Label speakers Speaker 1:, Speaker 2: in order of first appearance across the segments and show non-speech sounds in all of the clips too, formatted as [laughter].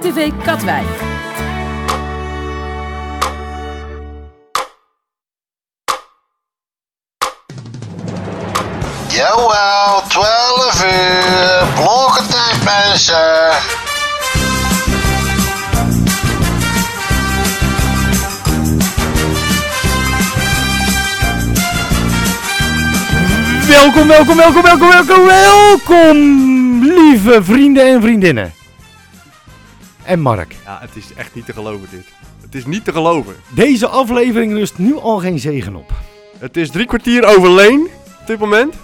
Speaker 1: TV Katwijk.
Speaker 2: Jawel, 12 uur. Blokkentijd, mensen.
Speaker 3: Welkom, welkom, welkom, welkom, welkom, welkom, lieve vrienden en vriendinnen. En Mark,
Speaker 4: Ja, het is echt niet te geloven dit. Het is niet te geloven.
Speaker 3: deze aflevering rust nu al geen zegen op.
Speaker 4: Het is drie kwartier over Leen op dit moment.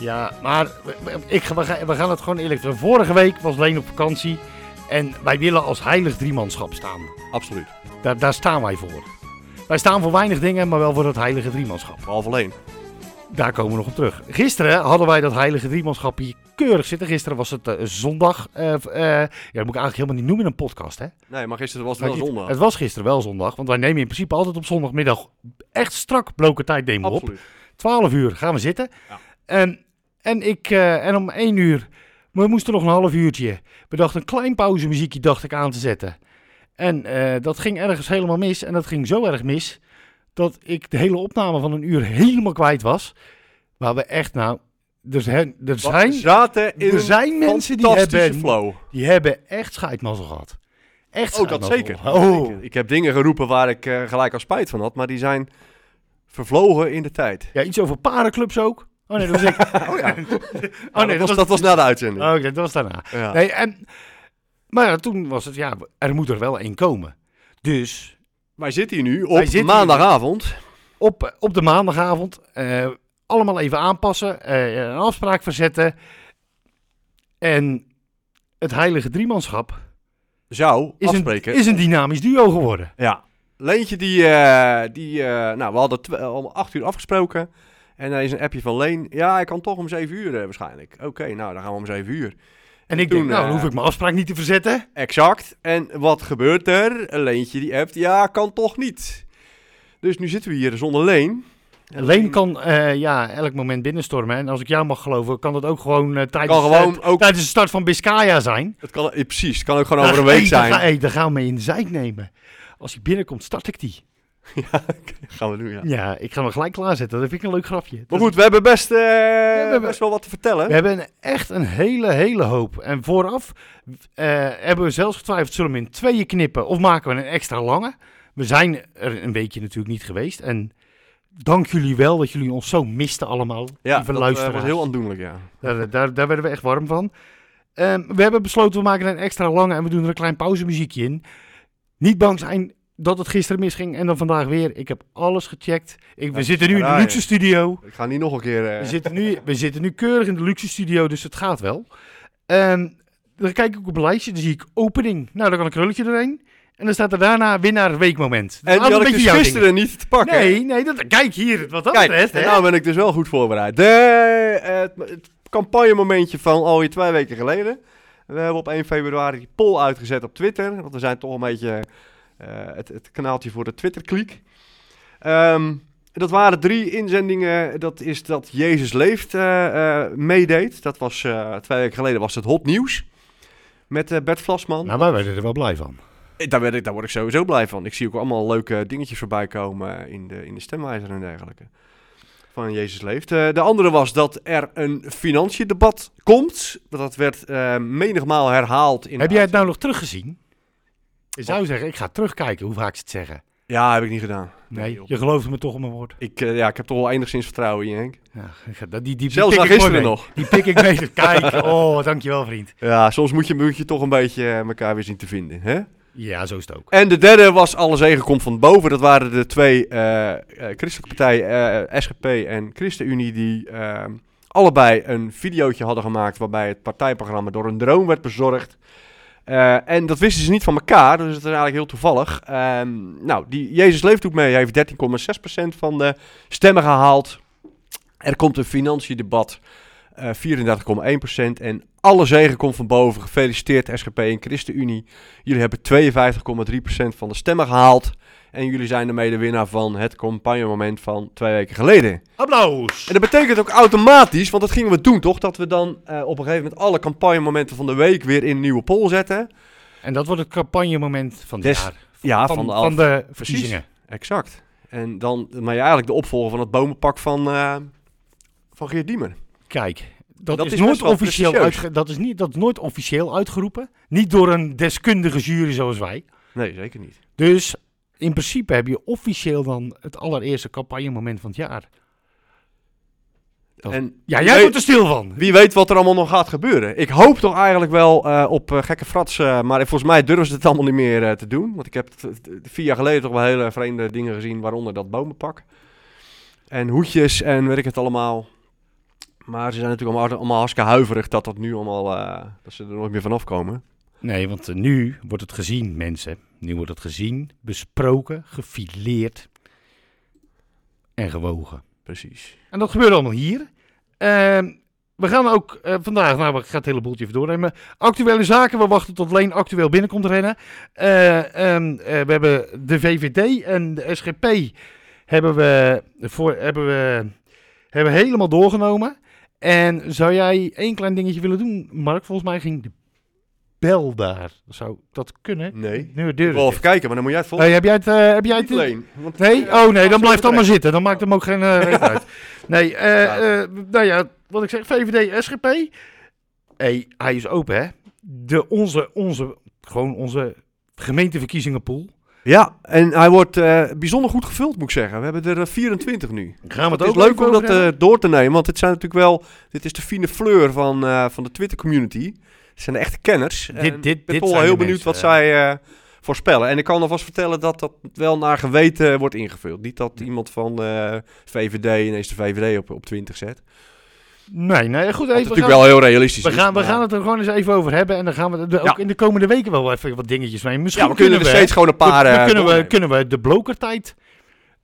Speaker 3: Ja, maar we- we- ik, ga- we, gaan, we gaan het gewoon eerlijk doen. Vorige week was Leen op vakantie en wij willen als heilig driemanschap staan.
Speaker 4: Absoluut.
Speaker 3: Daar, daar staan wij voor. Wij staan voor weinig dingen, maar wel voor het heilige driemanschap.
Speaker 4: Behalve Leen.
Speaker 3: Daar komen we nog op terug. Gisteren hadden wij dat heilige driemanschap hier keurig zitten. Gisteren was het eh, zondag. eh, v- eh, ja, dat moet ik eigenlijk helemaal niet noemen in een podcast, hè?
Speaker 4: Nee, maar gisteren was het
Speaker 3: Maar
Speaker 4: wel
Speaker 3: dit-
Speaker 4: zondag.
Speaker 3: Het was gisteren wel zondag, want wij nemen in principe altijd op zondagmiddag echt strak blokken tijd demo op.
Speaker 4: Absoluut.
Speaker 3: 12 uur gaan we zitten.
Speaker 4: Ja.
Speaker 3: En, en, ik, eh, en om 1 uur, we moesten nog een half uurtje. We dachten een klein pauzemuziekje dacht ik aan te zetten. En eh, dat ging ergens helemaal mis. En dat ging zo erg mis dat ik de hele opname van een uur helemaal kwijt was. Waar we echt nou... Er zijn, er
Speaker 4: Wa-
Speaker 3: zijn,
Speaker 4: we zaten in
Speaker 3: er zijn
Speaker 4: een
Speaker 3: mensen die
Speaker 4: fantastische
Speaker 3: hebben,
Speaker 4: flow.
Speaker 3: die hebben echt scheidmazzel gehad. Echt
Speaker 4: Oh, dat
Speaker 3: scheidmazzel
Speaker 4: zeker.
Speaker 3: gehad. Oh.
Speaker 4: Ik, ik heb dingen geroepen waar ik eh, gelijk al spijt van had, maar die zijn vervlogen in de tijd.
Speaker 3: Ja, iets over parenclubs ook. Oh nee, dat was ik.
Speaker 4: [laughs] Oh ja,
Speaker 3: Oh nee,
Speaker 4: Nou, dat, was, dat was na de uitzending.
Speaker 3: Oh, ik dacht, dat was daarna.
Speaker 4: ja.
Speaker 3: Nee, en... Maar ja, toen was het, ja, er moet er wel één komen. Dus
Speaker 4: Wij zitten hier nu
Speaker 3: Wij
Speaker 4: op
Speaker 3: zitten hier-
Speaker 4: maandagavond.
Speaker 3: op, op de maandagavond eh, allemaal even aanpassen, eh, een afspraak verzetten. En het heilige driemanschap
Speaker 4: Zou
Speaker 3: is een,
Speaker 4: afspreken.
Speaker 3: is een dynamisch duo geworden.
Speaker 4: Ja. Leentje die, eh, die eh, nou, we hadden tw- eh, om acht uur afgesproken. En dan is een appje van Leen. Ja, ik kan toch om zeven uur eh, waarschijnlijk. Oké, nou, dan gaan we om zeven uur.
Speaker 3: En ik
Speaker 4: Toen,
Speaker 3: denk, nou, dan
Speaker 4: eh,
Speaker 3: hoef ik mijn afspraak niet te verzetten.
Speaker 4: Exact. En wat gebeurt er? Leentje die appt. Ja, kan toch niet. Dus nu zitten we hier zonder Leen. En
Speaker 3: Leen kan eh, ja, elk moment binnenstormen. En als ik jou mag geloven, kan dat ook gewoon, eh, tijdens,
Speaker 4: Kan gewoon
Speaker 3: eh,
Speaker 4: ook-
Speaker 3: tijdens de start van Biscaya zijn.
Speaker 4: Het kan, eh, precies, het kan ook gewoon
Speaker 3: [laughs]
Speaker 4: over een
Speaker 3: Daar-
Speaker 4: week
Speaker 3: hey, daar ga-
Speaker 4: zijn.
Speaker 3: hey, daar gaan we mee in de zijk nemen. Als hij binnenkomt, start ik die.
Speaker 4: Gaan we doen, ja.
Speaker 3: Ja, ik ga hem gelijk klaarzetten. Dat vind ik een leuk grapje.
Speaker 4: Maar
Speaker 3: Dat-
Speaker 4: goed, we hebben best, eh,
Speaker 3: hebben-
Speaker 4: best wel wat te vertellen.
Speaker 3: we hebben een- echt een hele, hele hoop. En vooraf eh, hebben we zelfs getwijfeld, zullen we hem in tweeën knippen of maken we een extra lange? We zijn er een weekje natuurlijk niet geweest. En dank jullie wel dat jullie ons zo misten allemaal.
Speaker 4: Ja,
Speaker 3: lieve
Speaker 4: dat eh,
Speaker 3: luisteraars.
Speaker 4: was heel aandoenlijk, ja.
Speaker 3: daar, daar, daar werden we echt warm van. Ehm, we hebben besloten, we maken een extra lange en we doen er een klein pauzemuziekje in. Niet bang zijn dat het gisteren misging en dan vandaag weer. Ik heb alles gecheckt. Ik, we
Speaker 4: Ja,
Speaker 3: zitten nu in de
Speaker 4: raar,
Speaker 3: luxe
Speaker 4: hè?
Speaker 3: studio.
Speaker 4: Ik ga niet nog een keer... eh,
Speaker 3: We zitten, nu, we zitten nu keurig in de luxe studio, dus het gaat wel. Ehm, dan kijk ik op een lijstje, dan zie ik opening. Nou, daar kan een krulletje doorheen. En dan staat er daarna winnaar weekmoment.
Speaker 4: en die
Speaker 3: Laten we
Speaker 4: had ik dus
Speaker 3: jouw ding.
Speaker 4: gisteren niet te pakken.
Speaker 3: Nee, nee, dat, kijk hier, wat dat
Speaker 4: Kijk,
Speaker 3: betreft.
Speaker 4: en
Speaker 3: hè.
Speaker 4: nou ben ik dus wel goed voorbereid. De, eh, het, het campagnemomentje van alweer twee weken geleden. We hebben op 1 februari die poll uitgezet op Twitter. Want we zijn toch een beetje eh, het, het kanaaltje voor de Twitter-kliek. Ehm, dat waren drie inzendingen. Dat is dat Jezus Leeft eh, eh, meedeed. Dat was eh, twee weken geleden was het hot nieuws. Met eh, Bert Vlasman.
Speaker 3: Nou, wij werden er wel blij van.
Speaker 4: Eh, Daar, werd ik, daar word ik sowieso blij van. Ik zie ook allemaal leuke dingetjes voorbij komen eh, in de, in de stemwijzer en dergelijke. Van Jezus leeft. Eh, de andere was dat er een financiën debat komt. Dat werd eh, menigmaal herhaald. In de
Speaker 3: Heb jij het
Speaker 4: uitzending.
Speaker 3: nou nog teruggezien? Ik zou zeggen, ik ga terugkijken hoe vaak ze het zeggen.
Speaker 4: Ja, heb ik niet gedaan.
Speaker 3: Nee,
Speaker 4: joh.
Speaker 3: je gelooft me toch op mijn woord.
Speaker 4: Ik, eh, ja, ik heb toch wel enigszins vertrouwen in je, Henk.
Speaker 3: Ja, ik ga- die, die, die
Speaker 4: Zelfs
Speaker 3: pik
Speaker 4: na
Speaker 3: ik mooi
Speaker 4: gisteren
Speaker 3: mee.
Speaker 4: nog.
Speaker 3: Die pik ik [laughs] mee. Kijk, oh, dankjewel vriend.
Speaker 4: Ja, soms moet je, moet je toch een beetje eh, elkaar weer zien te vinden. Hè?
Speaker 3: Ja, zo is het ook.
Speaker 4: En de derde was alle zegen komt van boven. Dat waren de twee eh, eh, christelijke partijen, eh, SGP en ChristenUnie, die eh, allebei een videootje hadden gemaakt waarbij het partijprogramma door een drone werd bezorgd. Eh, en dat wisten ze niet van elkaar, dus het is eigenlijk heel toevallig. Ehm, nou, die Jezus Leeft doet mee, heeft 13,6% van de stemmen gehaald. Er komt een financiedebat, eh 34,1%. En alle zegen komt van boven. Gefeliciteerd SGP en ChristenUnie. Jullie hebben 52,3% van de stemmen gehaald. En jullie zijn daarmee de winnaar van het campagnemoment van twee weken geleden.
Speaker 3: Applaus!
Speaker 4: En dat betekent ook automatisch, want dat gingen we doen toch, dat we dan eh, op een gegeven moment alle campagnemomenten van de week weer in een nieuwe poll zetten.
Speaker 3: En dat wordt het campagnemoment van dit
Speaker 4: Des-
Speaker 3: jaar.
Speaker 4: Ja,
Speaker 3: Van,
Speaker 4: van, de,
Speaker 3: van de verkiezingen.
Speaker 4: Exact. En dan ben je eigenlijk de opvolger van het bomenpak van, eh, van Geert Diemer.
Speaker 3: Kijk, dat,
Speaker 4: Dat
Speaker 3: is,
Speaker 4: is best
Speaker 3: nooit
Speaker 4: wel
Speaker 3: officieel
Speaker 4: prestigieus.
Speaker 3: uitge- dat, is niet, dat is nooit officieel uitgeroepen. Niet door een deskundige jury zoals wij.
Speaker 4: Nee, zeker niet.
Speaker 3: Dus in principe heb je officieel dan het allereerste campagnemoment van het jaar. Dat-
Speaker 4: En
Speaker 3: Oh. Ja,
Speaker 4: wie
Speaker 3: jij
Speaker 4: weet-
Speaker 3: wordt er stil van.
Speaker 4: Wie weet wat er allemaal nog gaat gebeuren. Ik hoop toch eigenlijk wel eh, op eh, gekke frats. eh, maar volgens mij durven ze het allemaal niet meer eh, te doen. Want ik heb t- t- vier jaar geleden toch wel hele vreemde dingen gezien. Waaronder dat bomenpak. En hoedjes en weet ik het allemaal. Maar ze zijn natuurlijk allemaal, allemaal hartstikke huiverig dat dat nu allemaal... eh, dat ze er nooit meer vanaf komen.
Speaker 3: Nee, want eh, nu wordt het gezien, mensen. Nu wordt het gezien, besproken, gefileerd en gewogen.
Speaker 4: Precies.
Speaker 3: En dat gebeurt allemaal hier. Ehm, we gaan ook eh, vandaag, nou, ik ga het hele boeltje even doornemen. Actuele zaken, we wachten tot Leen actueel binnenkomt rennen. Eh, ehm, eh, we hebben de VVD en de SGP hebben we, voor, hebben we hebben we helemaal doorgenomen. En zou jij één klein dingetje willen doen, Mark? Volgens mij ging de bel daar. Zou dat kunnen?
Speaker 4: Nee.
Speaker 3: Nu de
Speaker 4: Ik
Speaker 3: deur.
Speaker 4: wil
Speaker 3: is
Speaker 4: even
Speaker 3: dicht.
Speaker 4: kijken, maar dan moet jij het volgen.
Speaker 3: Hey, heb jij het? eh, heb jij het?
Speaker 4: Mm. Niet alleen, want- eh,
Speaker 3: Nee?
Speaker 4: Ja,
Speaker 3: Oh nee, dan blijft het allemaal
Speaker 4: terecht.
Speaker 3: zitten. Dan maakt hem ook geen eh, reet
Speaker 4: [laughs]
Speaker 3: uit. Nee, eh, eh, nou ja, wat ik zeg, VVD, SGP. Hey, hij is open, hè? De, onze, onze, gewoon onze gemeenteverkiezingenpool.
Speaker 4: Ja, en hij wordt eh, bijzonder goed gevuld, moet ik zeggen. We hebben er eh, 24 nu.
Speaker 3: Gaan we het
Speaker 4: Het is
Speaker 3: ook
Speaker 4: leuk
Speaker 3: even
Speaker 4: om
Speaker 3: over
Speaker 4: dat
Speaker 3: hebben?
Speaker 4: eh, door te nemen, want dit zijn natuurlijk wel... Dit is de fine fleur van, eh, van de Twitter-community. Het zijn de echte kenners. En
Speaker 3: dit-
Speaker 4: ik ben
Speaker 3: dit
Speaker 4: toch wel
Speaker 3: zijn
Speaker 4: heel
Speaker 3: de
Speaker 4: benieuwd wat
Speaker 3: mensen,
Speaker 4: zij eh, voorspellen. En ik kan alvast vertellen dat dat wel naar geweten wordt ingevuld. Niet dat iemand van eh, VVD ineens de VVD op, op 20 zet. Wat
Speaker 3: Nee, nee, goed. Even, we
Speaker 4: natuurlijk
Speaker 3: gaan,
Speaker 4: wel heel realistisch
Speaker 3: we,
Speaker 4: is,
Speaker 3: gaan, we
Speaker 4: maar-
Speaker 3: gaan het er gewoon eens even over hebben. En dan gaan we er ook
Speaker 4: Ja.
Speaker 3: in de komende weken wel even wat dingetjes mee. Misschien
Speaker 4: Ja, we kunnen er steeds gewoon een paar...
Speaker 3: we,
Speaker 4: eh,
Speaker 3: kunnen, we,
Speaker 4: doornemen.
Speaker 3: kunnen we de blokertijd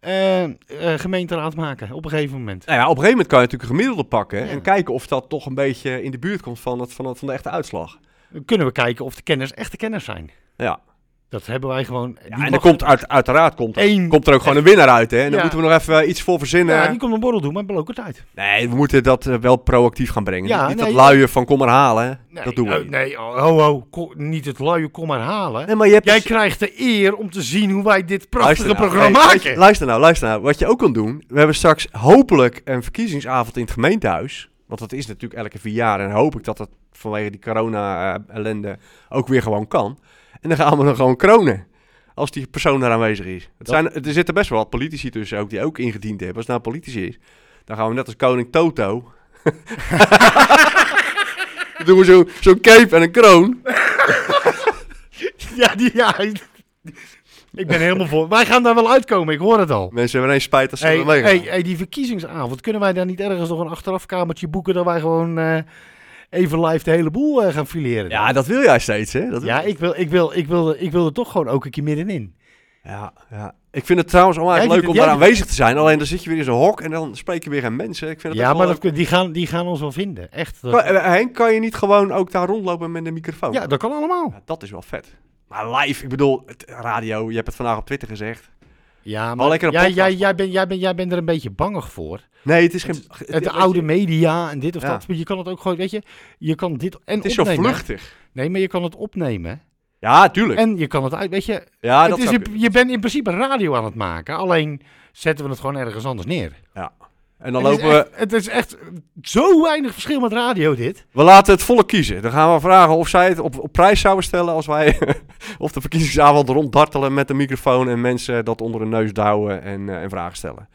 Speaker 3: eh eh, gemeenteraad maken op een gegeven moment.
Speaker 4: Nou ja, op een gegeven moment kan je natuurlijk een gemiddelde pakken
Speaker 3: Ja.
Speaker 4: en kijken of dat toch een beetje in de buurt komt van, het, van, het, van de echte uitslag.
Speaker 3: Dan kunnen we kijken of de kenners echte kenners zijn.
Speaker 4: Ja,
Speaker 3: Dat hebben wij gewoon. die
Speaker 4: ja en er
Speaker 3: mag-
Speaker 4: komt uit, uiteraard komt, er-
Speaker 3: Eén-
Speaker 4: komt er ook gewoon een winnaar uit. Hè? En daar
Speaker 3: Ja.
Speaker 4: moeten we nog even eh, iets voor verzinnen.
Speaker 3: Ja, die komt een borrel doen, maar blokkert uit.
Speaker 4: Nee, we moeten dat eh, wel proactief gaan brengen.
Speaker 3: Ja,
Speaker 4: niet
Speaker 3: nee.
Speaker 4: dat luien van kom maar halen. hè. dat doen we
Speaker 3: nou,
Speaker 4: niet.
Speaker 3: Nee, oh, ho, ho, ko- niet het luie kom maar halen.
Speaker 4: Nee, maar je hebt
Speaker 3: Jij
Speaker 4: dus-
Speaker 3: krijgt de eer om te zien hoe wij dit prachtige
Speaker 4: Luister nou,
Speaker 3: programma
Speaker 4: hey,
Speaker 3: maken.
Speaker 4: Luister, luister nou, luister nou. Wat je ook kan doen, we hebben straks hopelijk een verkiezingsavond in het gemeentehuis. Want dat is natuurlijk elke vier jaar. En dan hoop ik dat dat vanwege die corona-ellende ook weer gewoon kan. En dan gaan we dan gewoon kronen. Als die persoon daar aanwezig is. Het
Speaker 3: Dat-
Speaker 4: zijn, er zitten best wel wat politici tussen ook die ook ingediend hebben. Als het nou een politici is, dan gaan we net als koning Toto. [laughs] dan doen we zo- zo'n cape en een kroon.
Speaker 3: Ja, die, ja. Ik ben helemaal voor. Wij gaan daar wel uitkomen, ik hoor het al.
Speaker 4: Mensen hebben ineens spijt als ze
Speaker 3: Hey,
Speaker 4: er mee gaan.
Speaker 3: hey, hey, die verkiezingsavond, kunnen wij daar niet ergens nog een achterafkamertje boeken dat wij gewoon eh, even live de hele boel eh, gaan fileren?
Speaker 4: Ja, dat wil jij steeds, hè? Dat wil
Speaker 3: ja ik, wil, ik, wil, ik, wil, ik wil er toch gewoon ook een keer middenin.
Speaker 4: Ja, ja. Ik vind het trouwens allemaal echt
Speaker 3: Jij
Speaker 4: leuk om
Speaker 3: vindt-
Speaker 4: daar
Speaker 3: jij
Speaker 4: aanwezig te zijn. Alleen dan zit je weer in zo'n hok en dan spreek je weer geen mensen. Ik vind het
Speaker 3: Ja,
Speaker 4: echt
Speaker 3: maar
Speaker 4: wel
Speaker 3: dat, die, gaan, die gaan ons wel vinden. Echt. Dat-
Speaker 4: leuk. Kan- eh, Henk, kan je niet gewoon ook daar rondlopen met een microfoon?
Speaker 3: ja, dat kan allemaal.
Speaker 4: Ja, dat is wel vet. Maar live, ik bedoel, het radio, je hebt het vandaag op Twitter gezegd.
Speaker 3: Ja,
Speaker 4: Wel
Speaker 3: maar
Speaker 4: lekker een
Speaker 3: jij,
Speaker 4: podcast
Speaker 3: jij, jij, bent, jij, bent, jij bent er een beetje bangig voor.
Speaker 4: Nee, het is geen...
Speaker 3: Het, oude media en dit of
Speaker 4: Ja.
Speaker 3: dat. Maar je kan het ook gewoon, weet je, je kan dit en
Speaker 4: Het is zo
Speaker 3: opnemen.
Speaker 4: vluchtig.
Speaker 3: Nee, maar je kan het opnemen.
Speaker 4: Ja, tuurlijk.
Speaker 3: En je kan het uit, weet je.
Speaker 4: ja,
Speaker 3: het
Speaker 4: dat
Speaker 3: is
Speaker 4: zou
Speaker 3: in-
Speaker 4: kunnen.
Speaker 3: je bent in principe radio aan het maken. Alleen zetten we het gewoon ergens anders neer.
Speaker 4: Ja. En dan
Speaker 3: het,
Speaker 4: lopen
Speaker 3: is
Speaker 4: we...
Speaker 3: echt, het is echt zo weinig verschil met radio dit.
Speaker 4: We laten het volk kiezen. Dan gaan we vragen of zij het op, op prijs zouden stellen als wij [laughs] of de verkiezingsavond ronddartelen met een microfoon en mensen dat onder hun neus douwen en, eh, en vragen stellen.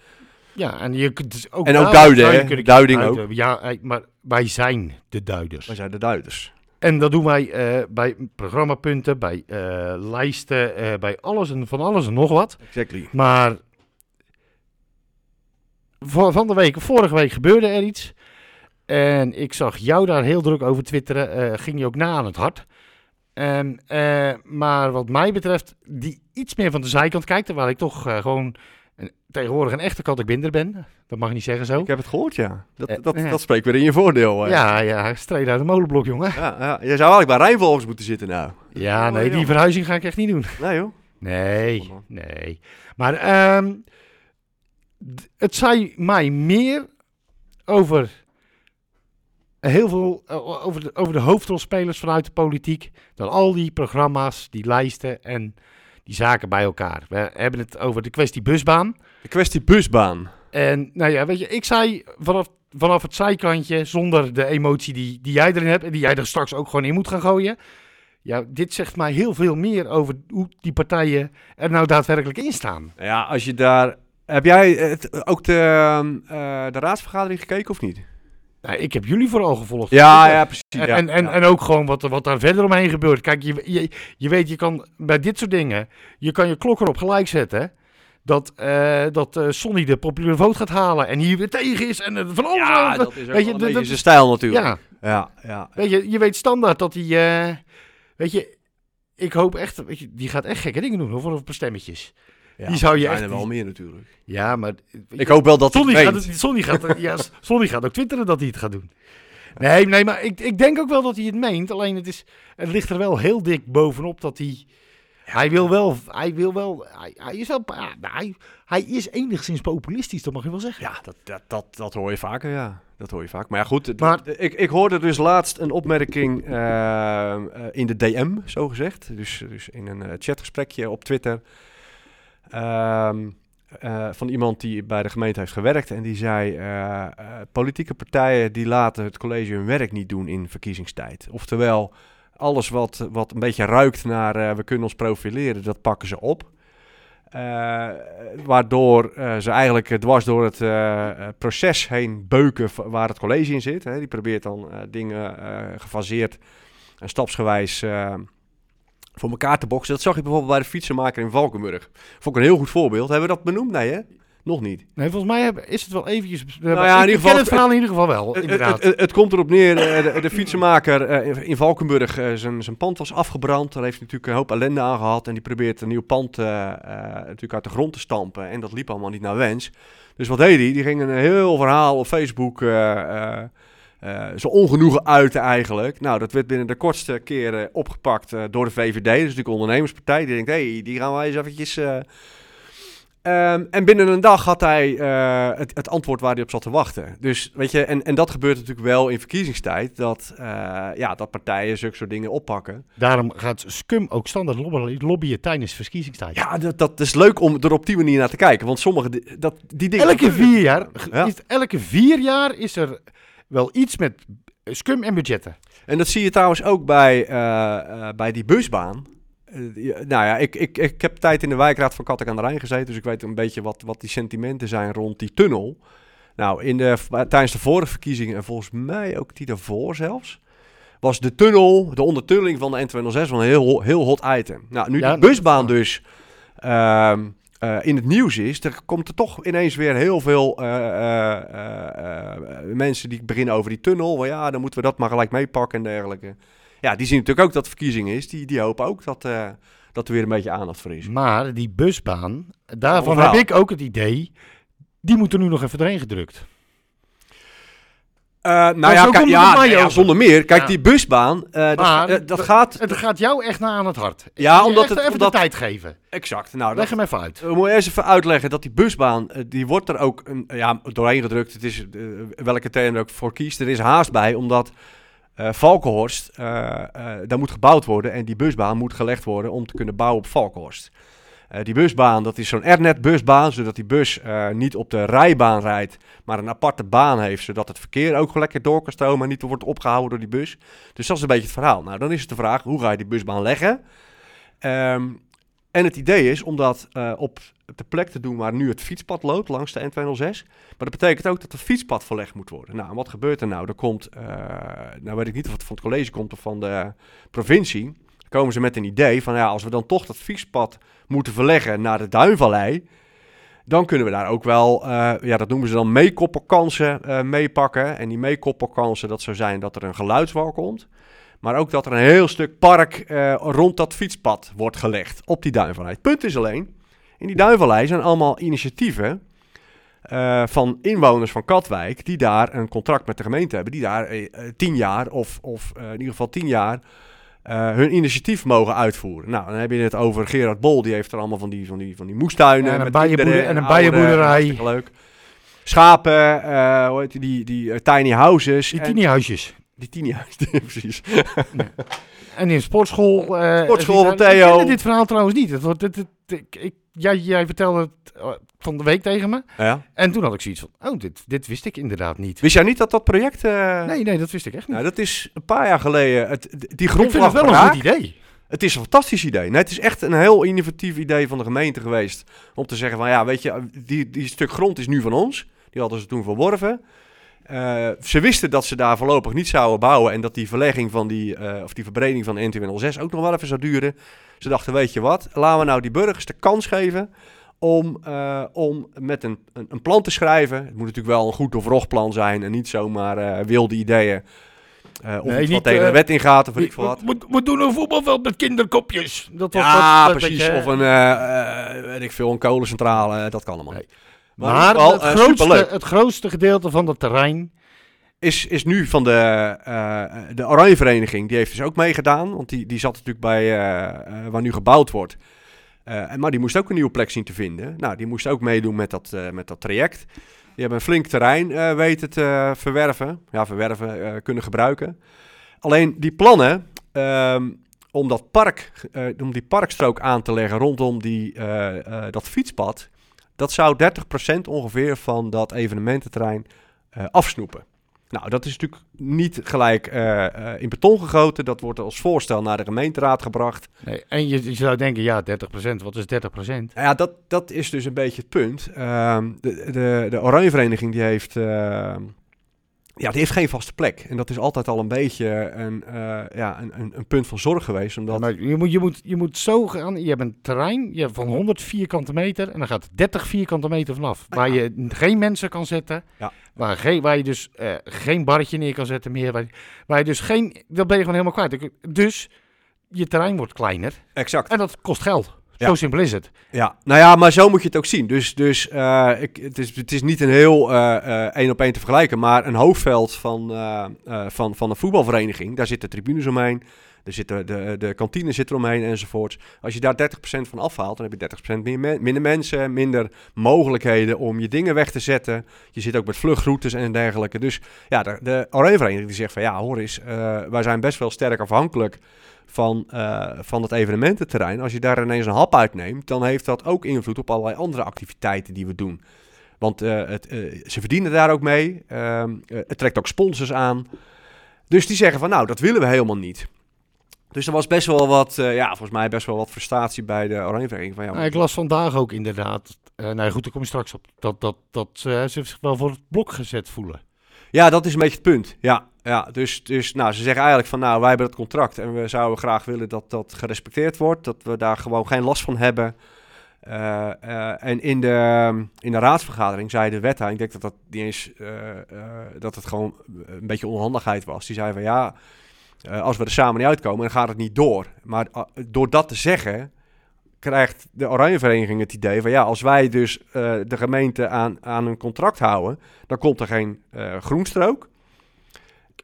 Speaker 3: Ja, en je kunt dus ook,
Speaker 4: En ook
Speaker 3: daar
Speaker 4: duiden,
Speaker 3: zou je
Speaker 4: hè?
Speaker 3: kunnen
Speaker 4: Duiding
Speaker 3: duiden. Ja, hey, maar wij zijn de duiders.
Speaker 4: Wij zijn de duiders.
Speaker 3: En dat doen wij eh, bij programmapunten, bij eh, lijsten, eh, bij alles en van alles en nog wat.
Speaker 4: Exactly.
Speaker 3: Maar van, van de week, vorige week gebeurde er iets. En ik zag jou daar heel druk over twitteren. eh, ging je ook na aan het hart. En, eh, maar wat mij betreft, die iets meer van de zijkant kijkt. Terwijl ik toch eh, gewoon een- tegenwoordig een echte kattenbinder ben. Dat mag je niet zeggen zo.
Speaker 4: Ik heb het gehoord, ja. Dat,
Speaker 3: Eh,
Speaker 4: dat,
Speaker 3: ja.
Speaker 4: dat spreekt weer in je voordeel. eh.
Speaker 3: Ja, ja, streden uit de molenblok, jongen.
Speaker 4: Ja, ja. Je zou eigenlijk bij Rijnvolgens moeten zitten nou.
Speaker 3: Ja, nee, die verhuizing ga ik echt niet doen.
Speaker 4: Nee joh.
Speaker 3: Nee,
Speaker 4: Goddank.
Speaker 3: nee. Maar ehm, d- het zei mij meer over heel veel eh, over, de, over de hoofdrolspelers vanuit de politiek. Dan al die programma's, die lijsten en die zaken bij elkaar. We hebben het over de kwestie busbaan.
Speaker 4: De kwestie busbaan.
Speaker 3: En nou ja, weet je, ik zei vanaf, vanaf het zijkantje, zonder de emotie die, die jij erin hebt en die jij er straks ook gewoon in moet gaan gooien. Ja, dit zegt mij heel veel meer over hoe die partijen er nou daadwerkelijk in staan.
Speaker 4: Nou Ja, als je daar... Heb jij het, ook de, eh, de raadsvergadering gekeken of niet?
Speaker 3: Nou, ik heb jullie vooral gevolgd.
Speaker 4: Ja,
Speaker 3: Ik, eh,
Speaker 4: ja, precies.
Speaker 3: En,
Speaker 4: ja.
Speaker 3: en, en, en ook gewoon wat, er- wat daar verder omheen gebeurt. Kijk, je, je, je weet, je kan bij dit soort dingen, je kan je klok erop gelijk zetten. Dat, eh dat eh, Sonny de populaire vote gaat halen en hier weer tegen is. En eh, van alles.
Speaker 4: ja,
Speaker 3: aan-
Speaker 4: dat is ook
Speaker 3: weet je,
Speaker 4: wel een
Speaker 3: dat-
Speaker 4: beetje
Speaker 3: dat-
Speaker 4: zijn stijl natuurlijk.
Speaker 3: ja,
Speaker 4: Ja, ja.
Speaker 3: weet je, je weet standaard dat hij... eh, weet je, ik hoop echt... Weet je, die gaat echt gekke dingen doen, hoor, voor voor stemmetjes.
Speaker 4: ja.
Speaker 3: Die zou je
Speaker 4: Er
Speaker 3: echt
Speaker 4: zijn er wel
Speaker 3: niet-
Speaker 4: meer natuurlijk.
Speaker 3: Ja, maar...
Speaker 4: Ik hoop wel dat hij
Speaker 3: Sonny
Speaker 4: het
Speaker 3: gaat,
Speaker 4: meent.
Speaker 3: het- Sonny, gaat, ja, Sonny gaat ook twitteren dat hij het gaat doen. Nee, nee maar ik, ik denk ook wel dat hij het meent. Alleen het, is, het ligt er wel heel dik bovenop dat hij... Hij wil wel... Hij, wil wel, hij, hij, is, wel ja, nou, hij, hij is enigszins populistisch, dat mag je wel zeggen.
Speaker 4: Ja, dat, dat, dat, dat hoor je vaker, ja. Dat hoor je vaak. Maar ja, goed. d-
Speaker 3: Maar-
Speaker 4: d- ik, ik hoorde dus laatst een opmerking eh, eh, in de DM, zo gezegd. Dus, dus in een eh, chatgesprekje op Twitter. Ehm, eh, van iemand die bij de gemeente heeft gewerkt. En die zei, eh, eh, politieke partijen die laten het college hun werk niet doen in verkiezingstijd. Oftewel, alles wat, wat een beetje ruikt naar eh, we kunnen ons profileren, dat pakken ze op. Eh, waardoor eh, ze eigenlijk eh, dwars door het eh, eh, proces heen beuken v- waar het college in zit. Hè. Die probeert dan eh, dingen eh, gefaseerd en stapsgewijs eh, voor elkaar te boksen. Dat zag je bijvoorbeeld bij de fietsenmaker in Valkenburg. Vond ik een heel goed voorbeeld. Hebben we dat benoemd? Nee, hè? Nog niet.
Speaker 3: Nee, volgens mij heb- is het wel eventjes...
Speaker 4: Nou ja,
Speaker 3: ik-
Speaker 4: in ieder
Speaker 3: ik ken
Speaker 4: geval-
Speaker 3: het verhaal in ieder geval wel,
Speaker 4: Het,
Speaker 3: inderdaad.
Speaker 4: het- het- het komt erop neer, eh, de, de fietsenmaker eh, in- in Valkenburg, eh, zijn zijn pand was afgebrand. Daar heeft hij natuurlijk een hoop ellende aan gehad. En die probeert een nieuw pand eh, eh, natuurlijk uit de grond te stampen. En dat liep allemaal niet naar wens. Dus wat deed hij? Die ging een heel verhaal op Facebook eh, eh, eh, zijn ongenoegen uiten eigenlijk. Nou, dat werd binnen de kortste keren opgepakt eh, door de VVD. Dat is natuurlijk een ondernemerspartij. Die denkt, hé, hey, die gaan wij eens eventjes... eh, Ehm, en binnen een dag had hij eh, het, het antwoord waar hij op zat te wachten. Dus weet je, en, en dat gebeurt natuurlijk wel in verkiezingstijd, dat, eh, ja, dat partijen zulke soort dingen oppakken.
Speaker 3: Daarom gaat Scum ook standaard lobby- lobbyen tijdens verkiezingstijd.
Speaker 4: Ja, dat, dat is leuk om er op die manier naar te kijken, want sommige di- dat, die dingen.
Speaker 3: Elke vier jaar,
Speaker 4: Ja.
Speaker 3: is, elke vier jaar is er wel iets met scum en budgetten.
Speaker 4: En dat zie je trouwens ook bij, eh, eh, bij die busbaan. Eh, die- nou ja, ik, ik, ik heb tijd in de wijkraad van Kattek aan de Rijn gezeten, dus ik weet een beetje wat, wat die sentimenten zijn rond die tunnel. Nou, in de, tijdens de vorige verkiezingen, en volgens mij ook die daarvoor zelfs, was de tunnel, de ondertunneling van de N206 wel een heel, ho- heel hot item. Nou, nu
Speaker 3: Ja,
Speaker 4: die
Speaker 3: dat-
Speaker 4: busbaan dus ehm, eh, in het nieuws is, er komt er toch ineens weer heel veel eh, eh, eh, eh, mensen die beginnen over die tunnel. Wel ja, dan moeten we dat maar gelijk meepakken en dergelijke. Ja, die zien natuurlijk ook dat het verkiezing is. Die, die hopen ook dat, eh, dat er weer een beetje aandacht voor is.
Speaker 3: Maar die busbaan, daarvan
Speaker 4: Overal.
Speaker 3: heb ik ook het idee, die moeten nu nog even erin gedrukt.
Speaker 4: Eh, nou
Speaker 3: Maar
Speaker 4: ja,
Speaker 3: zo
Speaker 4: ki-
Speaker 3: komt het
Speaker 4: ja,
Speaker 3: bij mij
Speaker 4: nou ja,
Speaker 3: over.
Speaker 4: zonder meer. Kijk,
Speaker 3: Ja.
Speaker 4: die busbaan, eh, dat,
Speaker 3: Maar
Speaker 4: eh, dat
Speaker 3: dat-
Speaker 4: gaat...
Speaker 3: Het gaat jou echt na aan het hart. Ik
Speaker 4: Ja,
Speaker 3: wil je
Speaker 4: omdat
Speaker 3: echt
Speaker 4: het-
Speaker 3: even
Speaker 4: omdat-
Speaker 3: de tijd geven.
Speaker 4: Exact. Nou, dat,
Speaker 3: Leg hem even uit.
Speaker 4: We moeten eerst even uitleggen dat die busbaan, eh, die wordt er ook een, ja, doorheen gedrukt. Het is eh, welke term er ook voor kiest. Er is haast bij, omdat eh, Valkenhorst, eh, eh, daar moet gebouwd worden. En die busbaan moet gelegd worden om te kunnen bouwen op Valkenhorst. Eh, die busbaan, dat is zo'n Ethernet busbaan, zodat die bus eh, niet op de rijbaan rijdt, maar een aparte baan heeft, zodat het verkeer ook lekker door kan stromen en niet wordt opgehouden door die bus. Dus dat is een beetje het verhaal. Nou, dan is het de vraag, hoe ga je die busbaan leggen? Ehm, en het idee is om dat eh, op de plek te doen waar nu het fietspad loopt, langs de N206. Maar dat betekent ook dat het fietspad verlegd moet worden. Nou, en wat gebeurt er nou? Er komt, eh, nou weet ik niet of het van het college komt of van de provincie. Dan komen ze met een idee van, ja, als we dan toch dat fietspad moeten verleggen naar de Duinvallei... Dan kunnen we daar ook wel, eh, ja, dat noemen ze dan meekoppelkansen eh, meepakken. En die meekoppelkansen, dat zou zijn dat er een geluidswal komt. Maar ook dat er een heel stuk park eh, rond dat fietspad wordt gelegd op die Duinvallei. Het punt is alleen, in die Duinvallei zijn allemaal initiatieven eh, van inwoners van Katwijk... die daar een contract met de gemeente hebben. Die daar eh, eh, tien jaar, of, of eh, in ieder geval tien jaar, eh, hun initiatief mogen uitvoeren. Nou, dan heb je het over Gerard Bol. Die heeft er allemaal van die, van die, van die moestuinen.
Speaker 3: Ja, en een
Speaker 4: met
Speaker 3: bijenboerder-
Speaker 4: kinderen
Speaker 3: en een
Speaker 4: ouderen.
Speaker 3: bijenboerderij.
Speaker 4: Hartstikke leuk. schapen, eh, hoe heet die, die, die eh, tiny houses.
Speaker 3: Die
Speaker 4: en-
Speaker 3: tienerhuisjes.
Speaker 4: die tiny [laughs] houses, precies.
Speaker 3: En in sportschool... eh,
Speaker 4: Sportschool
Speaker 3: is-
Speaker 4: van Theo.
Speaker 3: Ik kende dit verhaal trouwens niet. Het, wordt- het, het, ik, ik- jij, jij vertelde het eh, van de week tegen me.
Speaker 4: Ja.
Speaker 3: En toen had ik zoiets van, oh, dit, dit wist ik inderdaad niet.
Speaker 4: Wist jij niet dat dat project... eh,
Speaker 3: Nee, nee, dat wist ik echt niet.
Speaker 4: Nou, dat is een paar jaar geleden. Het, d- die
Speaker 3: ik
Speaker 4: grond
Speaker 3: vind het
Speaker 4: lag
Speaker 3: wel
Speaker 4: braak.
Speaker 3: een goed idee.
Speaker 4: Het is een fantastisch idee. Nee, het is echt een heel innovatief idee van de gemeente geweest. Om te zeggen van ja, weet je, die, die stuk grond is nu van ons. Die hadden ze toen verworven. Eh, ze wisten dat ze daar voorlopig niet zouden bouwen. En dat die verlegging van die, eh, of die verbreding van N206 ook nog wel even zou duren. Ze dachten, weet je wat, laten we nou die burgers de kans geven om, eh, om met een, een, een plan te schrijven. Het moet natuurlijk wel een goed doorvrocht plan zijn en niet zomaar eh, wilde ideeën. Eh, of
Speaker 3: Nee,
Speaker 4: iets wat
Speaker 3: niet,
Speaker 4: tegen de
Speaker 3: eh,
Speaker 4: wet ingaat of weet ik veel wat.
Speaker 3: We, we doen een voetbalveld met kinderkopjes. Dat was-
Speaker 4: Ja,
Speaker 3: dat- dat-
Speaker 4: precies.
Speaker 3: dat je-
Speaker 4: Of een, eh, eh, weet ik veel, een kolencentrale. eh, dat kan allemaal.
Speaker 3: Nee.
Speaker 4: Maar
Speaker 3: Maar,
Speaker 4: in ieder geval,
Speaker 3: het,
Speaker 4: eh,
Speaker 3: grootste,
Speaker 4: superleuk.
Speaker 3: het grootste gedeelte van het terrein...
Speaker 4: Is, is nu van de, eh, de Oranje Vereniging. Die heeft dus ook meegedaan. Want die, die zat natuurlijk bij eh, eh, waar nu gebouwd wordt. Eh, en maar die moest ook een nieuwe plek zien te vinden. Nou, die moest ook meedoen met dat, eh, met dat traject. Die hebben een flink terrein eh, weten te eh, verwerven. Ja, verwerven, eh, kunnen gebruiken. Alleen die plannen ehm, om, dat park, eh, om die parkstrook aan te leggen rondom die, eh, eh, dat fietspad... dat zou 30% ongeveer van dat evenemententerrein eh, afsnoepen. Nou, dat is natuurlijk niet gelijk eh, eh, in beton gegoten. Dat wordt als voorstel naar de gemeenteraad gebracht.
Speaker 3: Nee, en je, je zou denken, ja, 30%, wat is 30%?
Speaker 4: Nou Ja, dat, dat is dus een beetje het punt. Ehm, de, de, de Oranje Vereniging die heeft, ehm, ja, die heeft geen vaste plek. En dat is altijd al een beetje een, eh, ja, een, een, een punt van zorg geweest. Omdat,
Speaker 3: Ja, maar je, moet, je, moet, je moet zo gaan. Je hebt een terrein je hebt van 100 vierkante meter. En dan gaat 30 vierkante meter vanaf.
Speaker 4: Ah,
Speaker 3: Waar
Speaker 4: ja.
Speaker 3: je n- geen mensen kan zetten.
Speaker 4: Ja.
Speaker 3: Waar, geen, waar je dus eh, geen barretje neer kan zetten meer. Waar, waar je dus geen. Dat ben je gewoon helemaal kwijt. Dus je terrein wordt kleiner.
Speaker 4: Exact.
Speaker 3: En dat kost geld.
Speaker 4: Ja.
Speaker 3: Zo simpel is het.
Speaker 4: Ja, nou ja, maar zo moet je het ook zien. Dus, dus eh, ik, het, is, het is niet een heel eh, eh, één op één te vergelijken, maar een hoofdveld van, eh, eh, van, van een voetbalvereniging. Daar zitten tribunes omheen, daar zitten de, de kantine zit eromheen enzovoorts. Als je daar 30% van afhaalt, dan heb je 30% meer men- minder mensen, minder mogelijkheden om je dingen weg te zetten. Je zit ook met vluchtroutes en dergelijke. Dus ja, de, de Oranjevereniging die zegt van ja, hoor eens, eh, wij zijn best wel sterk afhankelijk van, eh, van het evenemententerrein. Als je daar ineens een hap uitneemt, dan heeft dat ook invloed op allerlei andere activiteiten die we doen. Want eh, het, eh, ze verdienen daar ook mee. Ehm, eh, het trekt ook sponsors aan. Dus die zeggen van nou, dat willen we helemaal niet. Dus er was best wel wat, eh, ja, volgens mij best wel wat frustratie bij de Oranjevereniging. Van, ja,
Speaker 3: Nou, ik las vandaag ook inderdaad. eh nou goed, daar kom je straks op. Dat, dat, dat eh, ze zich wel voor het blok gezet voelen.
Speaker 4: Ja, dat is een beetje het punt. Ja, ja dus, dus nou, ze zeggen eigenlijk van nou, wij hebben het contract en we zouden graag willen dat dat gerespecteerd wordt. Dat we daar gewoon geen last van hebben. Eh, eh, en in de, in de raadsvergadering zei de wethouder, ik denk dat dat niet eens, eh, eh, dat het gewoon een beetje onhandigheid was. Die zei van ja, eh, als we er samen niet uitkomen, dan gaat het niet door. Maar ah, door dat te zeggen, krijgt de Oranjevereniging het idee van ja, als wij dus eh, de gemeente aan, aan een contract houden, dan komt er geen eh, groenstrook.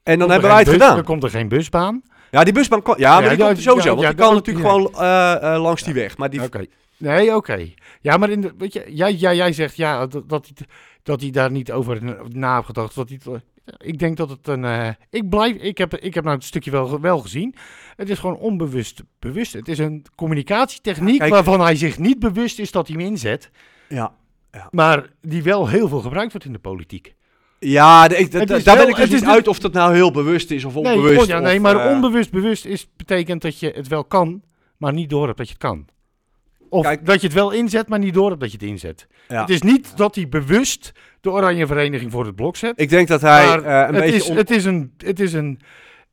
Speaker 4: En dan
Speaker 3: Komt er geen
Speaker 4: hebben wij het
Speaker 3: bus-
Speaker 4: gedaan.
Speaker 3: Dan komt er geen busbaan.
Speaker 4: Ja, die busbaan kan. Ja, maar
Speaker 3: Ja,
Speaker 4: die
Speaker 3: ja,
Speaker 4: komt er sowieso.
Speaker 3: ja,
Speaker 4: want
Speaker 3: ja,
Speaker 4: die kan
Speaker 3: dat-
Speaker 4: natuurlijk gewoon eh, eh, langs die weg. Maar die,
Speaker 3: Oké. Nee, oké. Ja, maar in de, weet je, jij, jij, jij zegt ja, dat, dat, hij, dat hij daar niet over na- na heeft gedacht. Dat hij, het- ik denk dat het een... eh, ik, blijf, ik, heb, ik heb nou het stukje wel, wel gezien. Het is gewoon onbewust bewust. Het is een communicatietechniek
Speaker 4: kijk.
Speaker 3: waarvan hij zich niet bewust is dat hij hem inzet.
Speaker 4: ja.
Speaker 3: Maar die wel heel veel gebruikt wordt in de politiek.
Speaker 4: Ja, de- ik, da-
Speaker 3: Het
Speaker 4: da-
Speaker 3: is
Speaker 4: daar
Speaker 3: wel-
Speaker 4: ben ik dus
Speaker 3: het is
Speaker 4: niet
Speaker 3: niet-
Speaker 4: uit of dat nou heel bewust is of onbewust.
Speaker 3: nee, oh ja, nee
Speaker 4: of,
Speaker 3: maar
Speaker 4: eh,
Speaker 3: onbewust bewust is, betekent dat je het wel kan, maar niet door hebt dat je het kan. Of
Speaker 4: Kijk.
Speaker 3: dat je het wel inzet, maar niet door hebt dat je het inzet.
Speaker 4: ja.
Speaker 3: Het is niet dat hij bewust de Oranje Vereniging voor het blok zet.
Speaker 4: Ik denk dat hij
Speaker 3: maar
Speaker 4: eh, een
Speaker 3: het,
Speaker 4: beetje.
Speaker 3: is,
Speaker 4: on-
Speaker 3: het is, een, het is een,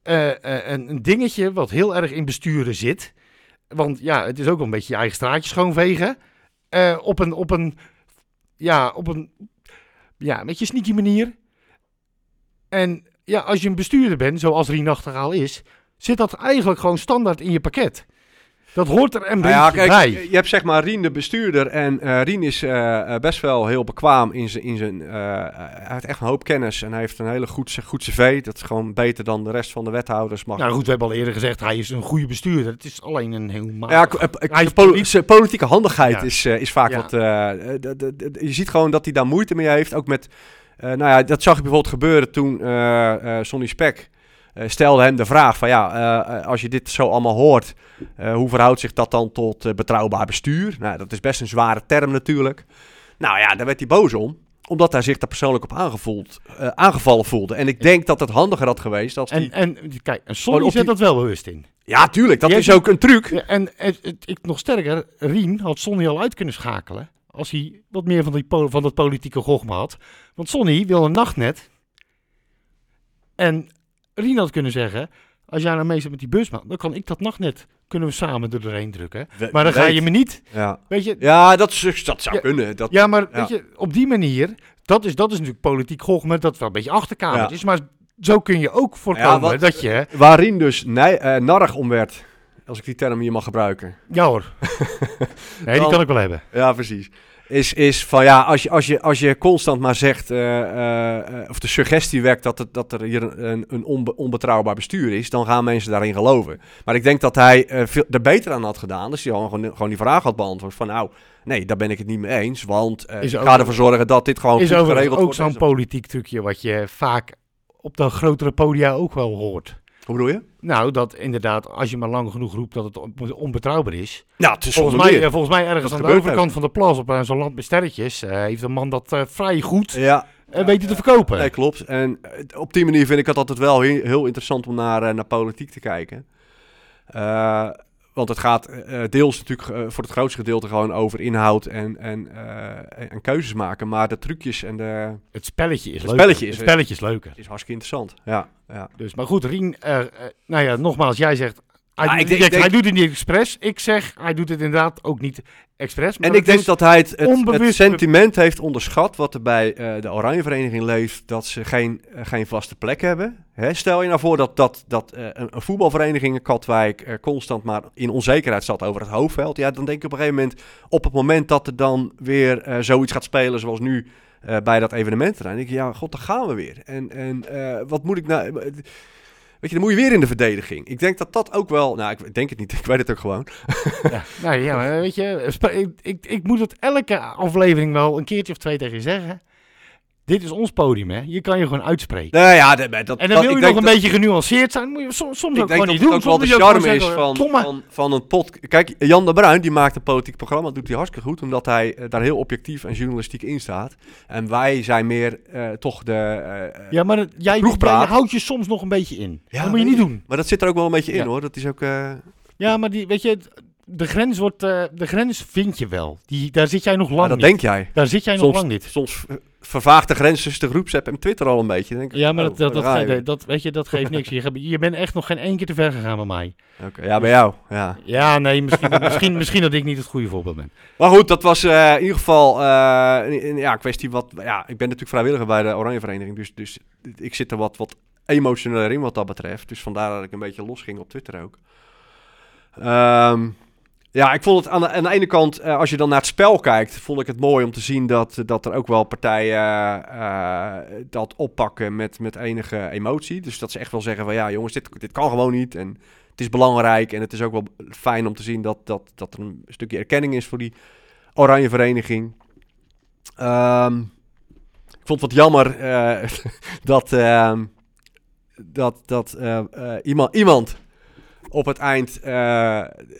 Speaker 3: eh, eh, een, een dingetje wat heel erg in besturen zit. Want ja, het is ook wel een beetje je eigen straatje schoonvegen. Eh, op een, op een, ja, op een, ja, een beetje sneaky manier. En ja, als je een bestuurder bent, zoals Rien Nachtegaal is, zit dat eigenlijk gewoon standaard in je pakket. Dat hoort er een
Speaker 4: Nou ja,
Speaker 3: beetje
Speaker 4: kijk,
Speaker 3: bij.
Speaker 4: je hebt zeg maar Rien de bestuurder en eh, Rien is eh, eh, best wel heel bekwaam in zijn, in zijn eh, hij heeft echt een hoop kennis en hij heeft een hele goed, goed cv, dat is gewoon beter dan de rest van de wethouders. Maar
Speaker 3: Nou goed, we hebben al eerder gezegd, hij is een goede bestuurder. Het is alleen een heel matig.
Speaker 4: Ja, k- eh, p-
Speaker 3: Hij is
Speaker 4: de poli-
Speaker 3: politiek.
Speaker 4: zijn politieke handigheid
Speaker 3: Ja.
Speaker 4: is, eh, is vaak
Speaker 3: Ja.
Speaker 4: wat... eh, eh, d- d- d- je ziet gewoon dat hij daar moeite mee heeft. Ook met... eh, nou ja, dat zag ik bijvoorbeeld gebeuren toen eh, eh, Sonny Spek eh, stelde hem de vraag van... Ja, eh, eh, als je dit zo allemaal hoort, eh, hoe verhoudt zich dat dan tot eh, betrouwbaar bestuur? Nou, dat is best een zware term natuurlijk. Nou ja, daar werd hij boos om omdat hij zich daar persoonlijk op aangevoeld, eh, aangevallen voelde. En ik denk dat het handiger had geweest als
Speaker 3: En,
Speaker 4: die...
Speaker 3: en kijk, en
Speaker 4: Oh,
Speaker 3: Sonny
Speaker 4: op
Speaker 3: zet
Speaker 4: die-
Speaker 3: dat wel bewust in.
Speaker 4: Ja, tuurlijk, dat
Speaker 3: Jij
Speaker 4: is
Speaker 3: doet-
Speaker 4: ook een truc.
Speaker 3: Ja, en het, het- ik nog sterker, Rien had Sonny al uit kunnen schakelen. Als hij wat meer van, die, po- van dat politieke gochme had. Want Sonny wil een nachtnet. En Rien had kunnen zeggen: Als jij nou mee zit met die busman, dan kan ik dat nachtnet. Kunnen we samen er doorheen drukken.
Speaker 4: We-
Speaker 3: Maar dan ga
Speaker 4: Eh, weet.
Speaker 3: je me niet.
Speaker 4: Ja.
Speaker 3: Weet je,
Speaker 4: Ja, dat, is- dat zou
Speaker 3: Ja.
Speaker 4: kunnen. Dat,
Speaker 3: ja, maar
Speaker 4: ja.
Speaker 3: Weet je, op die manier. Dat is, dat is natuurlijk politiek gochme. Dat wel een beetje achterkamer
Speaker 4: Ja.
Speaker 3: is. Maar zo kun je ook voorkomen
Speaker 4: wat-
Speaker 3: dat je.
Speaker 4: Waarin dus nij, eh, narrig om werd. Als ik die term hier mag gebruiken.
Speaker 3: Ja
Speaker 4: [laughs]
Speaker 3: hoor. nee, die
Speaker 4: Dan-
Speaker 3: kan ik wel hebben.
Speaker 4: Ja, precies. Is, is van ja, als je, als je, als je constant maar zegt. eh, eh, eh, of de suggestie werkt dat, het, dat er hier een, een onbe- onbetrouwbaar bestuur is. dan gaan mensen daarin geloven. Maar ik denk dat hij eh, veel, er beter aan had gedaan. Dus hij gewoon, gewoon die vraag had beantwoord. van nou, nee, daar ben ik het niet mee eens. Want eh,
Speaker 3: Is
Speaker 4: ik
Speaker 3: ook-
Speaker 4: ga ervoor zorgen dat dit gewoon
Speaker 3: is
Speaker 4: goed
Speaker 3: overigens
Speaker 4: geregeld
Speaker 3: ook
Speaker 4: wordt.
Speaker 3: zo'n politiek trucje wat je vaak op de grotere podia ook wel hoort.
Speaker 4: Hoe bedoel je?
Speaker 3: Nou, dat inderdaad, als je maar lang genoeg roept dat het on- onbetrouwbaar is.
Speaker 4: Nou, het is
Speaker 3: Volgens mij, eh, volgens mij ergens
Speaker 4: Dat
Speaker 3: aan de
Speaker 4: gebeurt
Speaker 3: overkant van de plas op eh, zo'n land met sterretjes eh, heeft een man dat eh, vrij goed eh,
Speaker 4: Ja,
Speaker 3: weten te verkopen.
Speaker 4: Nee, klopt. En eh, op die manier vind ik het altijd wel he- heel interessant om naar, eh, naar politiek te kijken. Eh, want het gaat eh, eh, deels natuurlijk eh, voor het grootste gedeelte gewoon over inhoud en, en, eh, en- en keuzes maken. Maar de trucjes en de...
Speaker 3: het spelletje is
Speaker 4: Het
Speaker 3: leuker.
Speaker 4: spelletje is-
Speaker 3: het spelletje is leuker.
Speaker 4: is hartstikke interessant. Ja, ja.
Speaker 3: Dus, maar goed, Rien, eh, eh, nou ja, nogmaals, jij zegt, hij,
Speaker 4: Ah,
Speaker 3: doet,
Speaker 4: ik denk-
Speaker 3: je zegt,
Speaker 4: ik
Speaker 3: hij doet het niet expres. Ik zeg, hij doet het inderdaad ook niet expres. Maar
Speaker 4: En ik denk
Speaker 3: doet-
Speaker 4: dat hij het, het- het,
Speaker 3: onbewust-
Speaker 4: sentiment heeft onderschat wat er bij eh, de Oranje Vereniging leeft, dat ze geen, eh, geen vaste plek hebben. Hè, stel je nou voor dat, dat, dat eh, een, een voetbalvereniging in Katwijk eh, constant maar in onzekerheid zat over het hoofdveld. Ja, dan denk ik op een gegeven moment, op het moment dat er dan weer eh, zoiets gaat spelen zoals nu eh, bij dat evenementerrein, denk ik, ja, god, daar gaan we weer. En, en eh, wat moet ik nou... Weet je, dan moet je weer in de verdediging. Ik denk dat dat ook wel... Nou, ik denk het niet. [laughs] Ik weet het ook gewoon.
Speaker 3: Ja, nou ja, maar weet je, sp- ik, ik, ik moet het elke aflevering wel een keertje of twee tegen je zeggen. Dit is ons podium, hè. Je kan je gewoon uitspreken.
Speaker 4: Nou ja, dat, dat,
Speaker 3: en dan wil
Speaker 4: ik
Speaker 3: je nog
Speaker 4: denk
Speaker 3: een
Speaker 4: dat-
Speaker 3: beetje genuanceerd zijn. Moet je soms, soms
Speaker 4: Ik
Speaker 3: ook
Speaker 4: denk
Speaker 3: gewoon
Speaker 4: dat
Speaker 3: niet
Speaker 4: het
Speaker 3: doen.
Speaker 4: ook wel de
Speaker 3: Soms moet je ook
Speaker 4: charme is
Speaker 3: gewoon zeggen,
Speaker 4: van,
Speaker 3: "Domme."
Speaker 4: van, van een pod. Kijk, Jan de Bruin die maakt een politiek programma. Dat doet hij hartstikke goed, omdat hij eh, daar heel objectief en journalistiek in staat. En wij zijn meer eh, toch de... eh, eh,
Speaker 3: Ja, maar het- jij, jij
Speaker 4: Ploegpraat.
Speaker 3: houdt je soms nog een beetje in.
Speaker 4: Ja,
Speaker 3: dat moet je
Speaker 4: weet
Speaker 3: niet
Speaker 4: ik.
Speaker 3: doen.
Speaker 4: Maar dat zit er ook wel een beetje in
Speaker 3: Ja.
Speaker 4: hoor. Dat is ook... eh,
Speaker 3: Ja, maar die, weet je, de grens, wordt, eh, de grens vind je wel. Die, daar zit jij nog lang
Speaker 4: maar ah, dat
Speaker 3: niet.
Speaker 4: denk jij.
Speaker 3: Daar zit jij nog
Speaker 4: Soms-
Speaker 3: lang niet.
Speaker 4: Soms eh, vervaagt de grens tussen de groepsapp en Twitter al een beetje. Dan Denk ik,
Speaker 3: Ja, maar
Speaker 4: oh,
Speaker 3: dat, dat,
Speaker 4: daar
Speaker 3: dat,
Speaker 4: ga je
Speaker 3: dat, weet je, dat geeft niks. Je, hebt- je bent echt nog geen één keer te ver gegaan bij mij.
Speaker 4: weer. Oké, ja, bij jou. Ja.
Speaker 3: Ja, nee, misschien, [laughs] misschien, misschien dat ik niet het goede voorbeeld ben.
Speaker 4: Maar goed, dat was eh, in ieder geval eh, een, een- ja, een kwestie wat... Ja, ik ben natuurlijk vrijwilliger bij de Oranje Vereniging, dus, dus ik zit er wat, wat emotioneler in wat dat betreft. Dus vandaar dat ik een beetje losging op Twitter ook. Ehm, ja, ik vond het aan de, aan de ene kant, eh, als je dan naar het spel kijkt, vond ik het mooi om te zien dat, dat er ook wel partijen eh, dat oppakken met, met enige emotie. Dus dat ze echt wel zeggen van ja jongens, dit, dit kan gewoon niet en het is belangrijk. En het is ook wel fijn om te zien dat, dat, dat er een stukje erkenning is voor die Oranje Vereniging. Ehm, ik vond het wat jammer eh, [laughs] dat, ehm, dat, dat eh, eh, iemand, iemand op het eind, eh,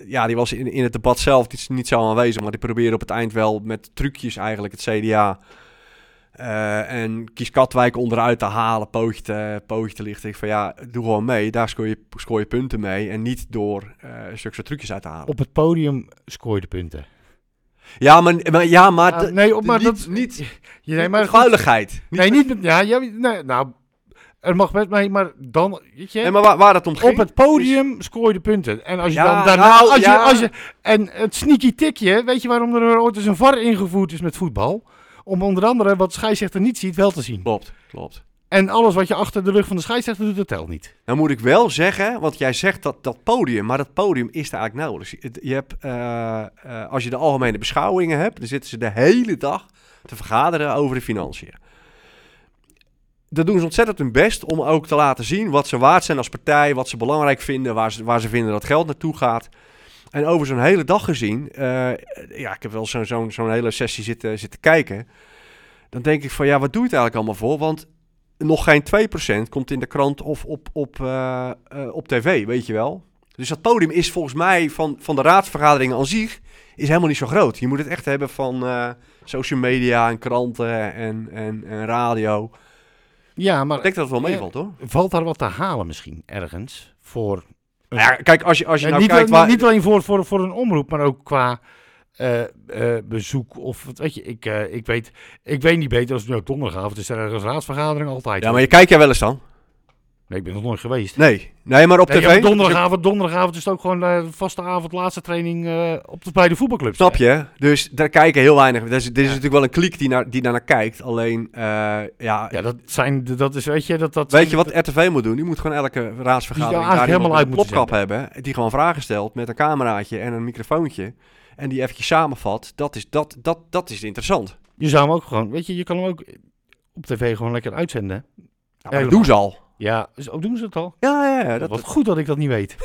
Speaker 4: ja, die was in, in het debat zelf niet, niet zo aanwezig, maar die probeerde op het eind wel met trucjes eigenlijk het CDA eh, en kies Katwijk onderuit te halen, pootje te, pootje te lichten. Ik van ja, doe gewoon mee, daar scoor je, scoor je punten mee en niet door eh zulke soort trucjes uit te halen.
Speaker 3: Op het podium scoor je de punten.
Speaker 4: Ja, maar, maar, ja, maar,
Speaker 3: Ah,
Speaker 4: d-
Speaker 3: nee, op, maar
Speaker 4: niet,
Speaker 3: dat,
Speaker 4: niet
Speaker 3: [laughs] Ja, nee, maar goed,
Speaker 4: vuiligheid. Niet-
Speaker 3: nee, niet met, ja, ja, nee, nou, er mag best mee, maar dan, weet je,
Speaker 4: Nee, maar waar, waar dat om ging.
Speaker 3: op het podium scoor je de punten. En als je
Speaker 4: Ja,
Speaker 3: dan daarna,
Speaker 4: nou,
Speaker 3: als je,
Speaker 4: ja.
Speaker 3: als je, en het sneaky tikje, weet je waarom er ooit eens een VAR ingevoerd is met voetbal? Om onder andere wat scheidsrechter niet ziet, wel te zien.
Speaker 4: Klopt, klopt.
Speaker 3: En alles wat je achter de rug van de scheidsrechter doet, dat telt niet.
Speaker 4: Nou moet ik wel zeggen, want jij zegt dat, dat podium, maar dat podium is daar eigenlijk nauwelijks. Het- Je hebt, eh, eh, als je de algemene beschouwingen hebt, dan zitten ze de hele dag te vergaderen over de financiën. Dat doen ze ontzettend hun best om ook te laten zien wat ze waard zijn als partij, wat ze belangrijk vinden, waar ze, waar ze vinden dat geld naartoe gaat. En over zo'n hele dag gezien, eh, ja, ik heb wel zo'n zo'n zo'n hele sessie zitten, zitten kijken. Dan denk ik van ja, wat doe je het eigenlijk allemaal voor? Want nog geen 2% komt in de krant of op, op, eh, eh, op tv, weet je wel. Dus dat podium is volgens mij van, van de raadsvergaderingen aan zich is helemaal niet zo groot. Je moet het echt hebben van eh, social media en kranten en, en, en radio.
Speaker 3: Ja, maar
Speaker 4: Ik denk dat het wel
Speaker 3: Ja.
Speaker 4: meevalt hoor.
Speaker 3: valt daar wat te halen misschien ergens voor... een-
Speaker 4: Nou ja, kijk, als je, als je
Speaker 3: Ja,
Speaker 4: nou
Speaker 3: niet,
Speaker 4: kijkt
Speaker 3: alleen-
Speaker 4: waar...
Speaker 3: niet alleen voor, voor, voor een omroep, maar ook qua eh, eh, bezoek of wat weet je. Ik, eh, ik, weet, ik weet niet beter als het nu op donderdagavond is. Er ergens raadsvergadering altijd.
Speaker 4: Ja, maar je kijkt jij wel eens dan?
Speaker 3: Nee, ik ben nog nooit geweest.
Speaker 4: Nee. Nee, maar op
Speaker 3: Nee,
Speaker 4: tv?
Speaker 3: ja, maar donderdagavond, donderdagavond is het ook gewoon eh, vaste avond, laatste training eh, op de, bij de voetbalclubs.
Speaker 4: Snap je? Dus daar kijken heel weinig. Er is, er is natuurlijk wel een kliek die, naar, die daarnaar kijkt. Alleen, eh, ja,
Speaker 3: Ja, dat, zijn, de- dat is, weet je, dat... dat
Speaker 4: Weet je wat RTV moet doen? Die moet gewoon elke raadsvergadering
Speaker 3: Die zou eigenlijk helemaal
Speaker 4: daar helemaal
Speaker 3: uit
Speaker 4: uit een
Speaker 3: moeten
Speaker 4: plopkap hebben. Die gewoon vragen stelt met een cameraatje en een microfoontje. En die eventjes samenvat. Dat is, dat, dat, dat is interessant.
Speaker 3: Je zou hem ook gewoon, weet je, je kan hem ook op tv gewoon lekker uitzenden.
Speaker 4: Nou, maar dat
Speaker 3: Helemaal.
Speaker 4: doen ze al.
Speaker 3: Ja, dus, oh, doen ze het al?
Speaker 4: Ja, ja, ja. Dat,
Speaker 3: wat goed dat ik dat niet
Speaker 4: [laughs]
Speaker 3: weet.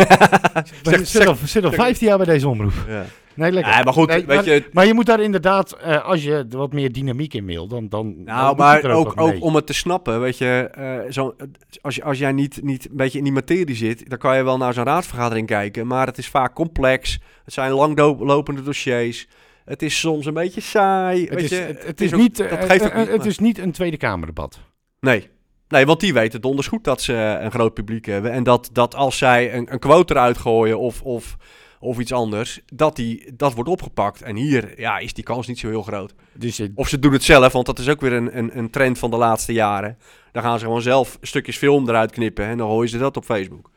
Speaker 4: Zeg-
Speaker 3: Ik zit al- zit al 15 jaar bij deze omroep.
Speaker 4: ja.
Speaker 3: Nee, lekker.
Speaker 4: Ja, maar goed,
Speaker 3: Nee,
Speaker 4: weet
Speaker 3: maar-
Speaker 4: je...
Speaker 3: Maar je moet daar inderdaad, eh, als je er wat meer dynamiek in wil, dan... dan dan
Speaker 4: Nou,
Speaker 3: moet je
Speaker 4: maar
Speaker 3: er
Speaker 4: ook,
Speaker 3: wat
Speaker 4: ook
Speaker 3: mee.
Speaker 4: om het te snappen, weet je, eh, zo, als, je- als jij niet, niet een beetje in die materie zit, dan kan je wel naar zo'n raadsvergadering kijken, maar het is vaak complex, het zijn langlopende dossiers, het is soms een beetje saai,
Speaker 3: Het
Speaker 4: weet
Speaker 3: is,
Speaker 4: je.
Speaker 3: het, het is
Speaker 4: ook-
Speaker 3: niet,
Speaker 4: dat
Speaker 3: eh,
Speaker 4: geeft ook
Speaker 3: eh,
Speaker 4: niet,
Speaker 3: het
Speaker 4: maar-
Speaker 3: is niet een Tweede Kamerdebat.
Speaker 4: Nee. Nee, want die weten donders goed dat ze eh, een groot publiek hebben. En dat, dat als zij een, een quote eruit gooien of, of, of iets anders, dat, die, dat wordt opgepakt. En hier ja, is die kans niet zo heel groot.
Speaker 3: Dus eh,
Speaker 4: Of ze doen het zelf, want dat is ook weer een, een, een trend van de laatste jaren. Dan gaan ze gewoon zelf stukjes film eruit knippen en dan gooien ze dat op Facebook.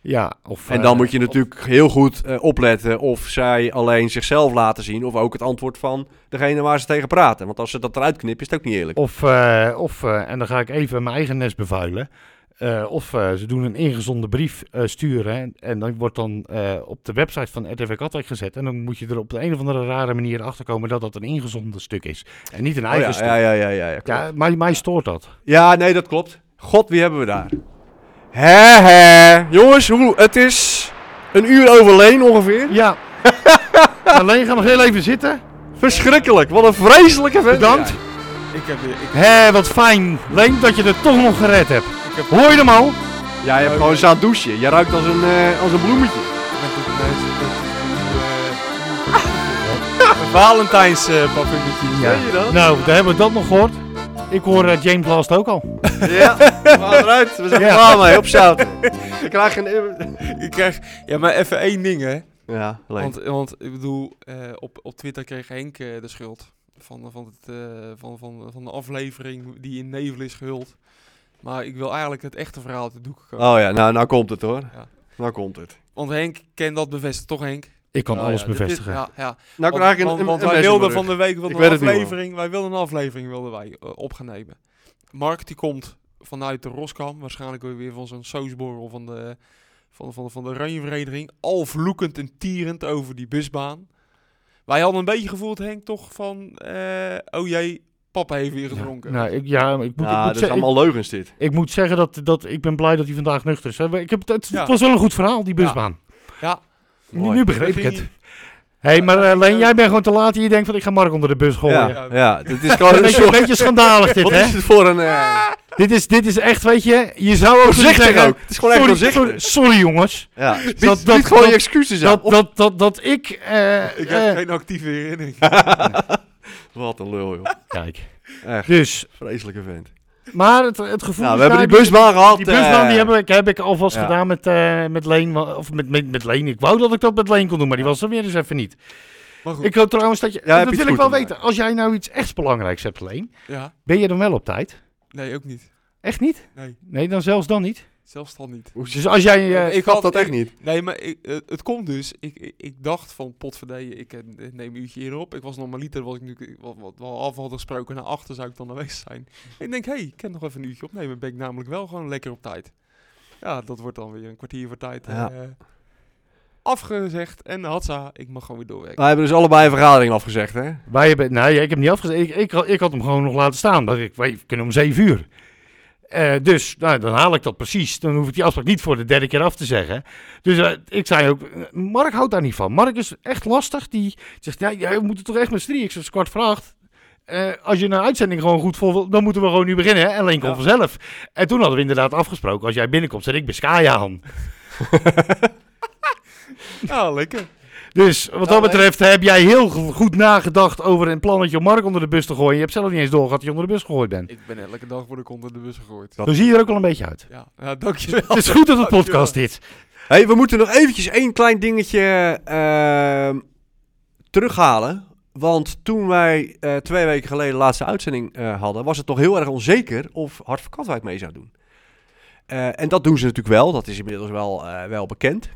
Speaker 3: ja, of,
Speaker 4: En
Speaker 3: eh,
Speaker 4: dan moet je
Speaker 3: of-
Speaker 4: natuurlijk heel goed eh, opletten of zij alleen zichzelf laten zien... of ook het antwoord van degene waar ze tegen praten. Want als ze dat eruit knippen, is het ook niet eerlijk.
Speaker 3: Of, eh, of eh, en dan ga ik even mijn eigen nest bevuilen. Eh, of eh, ze doen een ingezonden brief eh, sturen. En, en dan wordt dan eh, op de website van RTV Katwijk gezet. En dan moet je er op de een of andere rare manier achter komen dat dat een ingezonden stuk is. En niet een
Speaker 4: Oh
Speaker 3: eigen
Speaker 4: ja,
Speaker 3: stuk.
Speaker 4: ja, ja, ja, ja, ja, klopt.
Speaker 3: Ja, mij, mij stoort dat.
Speaker 4: Ja, nee, dat klopt. God, wie hebben we daar? Hè, hè. Jongens, hoe, het is een uur over Leen ongeveer.
Speaker 3: Ja. [laughs] Alleen gaan nog heel even zitten.
Speaker 4: Verschrikkelijk, wat een vreselijke vent.
Speaker 3: Bedankt.
Speaker 1: Ik heb, ik,
Speaker 3: Hé, wat fijn. Leen dat je er toch nog gered hebt. Hoor je hem al?
Speaker 4: Ja, jij hebt gewoon zo'n douche. Je ruikt als een, eh, als een bloemetje. [laughs]
Speaker 1: met het meisje dat Een Valentijns uh, papilletje.
Speaker 3: Ja.
Speaker 4: Zie eh, je dat?
Speaker 3: Nou, daar hebben we dat nog gehoord. Ik hoor eh, James Last ook al.
Speaker 4: Ja, we gaan eruit. We zijn
Speaker 3: Ja.
Speaker 4: er klaar mee, opzouten. Ik krijg een...
Speaker 1: Ik krijg, ja, maar even één ding hè.
Speaker 4: Ja, Leen.
Speaker 1: Want, want ik bedoel, eh, op, op Twitter kreeg Henk eh, de schuld van, van, het, eh, van, van, van de aflevering die in nevel is gehuld. Maar ik wil eigenlijk het echte verhaal te doek komen.
Speaker 4: Oh ja, nou, nou komt het hoor.
Speaker 1: Ja.
Speaker 4: Nou komt het.
Speaker 1: Want Henk kan dat bevestigen, toch Henk?
Speaker 3: Ik kan
Speaker 4: Oh,
Speaker 3: alles
Speaker 4: ja, dit is-
Speaker 3: bevestigen.
Speaker 1: Ja, ja.
Speaker 4: Nou
Speaker 1: Want,
Speaker 4: krijg ik een,
Speaker 1: want-
Speaker 4: een,
Speaker 1: want
Speaker 4: een
Speaker 1: wij
Speaker 4: mes in
Speaker 1: wilden
Speaker 4: mijn
Speaker 1: van
Speaker 4: rug.
Speaker 1: de week wilden
Speaker 4: Ik
Speaker 1: een
Speaker 4: weet het niet,
Speaker 1: aflevering. Wij wilden een aflevering wilden wij eh, op gaan nemen. Mark die komt vanuit de Roskam, waarschijnlijk weer van zo'n soosborrel van de van, van, van de Oranjevereniging, al vloekend en tierend over die busbaan. Wij hadden een beetje gevoeld, Henk, toch van, eh, oh jee, papa heeft weer gedronken.
Speaker 3: Nou, ik, ja, ik moet, ik moet
Speaker 4: Ja, dat
Speaker 3: zeggen-
Speaker 4: is allemaal leugens dit.
Speaker 3: Ik moet zeggen dat, dat ik ben blij dat hij vandaag nuchter is. Ik heb, het, het
Speaker 1: Ja.
Speaker 3: was wel een goed verhaal, die busbaan.
Speaker 1: Ja.
Speaker 3: Nu,
Speaker 4: Mooi.
Speaker 3: nu begreep ik
Speaker 1: Weet je
Speaker 3: het.
Speaker 1: niet?
Speaker 3: hey, maar eh, Leen,
Speaker 1: eh,
Speaker 3: jij bent gewoon te laat en je denkt van ik ga Mark onder de bus gooien.
Speaker 4: Ja, Oh, ja,
Speaker 3: [laughs]
Speaker 4: dit is
Speaker 3: Een
Speaker 4: gewoon een
Speaker 3: beetje, een
Speaker 4: soort...
Speaker 3: beetje schandalig dit,
Speaker 4: Wat
Speaker 3: hè? Ah,
Speaker 4: is het voor een... [laughs] eh,
Speaker 3: Dit is, dit is echt, weet je, je zou ook kunnen
Speaker 4: Voorzichtig
Speaker 3: zeggen...
Speaker 4: ook. Het is gewoon echt
Speaker 3: sorry, sorry,
Speaker 4: voorzichtig.
Speaker 3: sorry, jongens,
Speaker 4: Ja, bied,
Speaker 3: dat-
Speaker 4: bied
Speaker 3: dat-
Speaker 4: gewoon
Speaker 3: dat-
Speaker 4: je excuses aan.
Speaker 3: dat, dat, dat, dat ik... eh,
Speaker 1: Ik heb
Speaker 3: eh,
Speaker 1: geen actieve herinnering.
Speaker 4: Wat een lul, joh.
Speaker 3: kijk,
Speaker 4: Echt,
Speaker 3: dus,
Speaker 4: vreselijke vent.
Speaker 3: maar het, het gevoel
Speaker 4: Nou,
Speaker 3: is
Speaker 4: we hebben
Speaker 3: daar,
Speaker 4: die busbaan gehad.
Speaker 3: Die busbaan die
Speaker 4: eh,
Speaker 3: heb ik, heb ik alvast
Speaker 4: ja.
Speaker 3: gedaan met, eh, met Leen. wa- Of met, met, met Leen. Ik wou dat ik dat met Leen kon doen, maar die was er weer eens even niet.
Speaker 1: Maar goed,
Speaker 3: Ik hoop trouwens dat je...
Speaker 4: Ja, heb
Speaker 3: dat
Speaker 4: je het
Speaker 3: wil ik wel
Speaker 4: goed
Speaker 3: weten.
Speaker 4: gedaan.
Speaker 3: Als jij nou iets echt belangrijks hebt, Leen,
Speaker 1: ja,
Speaker 3: ben je dan wel op tijd?
Speaker 1: nee, ook niet.
Speaker 3: Echt niet?
Speaker 1: Nee.
Speaker 3: Nee, dan zelfs dan niet.
Speaker 1: Zelfs dan niet.
Speaker 3: Dus als jij... eh,
Speaker 1: Ik
Speaker 4: Ik had
Speaker 1: had-
Speaker 4: dat echt
Speaker 1: ik-
Speaker 4: niet.
Speaker 1: Nee, maar ik, eh, het komt dus. Ik, ik, ik dacht van potverdelen, ik eh, neem een uurtje eerder op. Ik was normaliter, was ik nu wat, wat we af hadden gesproken, naar achter zou ik dan aanwezig zijn. Ik denk, hé, hey, ik kan nog even een uurtje opnemen. Ben ik namelijk wel gewoon lekker op tijd. Ja, dat wordt dan weer een kwartier voor tijd eh, afgezegd. En hadza, ik mag gewoon weer doorwerken.
Speaker 4: Wij hebben dus allebei een vergadering afgezegd, hè?
Speaker 3: Wij hebben, nou ja, ik heb niet afgezegd. Ik, ik, had- ik had hem gewoon nog laten staan. Dat ik, wij kunnen om zeven uur. Eh, dus, nou, dan haal ik dat precies. Dan hoef ik die afspraak niet voor de derde keer af te zeggen. Dus eh, ik zei ook, eh, Mark houdt daar niet van. Mark is echt lastig. Die zegt, ja, ja, we moeten toch echt met z'n drieën. Ik zeg, het is kwart voor acht. Eh, als je een uitzending gewoon goed vol wil, dan moeten we gewoon nu beginnen. Hè? En Leen komt
Speaker 1: Ja.
Speaker 3: vanzelf. En toen hadden we inderdaad afgesproken, als jij binnenkomt, zet ik Biscaya aan.
Speaker 1: Ja, lekker.
Speaker 3: Dus wat dat
Speaker 1: Nou, hè.
Speaker 3: betreft heb jij heel goed nagedacht over een plannetje om Mark onder de bus te gooien. Je hebt zelf niet eens doorgehad dat je onder de bus gegooid bent.
Speaker 1: Ik ben elke dag voor de kont in de bus gegooid.
Speaker 4: Dat-
Speaker 3: Zo zie je er ook wel een beetje uit.
Speaker 1: Ja, ja dankjewel.
Speaker 3: Het is goed dat het podcast is.
Speaker 4: Hé, hey, we moeten nog eventjes één klein dingetje ehm, terughalen. Want toen wij eh, twee weken geleden de laatste uitzending eh, hadden, was het nog heel erg onzeker of Hart van Katwijk mee zou doen. Eh, en dat doen ze natuurlijk wel, dat is inmiddels wel, eh, wel bekend.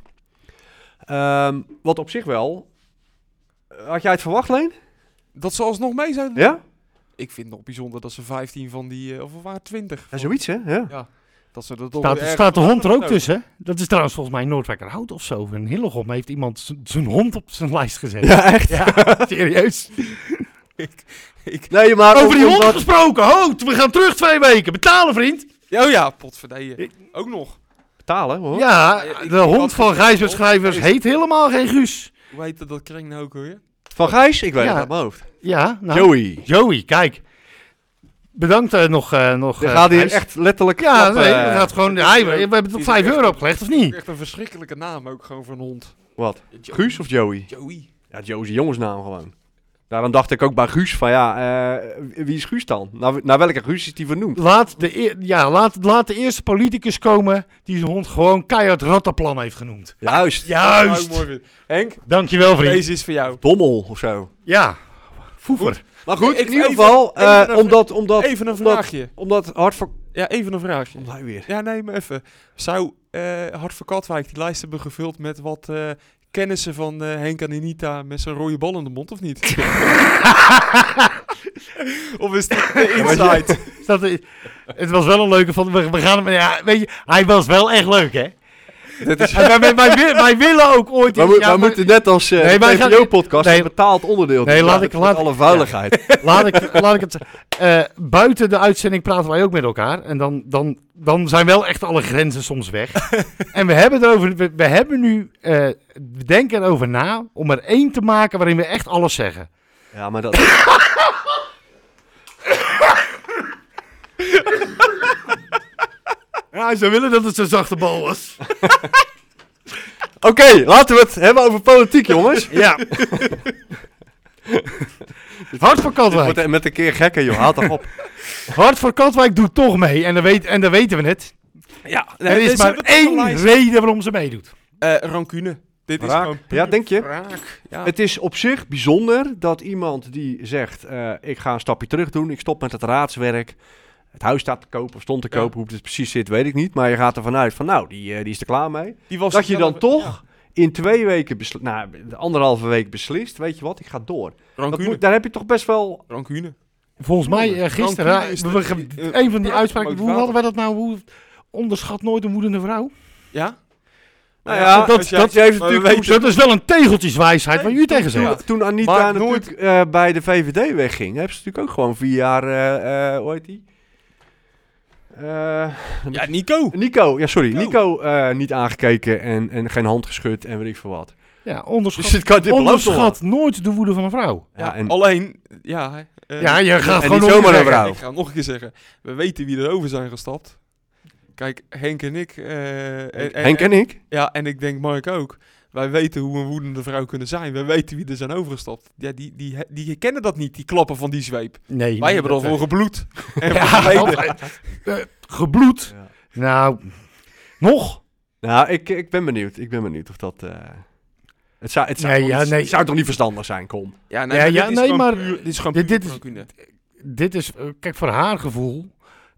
Speaker 4: Ehm, wat op zich wel. eh, Had jij het verwacht, Leen?
Speaker 1: Dat ze alsnog mee zijn.
Speaker 4: Ja?
Speaker 1: Ik vind het nog bijzonder dat ze 15 van die, eh, of waar 20.
Speaker 4: Ja, zoiets, hè? Ja. [laughs]
Speaker 1: Dat ze dat toch
Speaker 3: Staat,
Speaker 1: weer ergens
Speaker 3: staat de hond er ook
Speaker 1: vandaan
Speaker 3: tussen? hè? Dat is trouwens volgens mij Noordwijkerhout of zo. Een Hillegom heeft iemand z- zijn hond op zijn lijst gezet.
Speaker 4: Ja, echt.
Speaker 3: [laughs] serieus.
Speaker 4: Nee, maar
Speaker 3: Over die
Speaker 4: om-
Speaker 3: hond
Speaker 4: omdat-
Speaker 3: gesproken. Hout, we gaan terug twee weken. Betalen, vriend.
Speaker 1: Ja, oh ja, potverdije.
Speaker 3: Ik-
Speaker 1: Ook nog.
Speaker 4: Betalen, hoor.
Speaker 3: Ja,
Speaker 1: Ja, ik-
Speaker 3: de
Speaker 1: ik had
Speaker 3: hond van
Speaker 1: gezien,
Speaker 3: Gijsbert
Speaker 1: hond van
Speaker 3: Schrijvers
Speaker 1: Gijsbert.
Speaker 3: heet helemaal geen Guus.
Speaker 1: Hoe heet dat kring nou ook alweer?
Speaker 4: Van Gijs? Ik weet
Speaker 3: Ja.
Speaker 4: het uit mijn hoofd.
Speaker 3: Ja, nou.
Speaker 4: Joey.
Speaker 3: Joey, kijk. Bedankt eh, nog. eh nog
Speaker 4: Dan
Speaker 3: eh,
Speaker 4: gaat hij
Speaker 3: Gijs.
Speaker 4: echt letterlijk
Speaker 3: Ja,
Speaker 4: klappen,
Speaker 3: Ah, nee,
Speaker 4: eh,
Speaker 3: dat gaat gewoon. hij- we hebben het op
Speaker 1: Die-
Speaker 3: 5 euro opgelegd, of niet?
Speaker 1: Echt een verschrikkelijke naam ook gewoon voor een hond.
Speaker 4: Wat?
Speaker 1: Jo-
Speaker 4: Guus of Joey?
Speaker 1: Joey.
Speaker 4: Ja, Joe is een jongensnaam gewoon. Daarom dacht ik ook bij Guus van ja, eh, wie is Guus dan? Naar, naar welke Guus is die vernoemd?
Speaker 3: Laat de, eer- ja, laat, laat de eerste politicus komen die zijn hond gewoon keihard rattenplan heeft genoemd.
Speaker 4: Juist.
Speaker 1: Dat zou ik
Speaker 3: Juist.
Speaker 1: Nou, mooi vinden. Henk,
Speaker 3: Dankjewel, vriend.
Speaker 1: deze is voor jou.
Speaker 4: Dommel of zo.
Speaker 3: Ja. Foever.
Speaker 4: Maar goed,
Speaker 1: Ik- ik-
Speaker 4: in ieder
Speaker 1: even-
Speaker 4: geval, eh,
Speaker 1: even een-
Speaker 4: omdat, omdat,
Speaker 1: Even een
Speaker 4: omdat-
Speaker 1: vraagje.
Speaker 4: omdat Hart van...
Speaker 1: Ja, even een vraagje.
Speaker 4: Omdat hij weer.
Speaker 1: Ja, nee, maar even. Zou eh Hart van Katwijk die lijst hebben gevuld met wat eh, kennissen van eh, Henk en Anita met zijn rode bal in de mond, of
Speaker 4: [laughs]
Speaker 1: niet? of is dit de insight?
Speaker 3: Dat, is- het was wel een leuke van. We, we gaan hem. Ja, weet je, hij was wel echt leuk, hè?
Speaker 1: [laughs]
Speaker 4: Dit is,
Speaker 3: En wij, wij- wij wil- wij willen ook ooit.
Speaker 4: [laughs] we,
Speaker 3: iets-
Speaker 4: moet-
Speaker 3: ja,
Speaker 4: we
Speaker 3: maar-
Speaker 4: moeten net als eh
Speaker 3: Nee, wij
Speaker 4: de
Speaker 3: gaan-
Speaker 4: TPO-podcast
Speaker 3: nee.
Speaker 4: een betaald onderdeel
Speaker 3: Nee,
Speaker 4: doen.
Speaker 3: laat
Speaker 4: Ja,
Speaker 3: ik-
Speaker 4: met
Speaker 3: laat ik-
Speaker 4: alle vuiligheid.
Speaker 3: [laughs] Laat ik, laat ik het eh, buiten de uitzending praten wij ook met elkaar. En dan, dan, dan zijn wel echt alle grenzen soms [laughs] weg. en we hebben, erover, we, we hebben nu. eh, we denken erover na om er één te maken waarin we echt alles zeggen.
Speaker 4: Ja, maar dat...
Speaker 3: Ja, ze willen dat het zo'n zachte bal was.
Speaker 4: Oké, laten we het hebben over politiek, jongens. [laughs]
Speaker 3: Ja. Hart voor
Speaker 4: Dit
Speaker 3: Katwijk.
Speaker 4: wordt met een keer gekker, joh. Haat toch op.
Speaker 3: Hart voor Katwijk doet toch mee. En dan, weet, en dan weten we het.
Speaker 1: ja,
Speaker 3: er is maar één reden waarom ze meedoet.
Speaker 1: Eh, rancune. Dit is
Speaker 4: Raak.
Speaker 1: gewoon puur
Speaker 4: Ja, denk je?
Speaker 1: raak. Ja.
Speaker 4: Het is op zich bijzonder dat iemand die zegt: eh, Ik ga een stapje terug doen, ik stop met het raadswerk. Het huis staat te koop of stond te
Speaker 1: Ja.
Speaker 4: koop, hoe het precies zit, weet ik niet. Maar je gaat ervan uit van: Nou, die, eh, die is er klaar mee.
Speaker 1: Die was
Speaker 4: dat je dan
Speaker 1: zelf-
Speaker 4: toch in twee weken, besli- nou, anderhalve week beslist: Weet je wat, ik ga door. Dat
Speaker 1: Rancune.
Speaker 4: moet, daar heb je toch best wel.
Speaker 1: Rancune.
Speaker 3: Volgens mij eh, gisteren,
Speaker 1: Rancune is
Speaker 3: eh,
Speaker 1: de-
Speaker 3: we, we-
Speaker 1: eh,
Speaker 3: een van die
Speaker 1: prachtig
Speaker 3: uitspraken, hoe
Speaker 1: motivator.
Speaker 3: hadden wij dat nou? Hoe, onderschat nooit een woedende vrouw.
Speaker 1: Ja?
Speaker 4: Nou ja,
Speaker 3: dat-
Speaker 1: als jij-
Speaker 4: dat heeft
Speaker 1: maar we
Speaker 4: natuurlijk-
Speaker 1: weten-
Speaker 3: dat is wel een tegeltjeswijsheid waar u tegen
Speaker 4: Toen,
Speaker 3: zegt.
Speaker 4: toen Anita
Speaker 1: Maakt
Speaker 4: natuurlijk eh, bij de VVD wegging, hebben ze natuurlijk ook gewoon vier jaar. eh, eh, hoe heet die? Eh,
Speaker 1: Ja, Nico.
Speaker 4: Nico, ja sorry,
Speaker 1: Nico.
Speaker 4: Nico eh, niet aangekeken en, en geen hand geschud en weet ik veel wat.
Speaker 3: Ja,
Speaker 4: Dus
Speaker 3: onderschat,
Speaker 4: dit kan dit belooft nog
Speaker 3: onderschat nooit de woede van een vrouw.
Speaker 4: wel. Ja, en,
Speaker 1: Alleen, ja. eh,
Speaker 3: Ja, je gaat
Speaker 4: en
Speaker 3: gewoon
Speaker 4: niet
Speaker 3: nog
Speaker 4: zomaar
Speaker 3: niet
Speaker 4: een
Speaker 3: weg.
Speaker 4: vrouw.
Speaker 1: Ik ga nog een keer zeggen. We weten wie er over zijn gestapt. Kijk, Henk en ik. eh, en,
Speaker 4: Henk en ik.
Speaker 1: Ja, en ik denk Mark ook. Wij weten hoe een woedende vrouw kunnen zijn. Wij weten wie er zijn overgestapt. Ja, die, die, die, kennen dat niet, die klappen van die zweep.
Speaker 3: Nee,
Speaker 1: Wij hebben er al voor gebloed. En voor
Speaker 3: eh, Ja,
Speaker 1: geleden.
Speaker 3: eh, gebloed.
Speaker 4: Ja.
Speaker 3: Nou, nog.
Speaker 4: Nou, ik, ik ben benieuwd. Ik ben benieuwd of dat... eh, het zou, het zou,
Speaker 3: Nee,
Speaker 4: toch
Speaker 3: ja,
Speaker 4: niet-
Speaker 3: nee. Nou,
Speaker 4: het zou toch niet verstandig zijn, kom.
Speaker 1: Ja,
Speaker 3: Ja,
Speaker 1: dit
Speaker 3: ja,
Speaker 1: is
Speaker 3: nee,
Speaker 1: gewoon
Speaker 3: maar
Speaker 1: puur- dit is gewoon
Speaker 3: dit-
Speaker 1: puur
Speaker 3: dit is-
Speaker 1: rancune.
Speaker 3: Dit is, eh, kijk, voor haar gevoel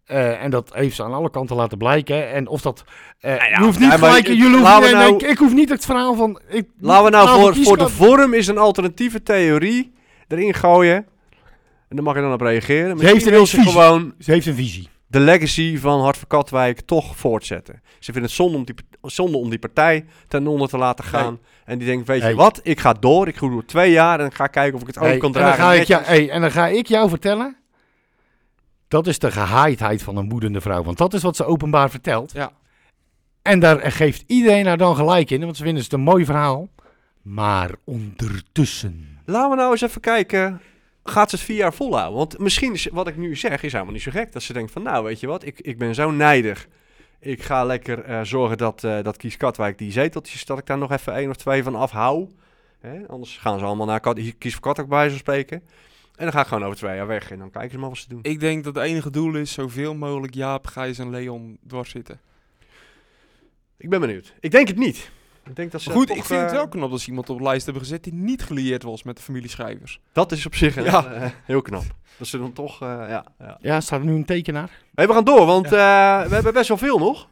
Speaker 3: Eh, en dat heeft ze aan alle kanten laten blijken. hè. En of dat. eh,
Speaker 4: Nou ja,
Speaker 3: je hoeft niet
Speaker 4: nee, maar
Speaker 3: gelijk.
Speaker 4: het-
Speaker 3: jullie hoeven-
Speaker 4: laten we
Speaker 3: nee, nee,
Speaker 4: nou-
Speaker 3: ik, ik hoef niet het verhaal van. Ik,
Speaker 4: Laten we nou
Speaker 3: Laten we
Speaker 4: voor, voor de
Speaker 3: kiezen.
Speaker 4: vorm is een alternatieve theorie erin gooien. En daar mag je dan op reageren. Misschien
Speaker 3: heeft een
Speaker 4: wil ze
Speaker 3: visie.
Speaker 4: gewoon
Speaker 3: Ze heeft een visie.
Speaker 4: de legacy van Hart van Katwijk toch voortzetten. Ze vinden het zonde om die, zonde om die partij ten onder te laten gaan. En die denken, weet
Speaker 3: Nee.
Speaker 4: je wat, ik ga door. Ik ga door twee jaar en ga kijken of ik het over
Speaker 3: Hey,
Speaker 4: kan
Speaker 3: en, dan
Speaker 4: dragen.
Speaker 3: ga ik jou,
Speaker 4: netjes.
Speaker 3: hey, en dan ga ik jou vertellen. Dat is de gehaaidheid van een woedende vrouw. Want dat is wat ze openbaar vertelt.
Speaker 1: Ja.
Speaker 3: En daar geeft iedereen haar dan gelijk in. Want ze vinden het een mooi verhaal. Maar ondertussen.
Speaker 4: Laten we nou eens even kijken. Gaat ze het vier jaar volhouden? Want misschien is wat ik nu zeg, is helemaal niet zo gek. Dat ze denkt van, nou weet je wat, ik, ik ben zo nijdig. Ik ga lekker eh, zorgen dat, eh, dat Kies Katwijk die zeteltjes, dat ik daar nog even één of twee van afhou. Hè? Anders gaan ze allemaal naar Kat, Kies voor Katwijk bij zo spreken. En dan ga ik gewoon over twee jaar weg en dan kijken ze maar wat ze doen.
Speaker 1: Ik denk dat het enige doel is zoveel mogelijk Jaap, Gijs en Leon dwars zitten.
Speaker 4: Ik ben benieuwd. Ik denk het niet. Ik denk dat ze
Speaker 1: Goed,
Speaker 4: toch,
Speaker 1: ik vind het
Speaker 4: eh,
Speaker 1: wel knap dat ze iemand op de lijst hebben gezet die niet gelieerd was met de
Speaker 4: [laughs]
Speaker 1: familieschrijvers.
Speaker 4: Dat is op zich een-
Speaker 1: Ja.
Speaker 4: eh, heel knap. Dat ze dan toch, eh, ja. ja.
Speaker 3: Ja, staat er nu een tekenaar?
Speaker 4: Hey, we gaan door, want eh, we hebben best wel veel nog.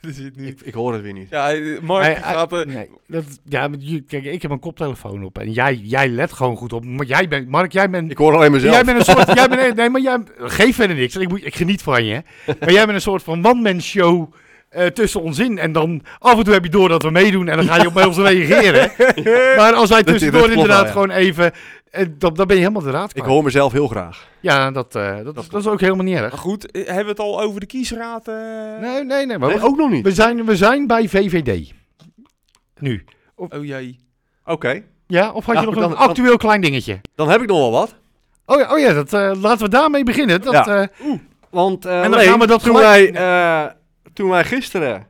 Speaker 1: Er zit nu...
Speaker 4: Ik, ik hoor het weer niet.
Speaker 1: Ja, eh, Mark
Speaker 3: Hij-
Speaker 1: die
Speaker 3: hij-
Speaker 1: gaat... eh,
Speaker 3: Nee. Dat, ja, maar je- kijk, ik heb een koptelefoon op. En jij, jij let gewoon goed op. Maar jij bent, Mark, jij bent
Speaker 4: Ik hoor alleen mezelf.
Speaker 3: Jij bent een soort. Jij bent, nee, maar jij. Geef verder niks. Ik, moet, ik geniet van je. Maar jij bent een soort van one-man-show eh, tussen ons in. En dan af en toe heb je door dat we meedoen. En dan ga
Speaker 4: [laughs]
Speaker 3: je op ons reageren. Maar als wij
Speaker 4: Dat-
Speaker 3: tussendoor
Speaker 4: dat klopt
Speaker 3: inderdaad
Speaker 4: wel, ja.
Speaker 3: gewoon even. eh, dan, dan ben je helemaal de raad.
Speaker 4: Ik
Speaker 3: kwijt.
Speaker 4: hoor mezelf heel graag.
Speaker 3: Ja, dat, eh, dat, is, dat is ook helemaal niet
Speaker 1: maar
Speaker 3: erg.
Speaker 1: goed, eh, hebben we het al over de kiesraad? eh?
Speaker 3: Nee, nee, nee. Maar we-
Speaker 4: ook nog niet.
Speaker 3: we, zijn, we zijn bij VVD. Nu.
Speaker 1: Oh jee.
Speaker 4: Oké,
Speaker 3: Ja, of had je
Speaker 4: Ja,
Speaker 3: nog
Speaker 4: dan-
Speaker 3: een
Speaker 4: dan-
Speaker 3: actueel klein dingetje?
Speaker 4: dan heb ik nog wel wat.
Speaker 3: Oh ja, oh ja dat, eh, laten we daarmee beginnen. Dat,
Speaker 4: Ja.
Speaker 3: eh,
Speaker 4: Want eh,
Speaker 3: En dan
Speaker 4: Leen,
Speaker 3: gaan we dat
Speaker 4: toen, wij,
Speaker 3: gelijk-
Speaker 4: eh, toen wij gisteren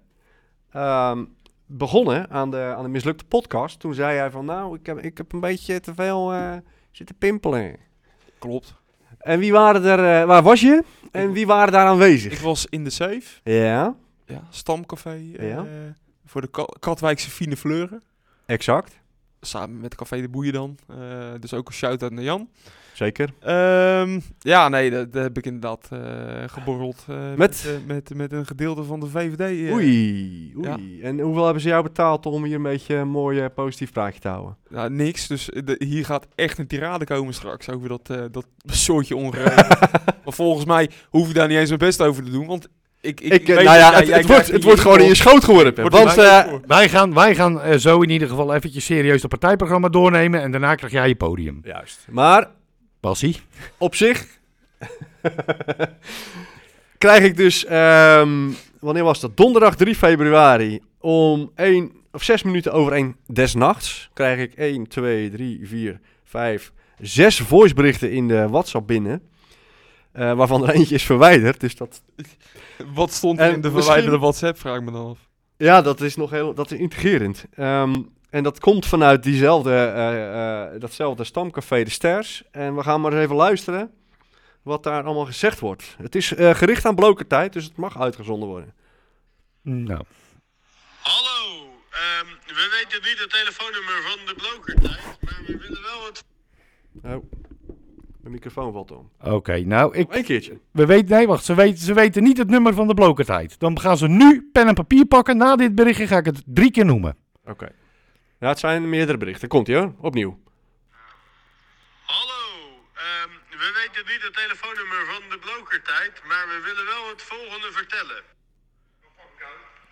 Speaker 4: ehm, begonnen aan de, aan de mislukte podcast, toen zei hij van nou, ik heb, ik heb een beetje te veel eh, zitten pimpelen.
Speaker 1: Klopt.
Speaker 4: En wie waren er, eh, waar was je? En
Speaker 1: Ik-
Speaker 4: wie waren daar aanwezig?
Speaker 1: Ik was in de safe.
Speaker 4: Ja,
Speaker 1: Ja, stamcafé. eh,
Speaker 4: Ja.
Speaker 1: Voor de Ka- Katwijkse fine fleuren.
Speaker 4: exact.
Speaker 1: Samen met Café de Boeien dan. Eh, dus ook een shout-out naar Jan.
Speaker 4: Zeker.
Speaker 1: Ehm, ja, nee, dat, dat heb ik inderdaad eh, geborreld. eh, met?
Speaker 4: Met?
Speaker 1: Met, eh, met, met een gedeelte van de VVD. eh.
Speaker 4: Oei, oei. En hoeveel hebben ze jou betaald om hier een beetje een mooi eh, positief praatje te houden?
Speaker 1: Nou, niks. Dus de- hier gaat echt een tirade komen straks over dat, eh dat soortje
Speaker 4: [laughs]
Speaker 1: ongeregeld. maar volgens mij hoef je daar niet eens mijn best over te doen. Want ik, ik,
Speaker 4: Ik, eh, nou
Speaker 1: weet dat
Speaker 4: ja,
Speaker 1: jij-
Speaker 4: het,
Speaker 1: jij
Speaker 4: het wordt,
Speaker 1: krijgt
Speaker 4: het wordt gewoon in je schoot geworpen.
Speaker 1: Wordt
Speaker 4: Want
Speaker 1: er
Speaker 4: eh,
Speaker 1: bijna voor.
Speaker 3: Wij gaan, wij gaan eh, zo in ieder geval eventjes serieus het partijprogramma doornemen. En daarna krijg jij je podium.
Speaker 4: Juist. Maar
Speaker 3: Bassie.
Speaker 4: op zich [laughs] krijg ik dus, ehm, wanneer was dat? Donderdag 3 februari om 1 of 6 minuten over 1 des nachts krijg ik 1, 2, 3, 4, 5, 6 voiceberichten in de WhatsApp binnen. eh, waarvan er eentje is verwijderd. Dus dat,
Speaker 1: Wat stond er
Speaker 4: En
Speaker 1: in de
Speaker 4: misschien-
Speaker 1: verwijderde WhatsApp? Vraag ik me dan af.
Speaker 4: ja, dat is nog heel dat is intrigerend. Ehm, en dat komt vanuit diezelfde, eh, eh, datzelfde stamcafé De Sters. En we gaan maar eens even luisteren wat daar allemaal gezegd wordt. Het is eh, gericht aan blokertijd, dus het mag uitgezonden worden.
Speaker 3: Nou.
Speaker 5: Hallo, ehm, we weten niet het telefoonnummer van de blokertijd, maar we willen wel het
Speaker 4: Oh, mijn microfoon valt om.
Speaker 3: Oké, nou, ik,
Speaker 4: Eén keertje.
Speaker 3: we weten, nee, wacht, ze weten, ze weten niet het nummer van de blokertijd. Dan gaan ze nu pen en papier pakken. Na dit berichtje ga ik het drie keer noemen.
Speaker 4: Oké. Ja, het zijn meerdere berichten. Komt ie hoor, opnieuw.
Speaker 5: Hallo, ehm, we weten niet het telefoonnummer van de blokertijd, maar we willen wel het volgende vertellen.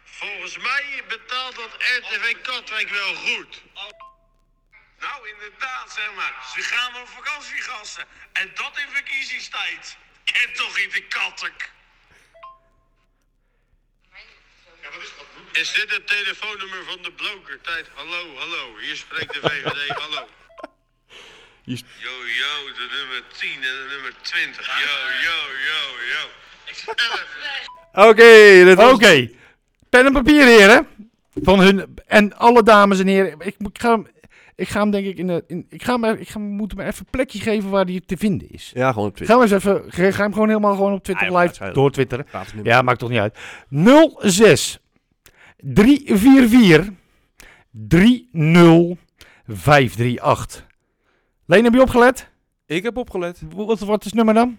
Speaker 5: Volgens mij betaalt dat RTV Katwijk wel goed. Nou, inderdaad, zeg maar. Ze gaan op vakantie, gasten. En dat in verkiezingstijd. Kent toch niet de kattek? Is dit het telefoonnummer van de blokertijd? Hallo, hallo, hier spreekt de VVD, hallo. Yo, yo, de nummer 10 en de nummer 20. Yo, yo, yo, yo.
Speaker 4: Oké, dit
Speaker 3: Oké,
Speaker 4: was-
Speaker 3: pen en papier, heren. Van hun, en alle dames en heren. Ik, moet- ik ga hem, ik ga hem denk ik, in, de- in, ik, ga hem, even- ik ga hem, moet hem even een plekje geven waar hij te vinden is.
Speaker 4: Ja, gewoon op
Speaker 3: Ga
Speaker 4: Twitter.
Speaker 3: hem eens even, ga ga hem gewoon helemaal gewoon op
Speaker 4: Ah,
Speaker 3: Twitter
Speaker 4: ja, dat
Speaker 3: live
Speaker 4: zou-
Speaker 3: door twitteren.
Speaker 4: Gratis nummer.
Speaker 3: Ja, maakt toch niet uit. 06 344 30538. Leen, heb je opgelet?
Speaker 1: Ik heb opgelet.
Speaker 3: Wat, wat is het nummer dan?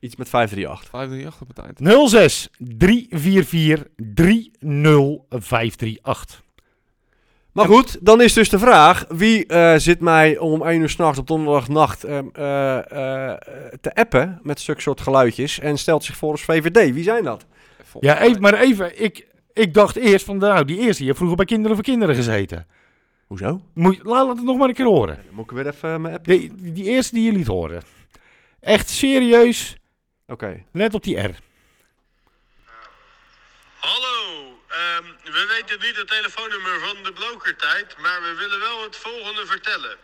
Speaker 4: Iets met 538.
Speaker 1: 538 op het eind.
Speaker 3: 06 344 30538.
Speaker 4: Maar goed, dan is dus de vraag: wie eh, zit mij om 1 uur s'nachts op donderdagnacht ehm, eh, eh, te appen met stuk soort geluidjes en stelt zich voor als VVD? Wie zijn dat?
Speaker 1: Volgens
Speaker 3: Ja, even,
Speaker 1: mij-
Speaker 3: maar even. Ik, ik dacht eerst van, nou, die eerste, je hebt vroeger bij Kinderen voor Kinderen gezeten.
Speaker 4: Hoezo?
Speaker 3: Moet, je- laat laat het nog maar een keer horen.
Speaker 4: Dan moet ik weer even eh, mijn app.
Speaker 3: Die, die eerste die je liet horen. Echt serieus,
Speaker 4: Oké.
Speaker 3: let op die R.
Speaker 5: Hallo, ehm, we weten niet het telefoonnummer van de blokertijd, maar we willen wel het volgende vertellen.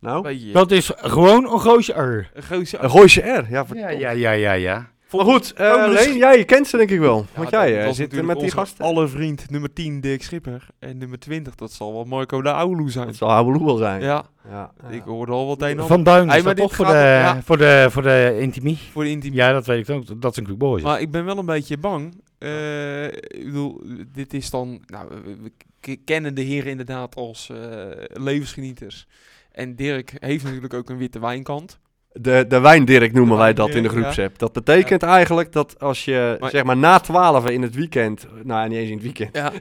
Speaker 4: Nou,
Speaker 1: Weet je,
Speaker 3: Dat is gewoon een goosje R.
Speaker 1: een gozer-
Speaker 4: een gooise R. Ja,
Speaker 3: Ja,
Speaker 4: verdomme.
Speaker 3: ja, ja, ja, ja.
Speaker 4: Maar goed, eh
Speaker 1: Oh, dus-
Speaker 4: Leen, jij kent ze denk ik wel. Want
Speaker 1: Ja,
Speaker 4: jij
Speaker 1: dat
Speaker 4: eh,
Speaker 1: was
Speaker 4: zit er
Speaker 1: natuurlijk
Speaker 4: met die
Speaker 1: onze
Speaker 4: gasten.
Speaker 1: Alle vriend, nummer 10 Dirk Schipper. En nummer 20, dat zal wel Marco de Oulu zijn.
Speaker 4: Het zal Habeloe wel zijn.
Speaker 1: Ja,
Speaker 4: Ja, ja.
Speaker 1: ik hoorde al wat een en ander
Speaker 3: Van Duin is
Speaker 1: Hey, maar
Speaker 3: dat
Speaker 1: dit
Speaker 3: toch voor de,
Speaker 1: gaat- ja.
Speaker 3: voor, de, voor de intimie?
Speaker 1: voor de intiem.
Speaker 3: Ja, dat weet ik ook. Dat is een quick boy.
Speaker 1: Maar ik ben wel een beetje bang. Eh, ik bedoel, dit is dan... Nou, we- we k- kennen de heren inderdaad als eh, levensgenieters. En Dirk heeft natuurlijk ook een witte wijnkant.
Speaker 4: De, de wijndirk noemen
Speaker 1: De
Speaker 4: wij dat in de
Speaker 1: wijndirk, ja.
Speaker 4: groepsapp. Dat betekent eigenlijk dat als je
Speaker 1: Maar-
Speaker 4: zeg maar na 12 in het weekend, nou niet eens in het weekend,
Speaker 1: Ja.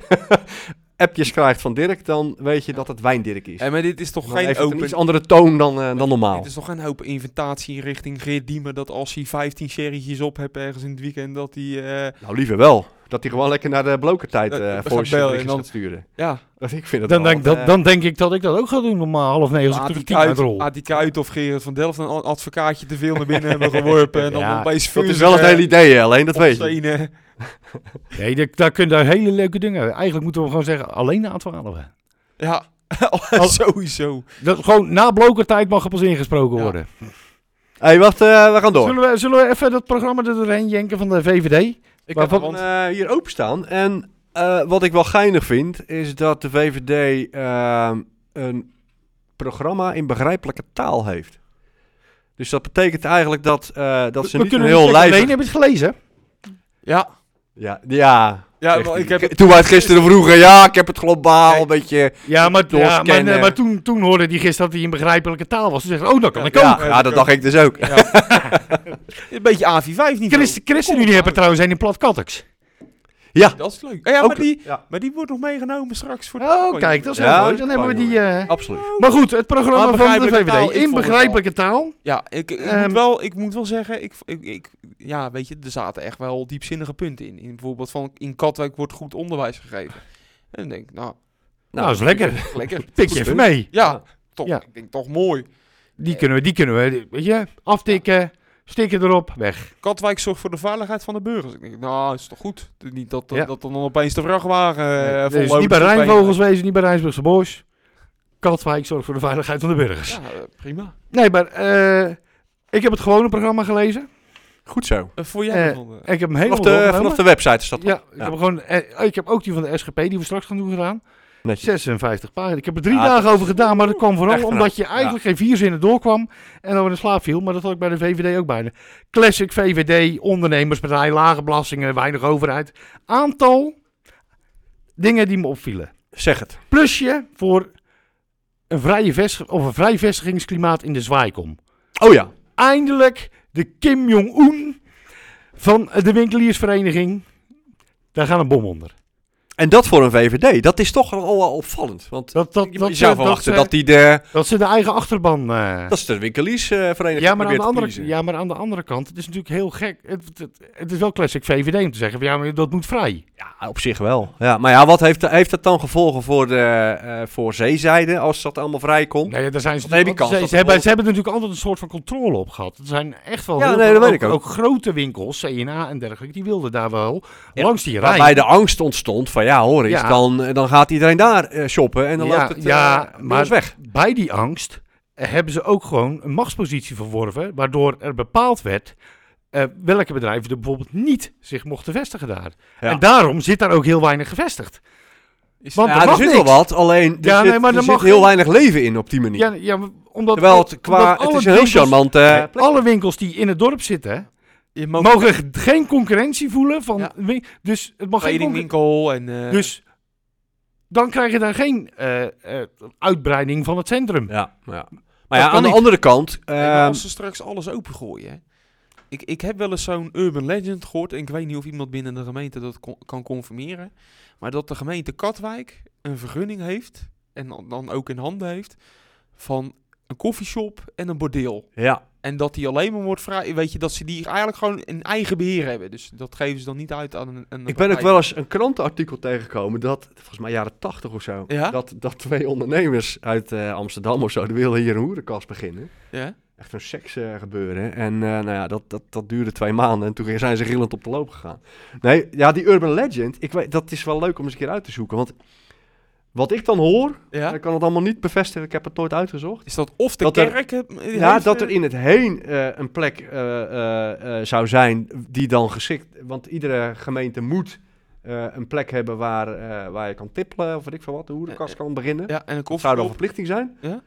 Speaker 4: appjes krijgt van Dirk, dan weet je dat het wijndirk is.
Speaker 1: En Eh, maar dit is toch
Speaker 4: Dan
Speaker 1: geen
Speaker 4: heeft het een
Speaker 1: open...
Speaker 4: iets andere toon dan, eh, dan normaal.
Speaker 1: Dit is toch geen open inventatie richting Geert Diemer... dat als hij 15 sherrytjes op hebt ergens in het weekend... dat hij... eh,
Speaker 4: Nou, liever wel. Dat hij gewoon lekker naar de blokertijd
Speaker 1: Dat-
Speaker 4: eh
Speaker 1: dat
Speaker 4: voor
Speaker 1: gaat bellen
Speaker 4: zich
Speaker 1: en dan-
Speaker 4: gaat sturen.
Speaker 1: ja,
Speaker 4: Dat, ik vind dat
Speaker 3: dan,
Speaker 4: wel,
Speaker 3: denk, dat,
Speaker 4: eh,
Speaker 3: dan denk ik dat ik dat ook ga doen om eh, half negen als ik terug tien uit rol.
Speaker 1: Had die Kuyt of Gerard van Delft een advocaatje te veel naar
Speaker 4: [laughs]
Speaker 1: binnen hebben geworpen. En dan
Speaker 3: Ja,
Speaker 1: opeens
Speaker 4: dat is wel het hele idee, hè, alleen dat weet je.
Speaker 3: Nee, daar, daar kun je daar hele leuke dingen uit. Eigenlijk moeten we gewoon zeggen, alleen na 12. hè.
Speaker 1: Ja, [laughs]
Speaker 3: Al-
Speaker 1: sowieso.
Speaker 3: Dat gewoon na blokertijd mag er pas ingesproken
Speaker 1: Ja.
Speaker 3: worden.
Speaker 4: Hé, hey, wacht, eh, we gaan door.
Speaker 3: Zullen we, zullen we even dat programma er doorheen jenken van de VVD?
Speaker 4: Ik
Speaker 3: Maar
Speaker 4: heb
Speaker 3: wat-
Speaker 4: hem eh, hier openstaan. En eh, wat ik wel geinig vind, is dat de VVD ehm, een programma in begrijpelijke taal heeft. Dus dat betekent eigenlijk dat, eh, dat ze niet een heel
Speaker 3: zeggen, Leen,
Speaker 4: lijst...
Speaker 3: heb je het gelezen?
Speaker 4: eh,
Speaker 1: Ja,
Speaker 4: Ja, ja.
Speaker 1: ja
Speaker 4: zegt
Speaker 1: wel,
Speaker 4: hij.
Speaker 1: ik heb
Speaker 3: [laughs]
Speaker 4: Ge- Toen wij het gisteren vroegen, ja, ik heb het globaal
Speaker 1: Nee.
Speaker 4: een beetje...
Speaker 3: Ja, maar, ja, maar,
Speaker 4: Doorscannen.
Speaker 3: nee, maar toen, toen hoorde die gisteren dat hij in begrijpelijke taal was. Toen zegt hij, oh, dat kan
Speaker 1: Ja,
Speaker 3: ik ook.
Speaker 4: Ja,
Speaker 1: ook.
Speaker 4: ja, dat dacht ik dus ook.
Speaker 1: een beetje AV5 niet.
Speaker 3: Christen, ChristenUnie hebben trouwens een in plat Katteks.
Speaker 4: Ja,
Speaker 1: Dat is leuk. Oh ja, maar,
Speaker 4: Ook-
Speaker 1: die,
Speaker 4: ja.
Speaker 1: maar die wordt nog meegenomen straks voor de
Speaker 3: Oh, kijk, dat is
Speaker 4: Ja,
Speaker 3: wel mooi.
Speaker 4: dat
Speaker 3: Dan
Speaker 4: kan,
Speaker 3: hebben we die... eh,
Speaker 4: absoluut. Nou,
Speaker 3: Maar goed, het
Speaker 1: Maar
Speaker 3: programma van de
Speaker 1: begrijpelijke taal,
Speaker 3: VVD.
Speaker 1: ik vond
Speaker 3: In
Speaker 1: het
Speaker 3: begrijpelijke taal.
Speaker 1: Ja, ik, ik,
Speaker 3: Ehm.
Speaker 1: moet wel, ik moet wel zeggen, ik, ik, ik, ja, weet je, er zaten echt wel diepzinnige punten in. in bijvoorbeeld van, in Katwijk wordt goed onderwijs gegeven. En dan denk ik, nou,
Speaker 3: Nou, is lekker.
Speaker 1: lekker.
Speaker 3: Tik
Speaker 1: Goed
Speaker 3: je even
Speaker 1: punt.
Speaker 3: mee.
Speaker 1: Ja, toch,
Speaker 3: Ja.
Speaker 1: ik denk toch mooi.
Speaker 3: Die kunnen we, die kunnen we, weet je, aftikken, stikken erop,
Speaker 4: Eh,
Speaker 3: weg.
Speaker 1: Katwijk zorgt voor de veiligheid van de burgers. Ik denk, nou, is toch goed? Niet dat,
Speaker 3: Ja.
Speaker 1: dat dan opeens de vrachtwagen eh,
Speaker 3: Nee,
Speaker 1: vol
Speaker 3: dus
Speaker 1: loods
Speaker 3: niet bij
Speaker 1: op een-
Speaker 3: Rijnvogels wezen, niet bij Rijnsburgse Bosch. Katwijk zorgt voor de veiligheid van de burgers.
Speaker 1: Ja, eh, prima.
Speaker 3: Nee, maar eh, ik heb het gewone programma gelezen.
Speaker 4: Goed zo.
Speaker 1: Eh, voor jij
Speaker 3: Eh,
Speaker 1: dan, eh.
Speaker 3: Ik heb hem helemaal
Speaker 4: Vanaf de,
Speaker 3: doorgenomen.
Speaker 4: vanaf de website is dat
Speaker 3: Ja, ik
Speaker 4: Ja.
Speaker 3: heb, gewoon, eh, ik heb ook die van de SGP, die we straks gaan doen, gedaan.
Speaker 4: netjes.
Speaker 3: 56 pagina's. Ik heb er drie
Speaker 4: Ja,
Speaker 3: dagen
Speaker 4: dat-
Speaker 3: over gedaan, maar dat kwam vooral
Speaker 4: Echt een
Speaker 3: omdat je
Speaker 4: hoop,
Speaker 3: eigenlijk geen vier zinnen doorkwam en dan weer in slaap viel. Maar dat had ik bij de VVD ook bijna. Classic VVD, ondernemerspartij, lage belastingen, weinig overheid. Aantal dingen die me opvielen.
Speaker 4: Zeg het.
Speaker 3: Plusje voor een, vrije vestig- of een vrij vestigingsklimaat in de zwaaikom.
Speaker 4: Oh ja.
Speaker 3: Eindelijk de Kim Jong-un van de winkeliersvereniging. Daar gaan een bom onder.
Speaker 4: En dat voor een VVD, dat is toch al wel opvallend. Want eh,
Speaker 3: Dat, dat,
Speaker 4: je
Speaker 3: dat,
Speaker 4: zou
Speaker 3: ze- dat, eh,
Speaker 4: verwachten
Speaker 3: ze,
Speaker 4: dat die de...
Speaker 3: dat ze de eigen achterban. eh,
Speaker 4: Dat is de winkeliersvereniging.
Speaker 3: ja, maar aan de andere, ja, maar aan de andere kant, het is natuurlijk heel gek. Het, het, het is wel classic VVD om te zeggen: van, ja, maar dat moet vrij.
Speaker 4: Ja, op zich wel. Ja, maar ja, wat heeft, heeft dat dan gevolgen voor, de, eh, voor zeezijde als dat allemaal vrijkomt?
Speaker 3: Nee, daar zijn ze,
Speaker 4: Dat heb je
Speaker 3: natuurlijk-
Speaker 4: kans
Speaker 3: ze,
Speaker 4: dat
Speaker 3: ze
Speaker 4: het
Speaker 3: hebben,
Speaker 4: vol-
Speaker 3: ze hebben natuurlijk altijd een soort van controle op gehad. Er zijn echt wel
Speaker 4: Ja,
Speaker 3: heel
Speaker 4: nee,
Speaker 3: veel-
Speaker 4: dat weet ik ook.
Speaker 3: ook grote winkels, CNA en dergelijke, die wilden daar wel
Speaker 4: Ja,
Speaker 3: langs die rij.
Speaker 4: Waarbij de angst ontstond van ja, hoor eens,
Speaker 3: Ja.
Speaker 4: dan, eh, dan gaat iedereen daar eh, shoppen en dan
Speaker 3: Ja,
Speaker 4: loopt het
Speaker 3: ja,
Speaker 4: ja,
Speaker 3: maar-
Speaker 4: maar weg.
Speaker 3: bij die angst eh, hebben ze ook gewoon een machtspositie verworven, waardoor er bepaald werd eh, welke bedrijven er bijvoorbeeld niet zich mochten vestigen daar.
Speaker 4: Ja.
Speaker 3: En daarom zit daar ook heel weinig gevestigd.
Speaker 1: Is-
Speaker 3: Want
Speaker 4: Ja,
Speaker 3: er
Speaker 4: er
Speaker 3: mag
Speaker 4: zit
Speaker 3: niks.
Speaker 4: wel wat, alleen er
Speaker 3: Ja,
Speaker 4: zit,
Speaker 3: nee, maar
Speaker 4: er
Speaker 3: er
Speaker 4: zit
Speaker 3: mag
Speaker 4: heel
Speaker 3: geen-
Speaker 4: weinig leven in op die manier.
Speaker 3: Ja, ja, omdat,
Speaker 4: Terwijl het qua,
Speaker 3: omdat
Speaker 4: het
Speaker 3: alle
Speaker 4: is een heel
Speaker 3: winkels-
Speaker 4: charmant eh, plek.
Speaker 3: Alle winkels die in het dorp zitten,
Speaker 1: Je mag
Speaker 3: mogen g- geen concurrentie voelen van...
Speaker 1: Ja.
Speaker 3: win- Dus het mag geen concurrentie...
Speaker 1: kledingwinkel en... eh,
Speaker 3: Dus dan krijg je daar geen eh, eh, uitbreiding van het centrum.
Speaker 4: Ja, ja. Maar
Speaker 3: Dat
Speaker 4: ja,
Speaker 3: kan
Speaker 4: aan de
Speaker 3: niet.
Speaker 4: andere kant,
Speaker 1: en
Speaker 4: ehm,
Speaker 1: als ze straks alles opengooien, hè, Ik, ik heb wel eens zo'n urban legend gehoord. En ik weet niet of iemand binnen de gemeente dat kon- kan confirmeren. Maar dat de gemeente Katwijk een vergunning heeft. En dan- dan ook in handen heeft. Van een koffieshop en een bordeel.
Speaker 4: Ja,
Speaker 1: En dat die alleen maar wordt vrij. Weet je, dat ze die eigenlijk gewoon in eigen beheer hebben. Dus dat geven ze dan niet uit aan een. een
Speaker 4: ik ben ook
Speaker 1: partij.
Speaker 4: wel eens een krantenartikel tegengekomen dat, volgens mij jaren tachtig of zo,
Speaker 1: Ja?
Speaker 4: dat, dat twee ondernemers uit eh, Amsterdam of zo, die wilden hier een hoerenkast beginnen.
Speaker 1: Ja?
Speaker 4: Echt een seks eh, gebeuren. En eh, nou ja, dat, dat, dat duurde twee maanden en toen zijn ze rillend op de loop gegaan. Nee, ja, die urban legend, ik weet, dat is wel leuk om eens een keer uit te zoeken. Want wat ik dan hoor, en
Speaker 1: ja?
Speaker 4: ik kan het allemaal niet bevestigen, ik heb het nooit uitgezocht.
Speaker 1: Is dat of de
Speaker 4: Dat er-
Speaker 1: kerk. het-
Speaker 4: Ja,
Speaker 1: heeft,
Speaker 4: dat
Speaker 1: eh,
Speaker 4: er in het heen eh, een plek eh, eh, eh, zou zijn die dan geschikt... Want iedere gemeente moet eh, een plek hebben waar, eh, waar je kan tippelen... of weet ik veel wat, de
Speaker 1: Eh,
Speaker 4: hoerenkast kan beginnen.
Speaker 1: Ja, en een
Speaker 4: dat zou dan
Speaker 1: koffieshop.
Speaker 4: verplichting zijn.
Speaker 1: Ja.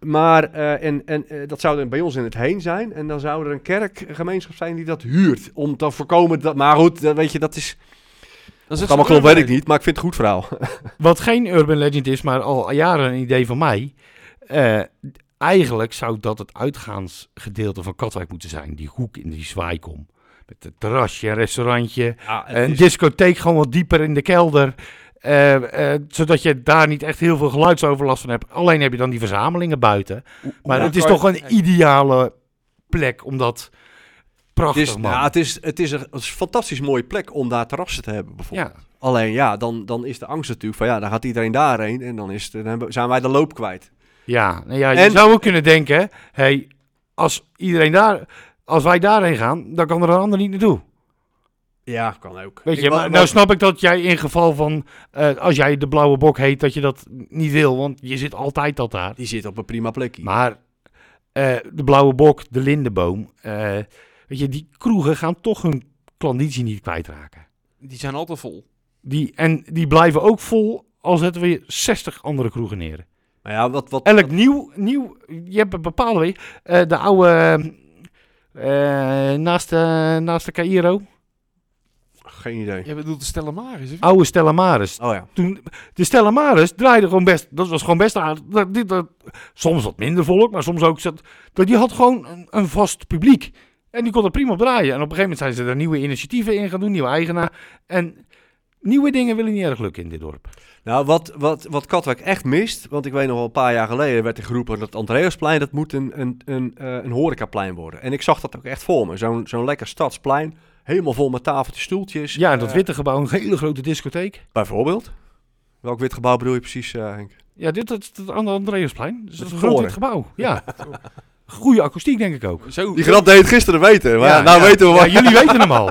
Speaker 4: Maar eh, en, en, eh, dat zou dan bij ons in het heen zijn. En dan zou er een kerkgemeenschap zijn die dat huurt. Om te voorkomen dat... Maar goed, dat, weet je, dat is...
Speaker 1: Dat is
Speaker 4: Dat
Speaker 1: echt
Speaker 4: allemaal
Speaker 1: zo'n
Speaker 4: klopt, weet ik
Speaker 1: urban
Speaker 4: niet. Maar ik vind het een goed verhaal.
Speaker 3: Wat geen urban legend is, maar al jaren een idee van mij. eh, eigenlijk zou dat het uitgaansgedeelte van Katwijk moeten zijn. Die hoek in die zwaaikom. Met een terrasje, een restaurantje. Een discotheek gewoon wat dieper in de kelder. eh, eh, zodat je daar niet echt heel veel geluidsoverlast van hebt. Alleen heb je dan die verzamelingen buiten.
Speaker 1: Hoe-
Speaker 3: Maar
Speaker 1: hoe
Speaker 3: het is
Speaker 1: kan je-
Speaker 3: toch een ideale plek om dat prachtig
Speaker 4: Het
Speaker 1: Dus
Speaker 4: is,
Speaker 3: man.
Speaker 4: nou, het, is, het, is een, het is een fantastisch mooie plek om daar terrassen te hebben, bijvoorbeeld.
Speaker 3: ja,
Speaker 4: Alleen ja, dan, dan is de angst natuurlijk van ja, dan gaat iedereen daarheen en dan, is het, dan hebben- zijn wij de loop kwijt.
Speaker 3: ja. Nou ja je
Speaker 4: En-
Speaker 3: zou ook kunnen denken, hey, als iedereen daar, als wij daarheen gaan, dan kan er een ander niet naartoe.
Speaker 4: Ja, kan ook.
Speaker 3: Weet
Speaker 4: Ik
Speaker 3: je,
Speaker 4: wa-
Speaker 3: maar
Speaker 4: wa-
Speaker 3: nou snap ik dat jij in geval van, eh, als jij de blauwe bok heet, dat je dat niet wil, want je zit altijd al daar.
Speaker 4: Die zit op een prima plekje.
Speaker 3: Maar eh, de blauwe bok, de lindenboom, eh, weet je, die kroegen gaan toch hun klanditie niet kwijtraken.
Speaker 1: Die zijn altijd [laughs] vol.
Speaker 3: Die, en die blijven ook vol al zetten we je 60 andere kroegen neer.
Speaker 4: Maar ja, wat, wat,
Speaker 3: Elk nieuw, nieuw, je hebt een bepaalde weg. Eh, de oude, eh, eh, naast, eh, naast de Cairo,
Speaker 4: geen idee.
Speaker 1: Je bedoelt de Stellamaris, of
Speaker 3: oude Stella Maris.
Speaker 4: Oh ja.
Speaker 3: Toen, de Stella Maris draaide gewoon best, dat was gewoon best aardig. Dat, dit, dat, soms wat minder volk, maar soms ook, zat, dat, die had gewoon een, een vast publiek. En die kon er prima op draaien. En op een gegeven moment zijn ze er nieuwe initiatieven in gaan doen, nieuwe eigenaar. En nieuwe dingen willen niet erg lukken in dit dorp.
Speaker 4: Nou, wat, wat, wat Katwijk echt mist, want ik weet nog wel een paar jaar geleden werd er geroepen dat Andreasplein, dat moet een, een, een, eh, een horecaplein worden. En ik zag dat ook echt voor me. Zo'n zo'n lekker stadsplein, helemaal vol met tafeltjes, stoeltjes.
Speaker 3: Ja, en dat
Speaker 4: Eh,
Speaker 3: witte gebouw, een hele grote discotheek.
Speaker 4: Bijvoorbeeld? Welk wit gebouw bedoel je precies, eh, Henk?
Speaker 3: Ja, dit is het aan de Andreasplein. Dus dat is een
Speaker 4: Met
Speaker 3: groot
Speaker 4: voren.
Speaker 3: wit gebouw.
Speaker 4: [laughs]
Speaker 3: Ja. Goede akoestiek, denk ik ook.
Speaker 1: niet? Ah, Zo,
Speaker 4: Die grap deed het gisteren weten, maar ja, nou
Speaker 3: ja.
Speaker 4: weten we
Speaker 3: Ja,
Speaker 4: wat.
Speaker 3: jullie weten hem
Speaker 4: [laughs]
Speaker 3: al.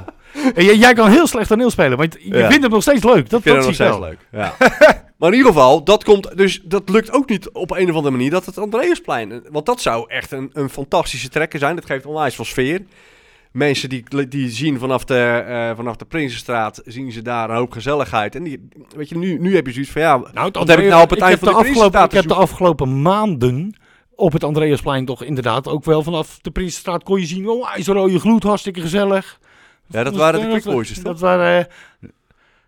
Speaker 3: En jij, jij kan heel slecht toneel spelen, maar je
Speaker 4: Ja.
Speaker 3: vindt hem nog steeds leuk. Dat,
Speaker 4: Ik vind
Speaker 3: dat
Speaker 4: het
Speaker 3: zie
Speaker 4: nog
Speaker 3: ik
Speaker 4: steeds
Speaker 3: wel.
Speaker 4: leuk. Ja.
Speaker 3: [laughs]
Speaker 4: maar in ieder geval, dat komt. Dus dat lukt ook niet op een of andere manier dat het Andreasplein. Want dat zou echt een, een fantastische trekker zijn. Dat geeft onwijs veel sfeer. Mensen die, die zien vanaf de, eh, vanaf de Prinsenstraat, zien ze daar een hoop gezelligheid. En die, weet je, nu, nu heb je zoiets van ja,
Speaker 3: Nou, het
Speaker 4: Wat heb ik nou op het eind
Speaker 3: heb
Speaker 4: van de
Speaker 3: afgelopen-
Speaker 4: Prinsenstraat
Speaker 3: Ik heb de afgelopen maanden op het Andreasplein toch inderdaad ook wel vanaf de Prinsenstraat kon je zien. Oh, hij is een rode gloed, hartstikke gezellig.
Speaker 4: ja dat waren de Quick Boys, toch?
Speaker 3: Dat waren... eh,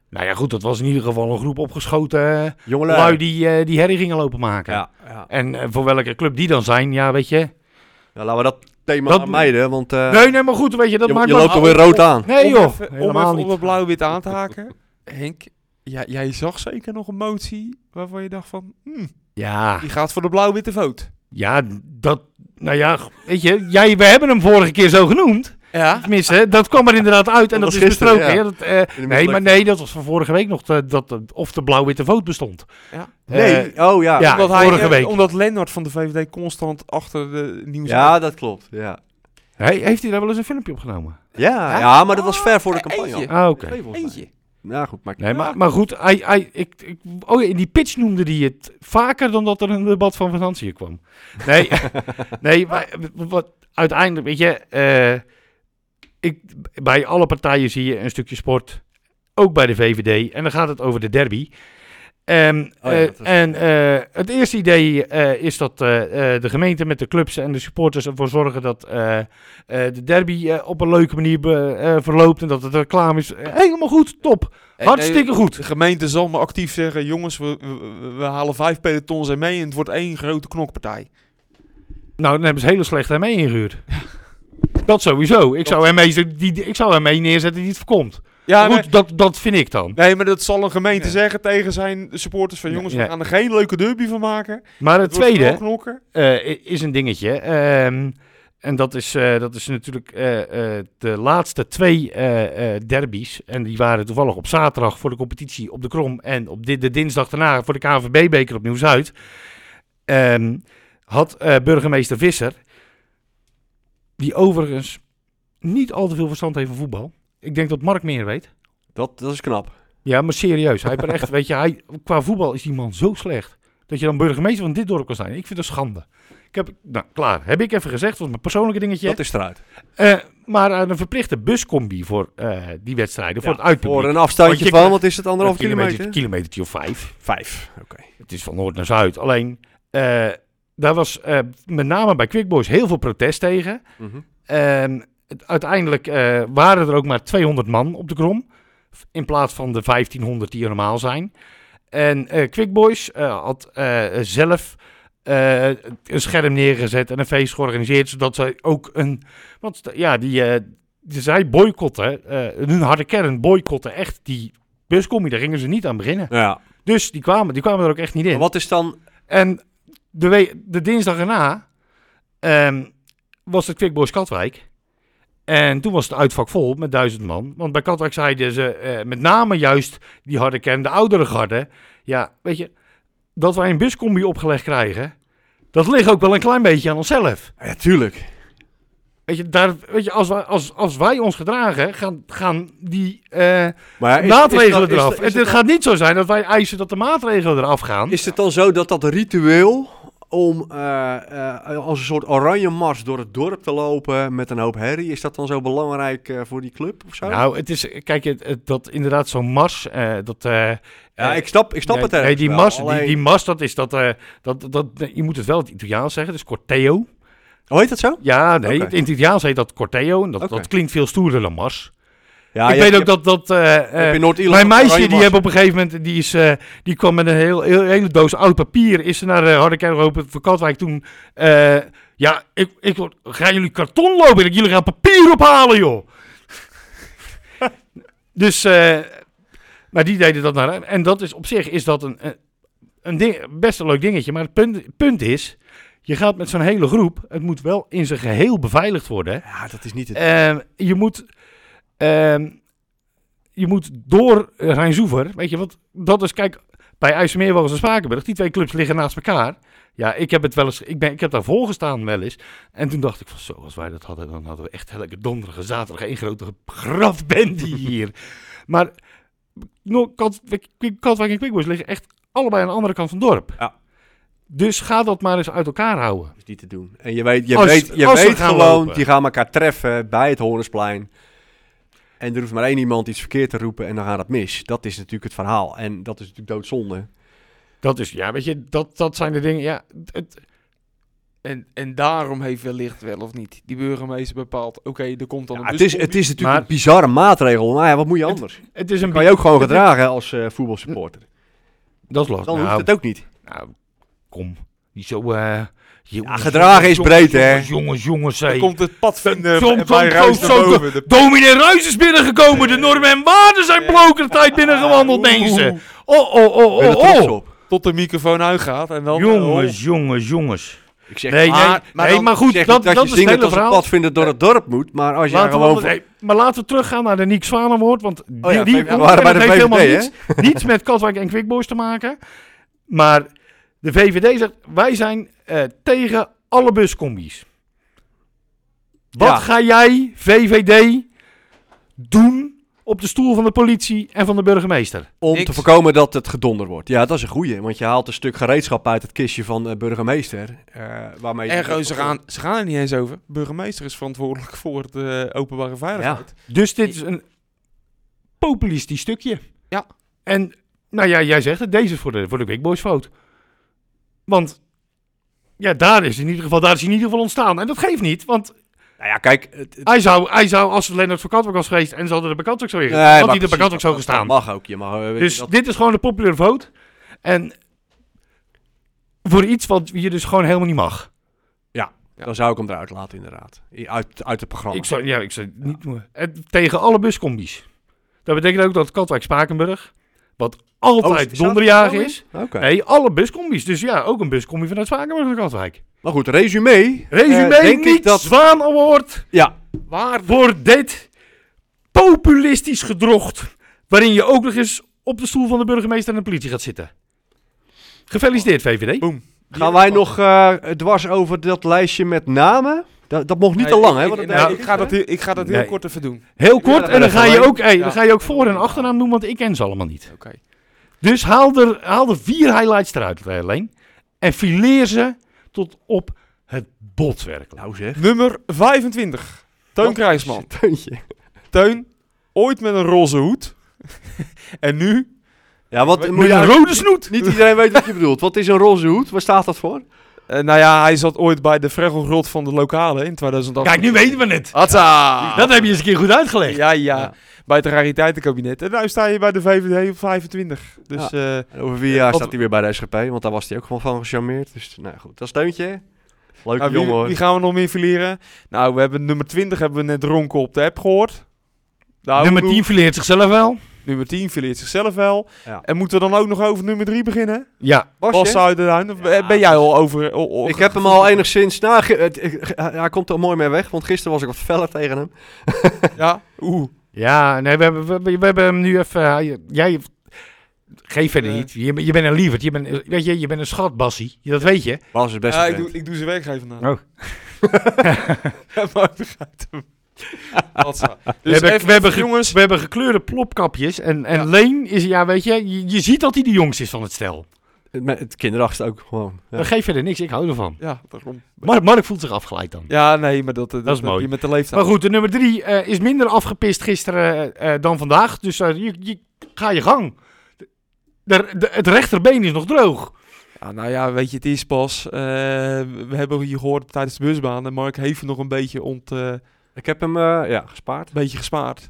Speaker 3: Nou ja, goed, dat was in ieder geval een groep opgeschoten eh,
Speaker 4: Jongelui.
Speaker 3: lui die, eh, die herrie gingen lopen maken.
Speaker 4: Ja, ja.
Speaker 3: En eh, voor welke club die dan zijn, ja, weet je.
Speaker 4: Nou, laten we dat thema
Speaker 3: Dat-
Speaker 4: vermijden, want eh,
Speaker 3: Nee, nee, maar goed, weet je, dat
Speaker 4: je,
Speaker 3: maakt
Speaker 4: je
Speaker 3: wel-
Speaker 4: loopt alweer rood aan.
Speaker 3: Nee
Speaker 1: om
Speaker 3: joh,
Speaker 1: even, om
Speaker 3: helemaal
Speaker 1: even
Speaker 3: niet.
Speaker 1: op het blauw-wit aan te [laughs] haken. Henk, ja, jij zag zeker nog een motie waarvan je dacht van... hm,
Speaker 3: Ja,
Speaker 1: [laughs] die gaat voor de blauw-witte vote.
Speaker 3: ja, dat, nou ja, weet je, jij, we hebben hem vorige keer zo genoemd.
Speaker 1: Ja?
Speaker 3: Tenminste, dat kwam er inderdaad uit en
Speaker 4: Dat
Speaker 3: dat,
Speaker 4: was
Speaker 3: is
Speaker 4: gisteren,
Speaker 3: besproken.
Speaker 4: ja.
Speaker 3: hè. Dat, eh, nee, maar
Speaker 4: mislukte.
Speaker 3: nee, dat was van vorige week nog, te- dat, eh, of de blauw-witte voot bestond. Eh,
Speaker 1: Ja.
Speaker 4: Nee, oh ja.
Speaker 3: ja.
Speaker 4: Ja,
Speaker 1: omdat hij,
Speaker 3: vorige
Speaker 1: eh,
Speaker 3: week.
Speaker 1: Omdat Lennart van de VVD constant achter de nieuws...
Speaker 4: dat klopt. Ja.
Speaker 3: Hey, heeft hij daar wel eens een filmpje opgenomen?
Speaker 4: Ja,
Speaker 1: Ja?
Speaker 4: ja, maar dat was ver voor de campagne.
Speaker 1: Eentje.
Speaker 4: al.
Speaker 3: Ah, oké.
Speaker 4: Twee volgens mij.
Speaker 1: Eentje.
Speaker 4: Nou goed, maakt niet
Speaker 3: Nee, maar, maar goed, hij, hij, ik, ik, oh ja, in die pitch noemde hij het vaker dan dat er een debat van financiën kwam.
Speaker 4: [laughs]
Speaker 3: Nee, nee maar wat, uiteindelijk, weet je, eh, ik, bij alle partijen zie je een stukje sport, ook bij de VVD, en dan gaat het over de derby. Ehm,
Speaker 4: Oh ja,
Speaker 3: eh,
Speaker 4: dat is-
Speaker 3: en eh, het eerste idee eh, is dat eh, eh, de gemeente met de clubs en de supporters ervoor zorgen dat eh, eh, de derby eh, op een leuke manier be- eh, verloopt en dat het reclame is. Helemaal goed, top.
Speaker 1: Eh,
Speaker 3: Hartstikke goed.
Speaker 1: De gemeente zal maar actief zeggen... jongens, we, we, we halen vijf pelotons en mee... en het wordt één grote knokpartij. [laughs]
Speaker 3: Nou, dan hebben ze hele slecht aan mij ingehuurd. E Dat sowieso. Ik zou, hem mee, zo- die, die- ik zou hem mee neerzetten die het voorkomt.
Speaker 1: Ja,
Speaker 3: Goed,
Speaker 1: maar-
Speaker 3: dat, dat vind ik dan.
Speaker 1: nee, maar dat zal een gemeente
Speaker 4: Ja.
Speaker 1: zeggen tegen zijn supporters van...
Speaker 3: Ja,
Speaker 1: jongens,
Speaker 3: ja.
Speaker 1: we gaan er geen leuke derby van maken.
Speaker 3: Maar het
Speaker 1: Het wordt
Speaker 3: tweede,
Speaker 1: een knokker.
Speaker 3: eh, i- is een dingetje. ehm, en dat is, eh, dat is natuurlijk eh, eh, de laatste twee eh, eh, derbies. En die waren toevallig op zaterdag voor de competitie op de Krom. En op di- de dinsdag daarna voor de KNVB-beker op Nieuw-Zuid. Ehm, had eh, burgemeester Visser, die overigens niet al te veel verstand heeft van voetbal. Ik denk dat Mark meer weet.
Speaker 4: Dat, dat is knap.
Speaker 3: Ja, maar serieus. Hij ben echt, weet je, hij, qua voetbal is die man zo slecht. Dat je dan burgemeester van dit dorp kan zijn. Ik vind dat schande. Ik heb, nou, klaar. Heb ik even gezegd. Dat was mijn persoonlijke dingetje.
Speaker 4: Dat is eruit.
Speaker 3: Eh, maar aan een verplichte buscombi voor eh, die wedstrijden. Voor het uitpubliek.
Speaker 4: Voor een afstandje
Speaker 3: Want je-
Speaker 4: van, wat is het, anderhalf
Speaker 3: Een
Speaker 4: kilometer?
Speaker 3: Kilometertje of vijf.
Speaker 4: Vijf, oké.
Speaker 3: Het is van noord naar zuid. Alleen, eh, daar was eh, met name bij Quick Boys heel veel protest tegen.
Speaker 4: Mhm.
Speaker 3: Ehm, het- uiteindelijk eh, waren er ook maar 200 man op de krom. v- In plaats van de 1500 die er normaal zijn. En eh Quick Boys eh, had eh, zelf eh, een scherm neergezet en een feest georganiseerd. Zodat zij ook een. Want de- ja, die. eh, die- zij boycotten. eh, hun harde kern boycotten echt die buscombi. Daar gingen ze niet aan beginnen.
Speaker 4: Nou Ja.
Speaker 3: Dus die kwamen, die kwamen er ook echt niet in.
Speaker 4: Maar wat is dan...
Speaker 3: En de, we- de dinsdag erna ehm, was het Quick Boys Katwijk. En toen was het uitvak vol met duizend man. Want bij Katwijk zeiden ze eh, met name juist die harde kern, de oudere garde. Ja, weet je, dat wij een buscombi opgelegd krijgen, dat ligt ook wel een klein beetje aan onszelf.
Speaker 4: Ja, tuurlijk.
Speaker 3: Weet je, daar, weet je als, wij, als, als wij ons gedragen, gaan, gaan die eh,
Speaker 4: Maar is- is
Speaker 3: maatregelen
Speaker 4: dat- is
Speaker 3: eraf.
Speaker 4: dat- is
Speaker 3: het
Speaker 4: het
Speaker 3: gaat niet zo zijn dat wij eisen dat de maatregelen eraf gaan.
Speaker 4: Is het dan zo dat dat ritueel om eh, eh, als een soort oranje mars door het dorp te lopen met een hoop herrie, is dat dan zo belangrijk eh, voor die club of zo?
Speaker 3: Nou, het is, kijk, het, het- dat inderdaad zo'n mars, eh, dat... eh,
Speaker 4: ja,
Speaker 3: eh,
Speaker 4: ik snap, ik snap
Speaker 3: nee,
Speaker 4: het
Speaker 3: nee,
Speaker 4: ergens
Speaker 3: die
Speaker 4: wel,
Speaker 3: mars, die,
Speaker 4: alleen-
Speaker 3: die mars, dat is dat, eh, dat, dat, nee, je moet het wel het Italiaans zeggen, dus corteo.
Speaker 4: Hoe heet dat zo?
Speaker 3: Ja, nee,
Speaker 4: Oké.
Speaker 3: het- in het Italiaans heet dat corteo en dat,
Speaker 4: Oké.
Speaker 3: dat klinkt veel stoerder dan mars.
Speaker 4: Ja,
Speaker 3: ik
Speaker 4: je
Speaker 3: weet
Speaker 4: hebt-
Speaker 3: ook dat, dat eh,
Speaker 4: je hebt
Speaker 3: eh,
Speaker 4: in Noord-Ierland
Speaker 3: mijn
Speaker 4: ook
Speaker 3: meisje,
Speaker 4: oranje
Speaker 3: die
Speaker 4: mars.
Speaker 3: heb op een gegeven moment, die, is, eh, die kwam met een heel, heel, hele doos oud papier, is ze naar eh Hardekerk gelopen voor Katwijk toen... eh, ja, ik, ik word- gaan jullie karton lopen? Ik- Jullie gaan papier ophalen, joh! [laughs] dus, eh, maar die deden dat naar En dat is op zich is dat een, eh, een ding, best een leuk dingetje. Maar het punt, punt is, je gaat met zo'n hele groep, het moet wel in zijn geheel beveiligd worden.
Speaker 4: Ja, dat is niet het...
Speaker 3: Ehm, je moet. ehm, je moet door Rijnsoever. Weet je, want dat is. Kijk, bij IJsselmeerwagens en Spakenburg. Die twee clubs liggen naast elkaar. Ja, ik heb het wel eens. Ik, ben, ik heb daar volgestaan wel eens. En toen dacht ik van zo, als wij dat hadden. Dan hadden we echt elke donderdag en zaterdag. één grote grafbende
Speaker 4: [laughs]
Speaker 3: hier. maar. no- Kat- Kwik- Katwijk en Quickboys liggen echt allebei aan de andere kant van het dorp.
Speaker 4: Ja.
Speaker 3: Dus ga dat maar eens uit elkaar houden.
Speaker 4: is niet te doen. En je weet, je
Speaker 3: Als-
Speaker 4: weet, je
Speaker 3: als ze
Speaker 4: weet
Speaker 3: gaan
Speaker 4: gewoon,
Speaker 3: lopen.
Speaker 4: die gaan elkaar treffen bij het Hoornsplein. En er hoeft maar één iemand iets verkeerd te roepen en dan gaat het mis. Dat is natuurlijk het verhaal. En dat is natuurlijk doodzonde.
Speaker 3: Dat is, ja, weet je, dat, dat zijn de dingen. Ja, het,
Speaker 1: En, en daarom heeft wellicht wel of niet die burgemeester bepaald... Oké, er komt dan
Speaker 4: Ja,
Speaker 1: een
Speaker 4: het, is,
Speaker 1: buscombi.
Speaker 4: het is natuurlijk
Speaker 3: dus Maar-
Speaker 4: een bizarre maatregel. Maar ja, wat moet je anders?
Speaker 3: het is een
Speaker 4: kan je ook gewoon gedragen als eh, voetbalsupporter.
Speaker 3: Dat is lastig.
Speaker 4: Dan hoeft
Speaker 3: nou,
Speaker 4: het ook niet.
Speaker 3: nou, kom. Niet zo... eh jongens,
Speaker 4: gedragen is
Speaker 3: jongens,
Speaker 4: breed, hè?
Speaker 3: Jongens,
Speaker 4: eh,
Speaker 3: jongens, jongens.
Speaker 1: Dan
Speaker 3: hey.
Speaker 1: komt het padvinder
Speaker 3: Tom,
Speaker 1: bij
Speaker 3: Tom,
Speaker 1: Ruijs
Speaker 3: Tom,
Speaker 1: naar
Speaker 3: Tom,
Speaker 1: boven. De-
Speaker 3: Dominee Ruijs is binnengekomen. De normen en waarden zijn blokertijd binnengewandeld, denken ze. Oh, oh, oh,
Speaker 4: Ben je er
Speaker 3: oh,
Speaker 4: trots
Speaker 3: oh.
Speaker 4: op?
Speaker 1: Tot de microfoon uitgaat en dan... eh,
Speaker 3: Jongens, jongens, jongens.
Speaker 4: Ik zeg,
Speaker 3: Nee, nee, nee,
Speaker 4: dan
Speaker 3: maar goed,
Speaker 4: zeg ik
Speaker 3: dat-
Speaker 4: dat,
Speaker 3: dat is
Speaker 4: je
Speaker 3: het
Speaker 4: zingend
Speaker 3: hele
Speaker 4: als een
Speaker 3: verhaal.
Speaker 4: padvinder door het dorp moet. Maar als je
Speaker 3: Laten we
Speaker 4: gewoon...
Speaker 3: anders- hey, maar laten we teruggaan naar de Niek Zwanenwoord. Want die,
Speaker 4: Oh ja,
Speaker 3: die
Speaker 4: we waren bij
Speaker 3: dat
Speaker 4: de
Speaker 3: heeft
Speaker 4: VVD, hè?
Speaker 3: helemaal niets, niets met Katwijk en Quickboys te maken. Maar de VVD zegt, wij zijn eh, tegen alle buscombi's. Wat
Speaker 4: Ja.
Speaker 3: ga jij, VVD, doen op de stoel van de politie en van de burgemeester?
Speaker 4: Om
Speaker 1: Niks.
Speaker 4: te voorkomen dat het gedonder wordt. Ja, dat is een goeie. Want je haalt een stuk gereedschap uit het kistje van eh, burgemeester. eh, waarmee je-
Speaker 1: Ergo, ze gaan, ze gaan er niet eens over. Burgemeester is verantwoordelijk voor de openbare veiligheid.
Speaker 3: Dus dit is een populistisch stukje.
Speaker 1: Ja.
Speaker 3: En nou ja, jij zegt het, deze is voor de, voor de Quickboys fout. Want ja, daar is, in ieder geval, daar is hij in ieder geval ontstaan. En dat geeft niet, want
Speaker 4: Nou ja, kijk. Het, het-
Speaker 3: hij zou, hij zou als Lennart van Katwijk was geweest en ze hadden de bekant ook zo weer
Speaker 4: nee,
Speaker 3: gezet, had
Speaker 4: maar
Speaker 3: hij de
Speaker 4: precies,
Speaker 3: bekant ook zo
Speaker 4: dat-
Speaker 3: gestaan.
Speaker 4: Dat mag ook. Je mag, eh, weet je,
Speaker 3: Dus
Speaker 4: dat-
Speaker 3: dit is gewoon de popular vote. En voor iets wat je dus gewoon helemaal niet mag.
Speaker 4: Ja.
Speaker 1: Ja.
Speaker 4: Dan zou ik hem eruit laten, inderdaad. I- Uit, uit het programma. Oh,
Speaker 3: Ik zou, ja, ik zou het niet doen. En tegen alle buscombi's. Dat betekent ook dat Katwijk Spakenburg, wat altijd
Speaker 4: staat er
Speaker 3: donderjaag
Speaker 4: zo in?
Speaker 3: is.
Speaker 4: Oké.
Speaker 3: Nee, alle buscombi's. Dus ja, ook een buscombi vanuit Spakenburg naar Katwijk.
Speaker 4: Maar goed, resume.
Speaker 3: Resume,
Speaker 4: Eh, denk
Speaker 3: niet
Speaker 4: ik dat...
Speaker 3: Zwaan Award.
Speaker 4: Ja,
Speaker 3: Waar wordt dit populistisch gedrocht? Waarin je ook nog eens op de stoel van de burgemeester en de politie gaat zitten. Gefeliciteerd, VVD.
Speaker 1: Boom.
Speaker 4: gaan wij nog eh, dwars over dat lijstje met namen? Dat, dat mocht niet te lang, hè?
Speaker 1: Ik,
Speaker 4: want
Speaker 1: ik,
Speaker 4: dat-
Speaker 1: nee,
Speaker 4: dat
Speaker 1: ik
Speaker 4: is,
Speaker 1: ga
Speaker 4: hè?
Speaker 1: dat heel, ik ga dat heel
Speaker 3: Nee.
Speaker 1: kort even doen.
Speaker 3: Heel kort.
Speaker 4: dat
Speaker 3: En dan
Speaker 4: even
Speaker 3: ga, je
Speaker 4: leuk.
Speaker 3: ook, hey, dan ga je ook voor- en achternaam doen, want ik ken ze allemaal niet.
Speaker 1: Oké.
Speaker 3: Dus haal er, haal er vier highlights eruit, alleen. En fileer ze tot op het botwerk.
Speaker 4: Nou zeg.
Speaker 1: Nummer 25. Teun
Speaker 4: Wat?
Speaker 1: Krijsman.
Speaker 4: Teuntje.
Speaker 1: Teun, ooit met een roze hoed. [laughs] en nu...
Speaker 4: Ja, wat
Speaker 1: Met
Speaker 4: moet
Speaker 3: Met
Speaker 4: je
Speaker 3: een
Speaker 4: eigenlijk-
Speaker 3: rode snoet.
Speaker 4: Niet iedereen weet wat je bedoelt. Wat is een roze hoed? Waar staat dat voor?
Speaker 1: eh, nou ja, hij zat ooit bij de Vregelgrot van de lokale in 2008.
Speaker 3: Kijk, nu weten we het.
Speaker 1: Hatsa!
Speaker 3: Dat heb je eens een keer goed uitgelegd.
Speaker 1: Ja, ja. Bij het rariteitenkabinet. En nu sta je bij de VVD op 25. Dus eh,
Speaker 4: En over vier jaar
Speaker 1: Wat-
Speaker 4: staat hij weer bij de SGP, want daar was hij ook gewoon van gecharmeerd. Dus nou ja, goed, dat is Teuntje. Leuke
Speaker 1: nou,
Speaker 4: jongen
Speaker 1: wie,
Speaker 4: hoor.
Speaker 1: wie gaan we nog meer fileren? Nou, we hebben nummer 20 hebben we net ronken op de app gehoord. Nou,
Speaker 3: Nummer
Speaker 1: ik
Speaker 3: 10
Speaker 1: bedoel,
Speaker 3: fileert zichzelf wel.
Speaker 1: Nummer 10 fileert zichzelf wel.
Speaker 4: Ja.
Speaker 1: En moeten we dan ook nog over nummer 3 beginnen?
Speaker 3: Ja.
Speaker 4: Basje?
Speaker 1: Bas Zuiderduin, of
Speaker 4: Ja,
Speaker 1: ben
Speaker 3: dus
Speaker 1: jij al over... o- o-
Speaker 4: ik heb hem al enigszins... Nou, ge- het- ik- ge- hij hij komt er mooi mee weg, want gisteren was ik wat feller tegen hem.
Speaker 1: Ja? [laughs] Oeh.
Speaker 3: Ja, nee, we hebben, we, hebben- we hebben hem nu even... eh, je- jij... Geef verder
Speaker 1: Eh.
Speaker 3: niet. Je, bent- je bent een lieverd. Je bent, weet je, je bent een schat, Bassie. Dat weet je.
Speaker 4: Bas is best
Speaker 1: Ja,
Speaker 4: een
Speaker 1: ik
Speaker 4: vent.
Speaker 1: doe, ik doe zijn werkgever na. [laughs]
Speaker 3: Oh.
Speaker 1: maar ik begrijp
Speaker 3: [laughs]
Speaker 1: hem. Wat zo. Dus
Speaker 3: we, hebben,
Speaker 1: even-
Speaker 3: we, hebben ge-
Speaker 1: jongens.
Speaker 3: we hebben gekleurde plopkapjes. En, en
Speaker 1: Ja.
Speaker 3: Leen is... Ja, weet je, je, je ziet dat hij de jongste is van het stel.
Speaker 4: Het- maar Het kinderachtig ook gewoon. Ja.
Speaker 3: Dan Geef verder niks. Ik hou ervan.
Speaker 1: Ja, daarom.
Speaker 3: Mark, Mark voelt zich afgeleid dan.
Speaker 1: Ja, nee, maar dat, dat,
Speaker 3: is
Speaker 1: heb
Speaker 3: mooi.
Speaker 1: je met de leeftijd.
Speaker 3: Maar goed, de nummer drie eh, is minder afgepist gisteren eh, eh, dan vandaag. Dus eh, je, je, ga je gang. De, de- het rechterbeen is nog droog.
Speaker 1: Ja, nou ja, weet je, het is pas. eh, we hebben hier gehoord tijdens de busbaan. En Mark heeft nog een beetje, ont, eh,
Speaker 4: Ik heb hem eh, ja, gespaard.
Speaker 1: beetje gespaard.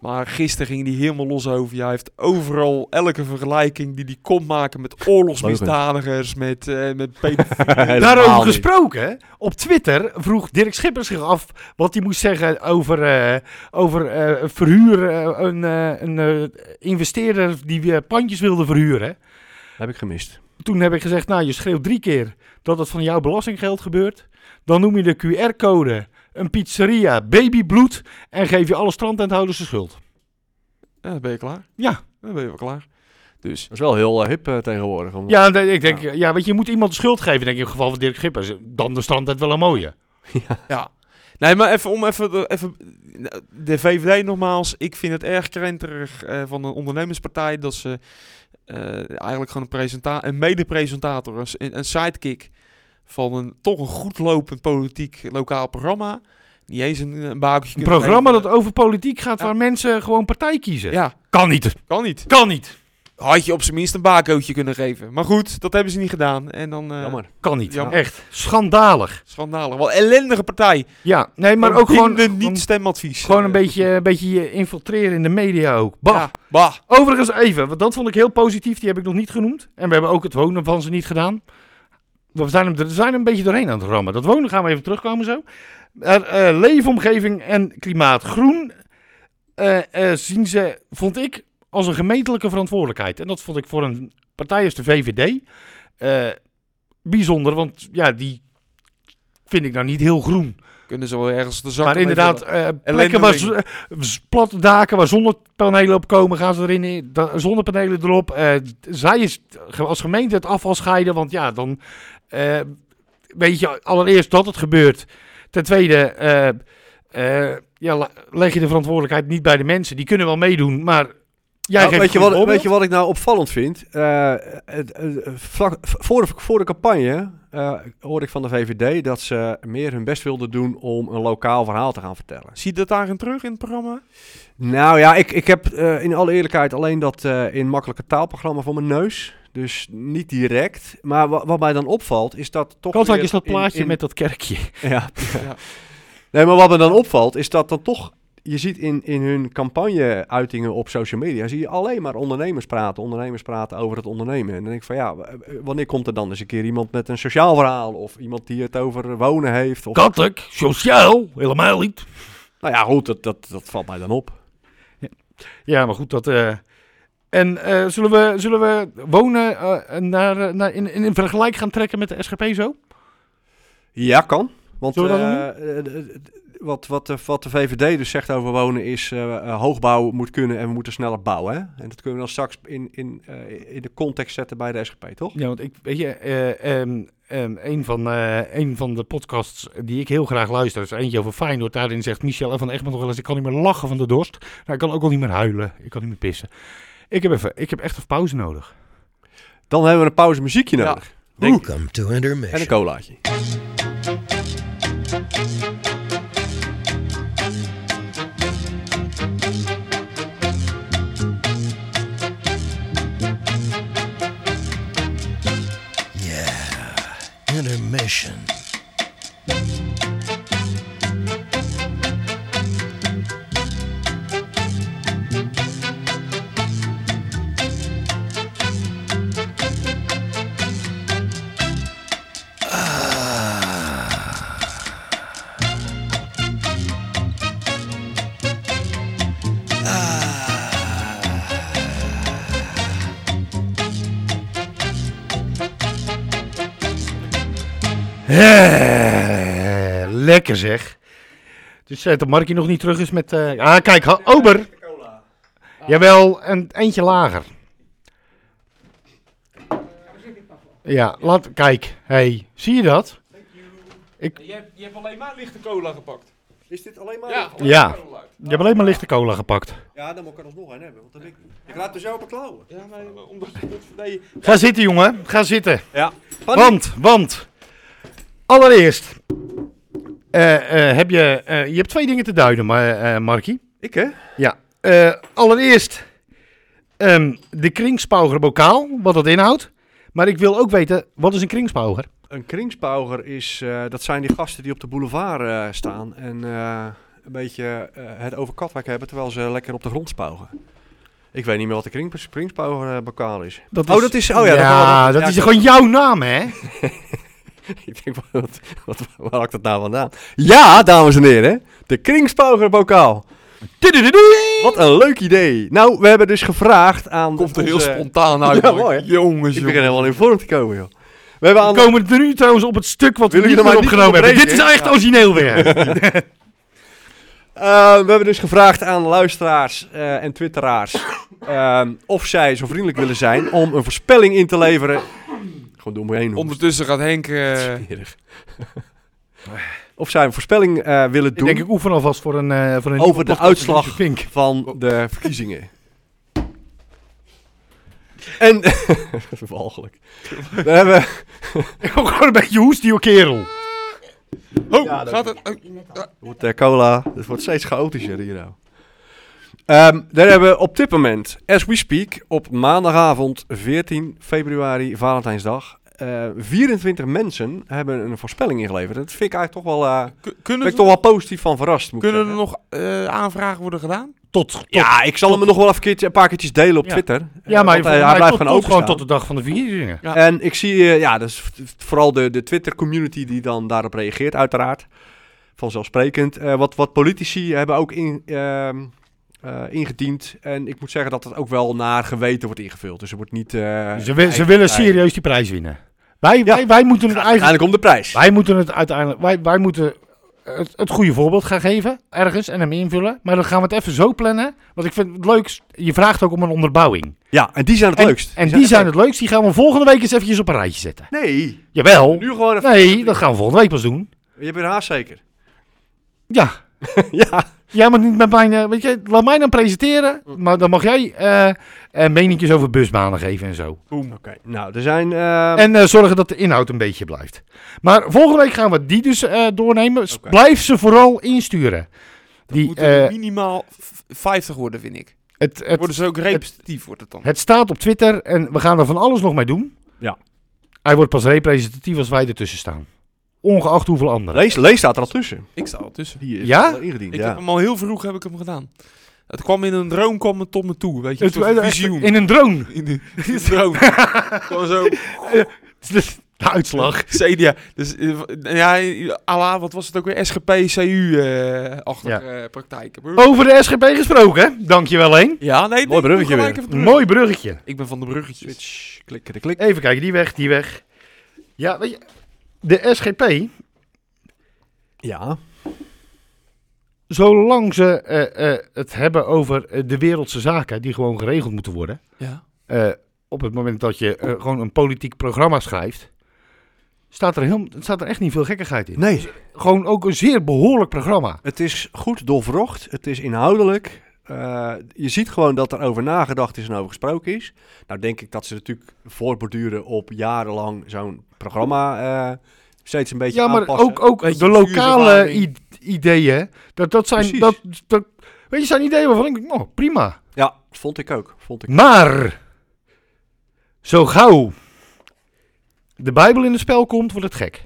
Speaker 1: Maar gisteren ging hij helemaal los over. Ja, hij heeft overal elke vergelijking die hij kon maken met oorlogsmisdadigers, met, eh
Speaker 3: [laughs]
Speaker 1: met pedofielen.
Speaker 4: Helemaal
Speaker 3: Daarover
Speaker 4: niet.
Speaker 3: gesproken, op Twitter vroeg Dirk Schippers zich af wat hij moest zeggen over, eh, over eh, verhuur. eh, een eh, een eh, investeerder die weer pandjes wilde verhuren.
Speaker 4: Heb ik gemist.
Speaker 3: Toen heb ik gezegd, nou je schreeuwt drie keer dat het van jouw belastinggeld gebeurt. Dan noem je de QR-code, een pizzeria, babybloed en geef je alle strandtenthouders de schuld.
Speaker 1: Ja, dan ben je klaar.
Speaker 3: Ja.
Speaker 1: Dan ben je wel klaar. Dus
Speaker 4: Dat is wel heel eh, hip eh, tegenwoordig. om-
Speaker 3: Ja, nee, ik denk, ja. weet je, je moet iemand de schuld geven, denk ik, in het geval van Dirk Schippers. Dan de strand het wel een mooie.
Speaker 1: ja. Nee, maar even om even, de- even. eh, De VVD nogmaals. Ik vind het erg krenterig eh, van een ondernemerspartij dat ze eh, eigenlijk gewoon een, presenta- een mede-presentator, een, s- een sidekick van een toch een goed lopend politiek lokaal programma. Niet eens een, een bakeltje
Speaker 3: Een
Speaker 1: kunnen
Speaker 3: programma
Speaker 1: geven.
Speaker 3: dat over politiek gaat
Speaker 1: Ja.
Speaker 3: waar mensen gewoon partij kiezen.
Speaker 1: Ja,
Speaker 3: Kan niet,
Speaker 1: kan niet.
Speaker 3: kan niet,
Speaker 1: Had je op zijn minst een bakootje kunnen geven. Maar goed, dat hebben ze niet gedaan. En dan. eh,
Speaker 4: Jammer.
Speaker 3: kan niet.
Speaker 1: Jammer.
Speaker 3: Echt, schandalig.
Speaker 1: Schandalig. Wat een ellendige partij.
Speaker 3: Ja, nee, maar ook gewoon,
Speaker 1: de
Speaker 3: gewoon-
Speaker 1: niet-stemadvies.
Speaker 3: gewoon een beetje, een beetje je infiltreren in de media ook. Bah.
Speaker 1: Ja, bah.
Speaker 3: Overigens even, want dat vond ik heel positief, die heb ik nog niet genoemd. En we hebben ook het wonen van ze niet gedaan. We zijn hem, er zijn een beetje doorheen aan het rammen. Dat wonen gaan we even terugkomen zo. Maar, eh, leefomgeving en klimaat groen eh, eh, zien ze, vond ik, als een gemeentelijke verantwoordelijkheid. En dat vond ik voor een partij als de VVD eh, bijzonder, want ja, die vind ik nou niet heel groen.
Speaker 1: Kunnen ze wel ergens de zak
Speaker 3: Maar inderdaad, eh, plekken waar
Speaker 1: Ellendeling.
Speaker 3: z- eh, z- platte daken waar zonnepanelen op komen, gaan ze erin. in- da- zonnepanelen erop. Eh, d- zij is t- ge- als gemeente het afval scheiden. Want ja, dan eh, weet je allereerst dat het gebeurt. Ten tweede, eh, eh, ja, la- leg je de verantwoordelijkheid niet bij de mensen. Die kunnen wel meedoen, maar jij
Speaker 4: Nou,
Speaker 3: geeft
Speaker 4: weet, je
Speaker 3: een goed
Speaker 4: wat,
Speaker 3: voorbeeld.
Speaker 4: weet je wat ik nou opvallend vind? Eh, het- het- vlak, voor, de, voor de campagne eh, hoorde ik van de VVD dat ze meer hun best wilden doen om een lokaal verhaal te gaan vertellen.
Speaker 1: Zie je dat daarin terug in het programma?
Speaker 4: Nou ja, ik, ik heb eh, in alle eerlijkheid alleen dat eh, in makkelijke taalprogramma voor mijn neus. Dus niet direct. Maar wa- wat mij dan opvalt is dat toch.
Speaker 3: Katwijk
Speaker 4: weer
Speaker 3: is dat
Speaker 4: in-
Speaker 3: plaatje
Speaker 4: in-
Speaker 3: met dat kerkje.
Speaker 4: [laughs] Ja.
Speaker 1: Ja.
Speaker 4: Nee, maar wat me dan opvalt is dat dan toch je ziet in, in hun campagne-uitingen op social media, zie je alleen maar ondernemers praten. Ondernemers praten over het ondernemen. En dan denk ik van ja, w- w- wanneer komt er dan eens een keer iemand met een sociaal verhaal? Of iemand die het over wonen heeft? Of,
Speaker 3: Kattelijk, sociaal, helemaal niet.
Speaker 4: Nou ja, goed, dat, dat, dat valt mij dan op.
Speaker 3: Ja, maar goed, dat... eh, En eh, zullen, we, zullen we wonen eh, naar, eh, naar, in, in een vergelijk gaan trekken met de SGP zo?
Speaker 4: Ja, kan. Want
Speaker 3: Zullen we dat
Speaker 4: eh, eh, eh, wat, wat, de, wat de VVD dus zegt over wonen is eh, eh, hoogbouw moet kunnen en we moeten sneller bouwen. Hè? En dat kunnen we dan straks in, in, eh, in de context zetten bij de SGP, toch?
Speaker 3: Ja, want ik weet je, eh, ehm, ehm, een, van, eh, een van de podcasts die ik heel graag luister, is eentje over Feyenoord. Daarin zegt Michel van Egmond nog wel eens, ik kan niet meer lachen van de dorst. Nou, ik kan ook al niet meer huilen. Ik kan niet meer pissen. Ik heb, even, ik heb echt even pauze nodig.
Speaker 4: Dan hebben we een pauze muziekje nodig. Denk-
Speaker 6: Welcome to
Speaker 4: en een
Speaker 6: intermission.
Speaker 4: colaatje.
Speaker 6: Yeah, intermission.
Speaker 3: Eh, lekker zeg. Dus eh, dat Markie nog niet terug is met... eh, ah, kijk, ha- Ober. Jawel, een eentje lager. Ja, laat, kijk. hey, zie je dat?
Speaker 1: Je hebt, je hebt alleen maar lichte cola gepakt.
Speaker 4: Is dit alleen maar...
Speaker 3: Ja. Je hebt alleen maar lichte cola gepakt.
Speaker 4: dan moet ik er alsnog een hebben. Want ik, raad er zo op klauwen.
Speaker 1: Ja, maar omdat je... Nee,
Speaker 3: Ga zitten, jongen. Ga zitten.
Speaker 4: Ja.
Speaker 3: Want, want. Allereerst. eh, eh, heb je, eh, je hebt twee dingen te duiden, maar, eh Markie.
Speaker 4: Ik hè?
Speaker 3: Ja. eh, allereerst. ehm, de kringspauger bokaal, wat dat inhoudt. Maar ik wil ook weten, wat is een kringspauger?
Speaker 4: Een kringspauger is, eh, dat zijn die gasten die op de boulevard eh, staan en eh, een beetje eh, het over Katwijk hebben terwijl ze lekker op de grond spuigen. Ik weet niet meer wat de kring, kringspauger eh, bokaal is. [laughs] Oh, dat is- oh ja, dat-
Speaker 3: ja,
Speaker 4: dat-
Speaker 3: dat
Speaker 4: ja,
Speaker 3: is
Speaker 4: klopt.
Speaker 3: gewoon jouw naam, hè?
Speaker 4: ik denk, [laughs] wat, wat, waar had ik dat nou vandaan? Ja, dames en heren, de kringspauger bokaal.
Speaker 3: Tudududu.
Speaker 4: Wat een leuk idee. Nou, we hebben dus gevraagd aan...
Speaker 1: komt er heel
Speaker 4: onze-
Speaker 3: [laughs]
Speaker 1: spontaan uit.
Speaker 4: Ja,
Speaker 1: man.
Speaker 4: mooi, hè?
Speaker 1: Jongens,
Speaker 4: Ik begin
Speaker 1: jongens.
Speaker 4: helemaal in vorm te komen, joh. We hebben aan
Speaker 3: We komen er nu trouwens op het stuk wat we
Speaker 4: Willen
Speaker 3: niet
Speaker 4: jullie
Speaker 3: meer
Speaker 4: mij niet
Speaker 3: opgenomen hebben. Dit is
Speaker 4: onderbreken?
Speaker 3: nou echt origineel weer.
Speaker 4: Eh, we hebben dus gevraagd aan luisteraars eh, en twitteraars [coughs] ehm, of zij zo vriendelijk willen zijn om een voorspelling in te leveren. Gewoon door me heen. hoor.
Speaker 1: Ondertussen gaat Henk... eh,
Speaker 4: Smerig. [laughs] of zij een voorspelling eh, willen
Speaker 3: ik
Speaker 4: doen
Speaker 3: denk, ik oefen alvast voor een, eh, voor een
Speaker 4: Over de
Speaker 3: nieuwe podcast van
Speaker 4: uitslag.
Speaker 3: Richard Vink.
Speaker 4: van de verkiezingen. En, [laughs] walgelijk. We hebben,
Speaker 3: [laughs] Gewoon een beetje hoestio kerel.
Speaker 1: Oh, gaat het? Oh,
Speaker 4: wordt eh, cola, het wordt steeds chaotischer hier nou. Ehm, daar hebben we op dit moment, as we speak, op maandagavond 14 februari, Valentijnsdag, eh, 24 mensen hebben een voorspelling ingeleverd. Dat vind ik eigenlijk toch wel, eh
Speaker 1: k-
Speaker 4: ben
Speaker 1: kunnen
Speaker 4: ik
Speaker 1: er,
Speaker 4: toch wel positief van verrast. Moet ik
Speaker 1: kunnen er
Speaker 4: zeggen.
Speaker 1: nog eh, aanvragen worden gedaan?
Speaker 3: Tot, tot.
Speaker 4: ja, ik zal hem nog wel even een keertje- een paar keertjes delen op
Speaker 3: Ja.
Speaker 4: Twitter.
Speaker 3: Ja,
Speaker 4: Eh,
Speaker 3: maar
Speaker 4: want hij,
Speaker 3: volgens
Speaker 4: hij
Speaker 3: mij
Speaker 4: blijft
Speaker 3: tot-
Speaker 4: gewoon
Speaker 3: tot
Speaker 4: openstaan.
Speaker 3: gewoon tot de dag van de verkiezingen.
Speaker 1: Ja.
Speaker 4: En ik zie, eh, ja, dat is v- vooral de, de Twitter-community die dan daarop reageert, uiteraard. Vanzelfsprekend. Eh, wat, wat politici hebben ook in, ehm, eh, ingediend. En ik moet zeggen dat het ook wel naar geweten wordt ingevuld. Dus er wordt niet... eh,
Speaker 3: Ze, wi- ze
Speaker 4: eigen-
Speaker 3: willen
Speaker 4: eigen-
Speaker 3: serieus die prijs winnen. Wij, wij, wij moeten het eigenlijk...
Speaker 4: Uiteindelijk om de prijs.
Speaker 3: Wij moeten het uiteindelijk... Wij, wij moeten het, het goede voorbeeld gaan geven. Ergens. En hem invullen. Maar dan gaan we het even zo plannen. Want ik vind het leuk... Je vraagt ook om een onderbouwing.
Speaker 4: Ja, en die zijn het
Speaker 3: En,
Speaker 4: leukst.
Speaker 3: en die zijn het leukst. Die gaan we volgende week eens eventjes op een rijtje zetten.
Speaker 4: Nee,
Speaker 3: Jawel.
Speaker 4: nu gewoon even...
Speaker 3: Nee, dat gaan we volgende week pas doen.
Speaker 4: Je hebt weer haast zeker.
Speaker 3: Ja.
Speaker 4: ja,
Speaker 3: Jij mag niet met mijn... eh, Weet je, laat mij dan presenteren. Maar dan mag jij eh eh, meninkjes over busbanen geven en zo.
Speaker 4: boem. Oké, nou, er zijn... eh,
Speaker 3: En eh, zorgen dat de inhoud een beetje blijft. Maar volgende week gaan we die dus eh, doornemen. S-
Speaker 4: Oké.
Speaker 3: Blijf ze vooral insturen. Die,
Speaker 1: Moeten er
Speaker 3: eh,
Speaker 1: minimaal v- 50 worden, vind ik.
Speaker 3: het, het,
Speaker 1: Worden ze ook representatief, wordt het dan?
Speaker 3: het staat op Twitter en we gaan er van alles nog mee doen.
Speaker 4: Ja.
Speaker 3: Hij wordt pas representatief als wij ertussen staan. ongeacht hoeveel anderen.
Speaker 4: Lees, lees staat er al tussen.
Speaker 1: Ik sta al tussen.
Speaker 4: Die is
Speaker 3: Ja?
Speaker 4: al ingediend.
Speaker 1: Ik
Speaker 4: ja.
Speaker 1: heb hem al heel vroeg heb ik hem gedaan. Het kwam in een droom, kwam het tot me toe. Weet je,
Speaker 3: Het-
Speaker 1: het, een soort
Speaker 3: echt,
Speaker 1: visioen.
Speaker 3: in een drone. [laughs]
Speaker 1: In de, in de droom. Gewoon zo.
Speaker 3: De uitslag.
Speaker 1: CDA. Dus, eh, v- ja, à la, wat was het ook weer? SGP, CU eh achter
Speaker 3: Ja. Oh,
Speaker 1: eh, praktijken.
Speaker 3: Over de SGP gesproken, hè? dankjewel heen.
Speaker 1: Ja, nee.
Speaker 4: Mooi
Speaker 1: ik doe
Speaker 4: bruggetje
Speaker 1: gelijk
Speaker 4: weer.
Speaker 1: even terug.
Speaker 3: Mooi bruggetje.
Speaker 1: Ik ben van de bruggetjes.
Speaker 4: Switch, klikken, klik.
Speaker 3: Even kijken, die weg, die weg. Ja, weet je, de SGP,
Speaker 4: Ja.
Speaker 3: zolang ze eh, eh, het hebben over eh, de wereldse zaken die gewoon geregeld moeten worden.
Speaker 1: Ja.
Speaker 3: eh, op het moment dat je eh, gewoon een politiek programma schrijft, staat er, heel, staat er echt niet veel gekkigheid in.
Speaker 4: Nee,
Speaker 3: Gewoon ook een zeer behoorlijk programma.
Speaker 4: het is goed doorverrocht. Het is inhoudelijk. Eh, je ziet gewoon dat er over nagedacht is en over gesproken is. Nou denk ik dat ze natuurlijk voortborduren op jarenlang zo'n programma eh, steeds een beetje
Speaker 3: Ja, maar
Speaker 4: aanpassen.
Speaker 3: ook, ook
Speaker 1: Beetje
Speaker 3: de lokale
Speaker 1: vuurverwarming.
Speaker 3: i- ideeën. Dat, dat zijn,
Speaker 4: Precies.
Speaker 3: dat, dat, weet je, zijn ideeën waarvan ik denk, oh, prima.
Speaker 4: Ja, vond ik ook. Vond ik.
Speaker 3: Maar, zo gauw de Bijbel in het spel komt, wordt het gek.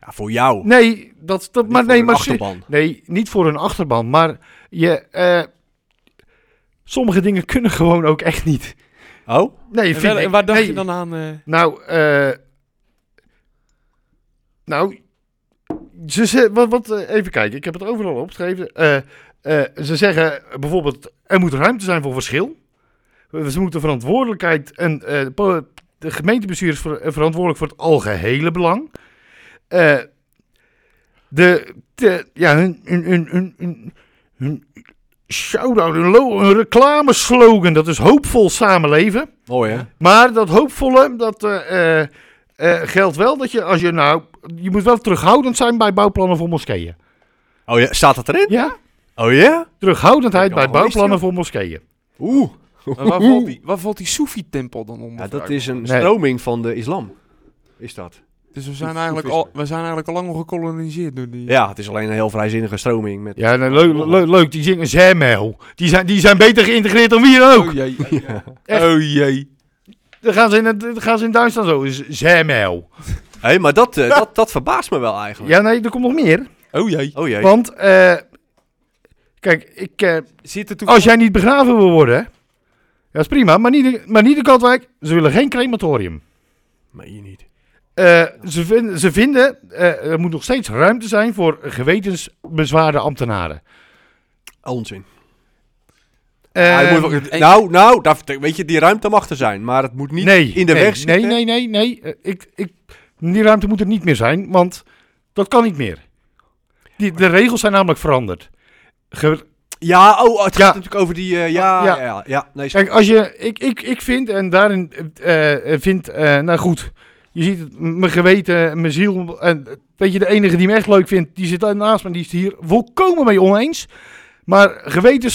Speaker 4: Ja, voor jou.
Speaker 3: Nee, dat, dat,
Speaker 4: Niet
Speaker 3: maar,
Speaker 4: voor
Speaker 3: nee,
Speaker 4: een
Speaker 3: maar
Speaker 4: achterban.
Speaker 3: Nee, niet voor een achterban. Maar je, eh, sommige dingen kunnen gewoon ook echt niet.
Speaker 4: Oh?
Speaker 3: Nee,
Speaker 1: En,
Speaker 3: vind
Speaker 1: wel-
Speaker 3: ik-
Speaker 1: en waar dacht
Speaker 3: nee.
Speaker 1: je dan aan? eh?
Speaker 3: Nou, eh, nou, ze, ze- wat, wat, eh, even kijken, ik heb het overal opgeschreven. Eh, eh, ze zeggen bijvoorbeeld, er moet ruimte zijn voor verschil. We- Ze moeten verantwoordelijkheid en eh, de po- de gemeentebestuur is ver- eh, verantwoordelijk voor het algehele belang. Eh, de, de, ja, hun, hun, hun, hun, hun, hun shout-out, hun, lo- hun reclameslogan, dat is hoopvol samenleven.
Speaker 4: Mooi hè?
Speaker 3: Maar dat hoopvolle, dat eh, eh, eh, geldt wel dat je als je nou... Je moet wel terughoudend zijn bij bouwplannen voor moskeeën.
Speaker 4: Oh ja, staat dat erin?
Speaker 3: Ja,
Speaker 4: Oh ja?
Speaker 3: terughoudendheid
Speaker 4: Ik had
Speaker 3: bij
Speaker 4: al gemist,
Speaker 3: bouwplannen
Speaker 4: joh.
Speaker 3: voor moskeeën.
Speaker 4: Oeh.
Speaker 1: Maar waar valt die, waar valt die Soefi-tempel dan onder?
Speaker 4: Ja,
Speaker 1: vraag
Speaker 4: dat
Speaker 1: ik me
Speaker 4: is een
Speaker 3: Nee.
Speaker 4: stroming van de islam. Is dat?
Speaker 1: af. Dus we zijn, eigenlijk al,
Speaker 4: Soefisme.
Speaker 1: we zijn eigenlijk al lang al gekoloniseerd door die...
Speaker 4: Ja, het is alleen een heel vrijzinnige stroming. Met...
Speaker 3: Ja, nou, leuk, leuk, leuk, die zingen Zemel. Die zijn, die zijn beter geïntegreerd dan wie dan ook.
Speaker 1: Oh
Speaker 4: [laughs]
Speaker 1: jee.
Speaker 3: Echt.
Speaker 1: Oh jee.
Speaker 3: Dan gaan ze in, het, dan gaan ze in Duitsland zo, is Zemel.
Speaker 4: Hé, maar dat, eh, dat, dat verbaast me wel eigenlijk.
Speaker 3: Ja, nee, er komt nog meer.
Speaker 1: Oh jee.
Speaker 4: Oh jee.
Speaker 3: Want, eh, kijk, ik, eh,
Speaker 1: Zit er toen...
Speaker 3: als jij niet begraven wil worden... Dat is prima, maar niet, in- maar niet in Katwijk. Ze willen geen crematorium.
Speaker 4: Meen je niet.
Speaker 3: Eh, ze, vin- ze vinden, eh, er moet nog steeds ruimte zijn voor gewetensbezwaarde
Speaker 4: Ah,
Speaker 3: ambtenaren.
Speaker 4: Onzin.
Speaker 3: Eh,
Speaker 4: Ja,
Speaker 3: Ehm,
Speaker 4: je moet wel- nou, nou, daar, weet je, die ruimte mag er zijn, maar het moet niet
Speaker 3: nee,
Speaker 4: in de
Speaker 3: nee,
Speaker 4: weg zitten.
Speaker 3: Nee, nee, nee, nee. Eh, ik, ik, die ruimte moet er niet meer zijn, want dat kan niet meer. Die, de regels zijn namelijk veranderd. Ge-
Speaker 4: Ja, oh, het
Speaker 3: Ja.
Speaker 4: gaat natuurlijk over die, eh, ja,
Speaker 3: Ja.
Speaker 4: ja, ja, ja, nee,
Speaker 3: kijk, als je, ik, ik, ik vind, en daarin eh, eh, vind, eh, nou goed, je ziet het, m- mijn geweten, mijn ziel, en, eh, weet je, de enige die me echt leuk vindt, die zit daar naast me, die is het hier volkomen mee oneens. Maar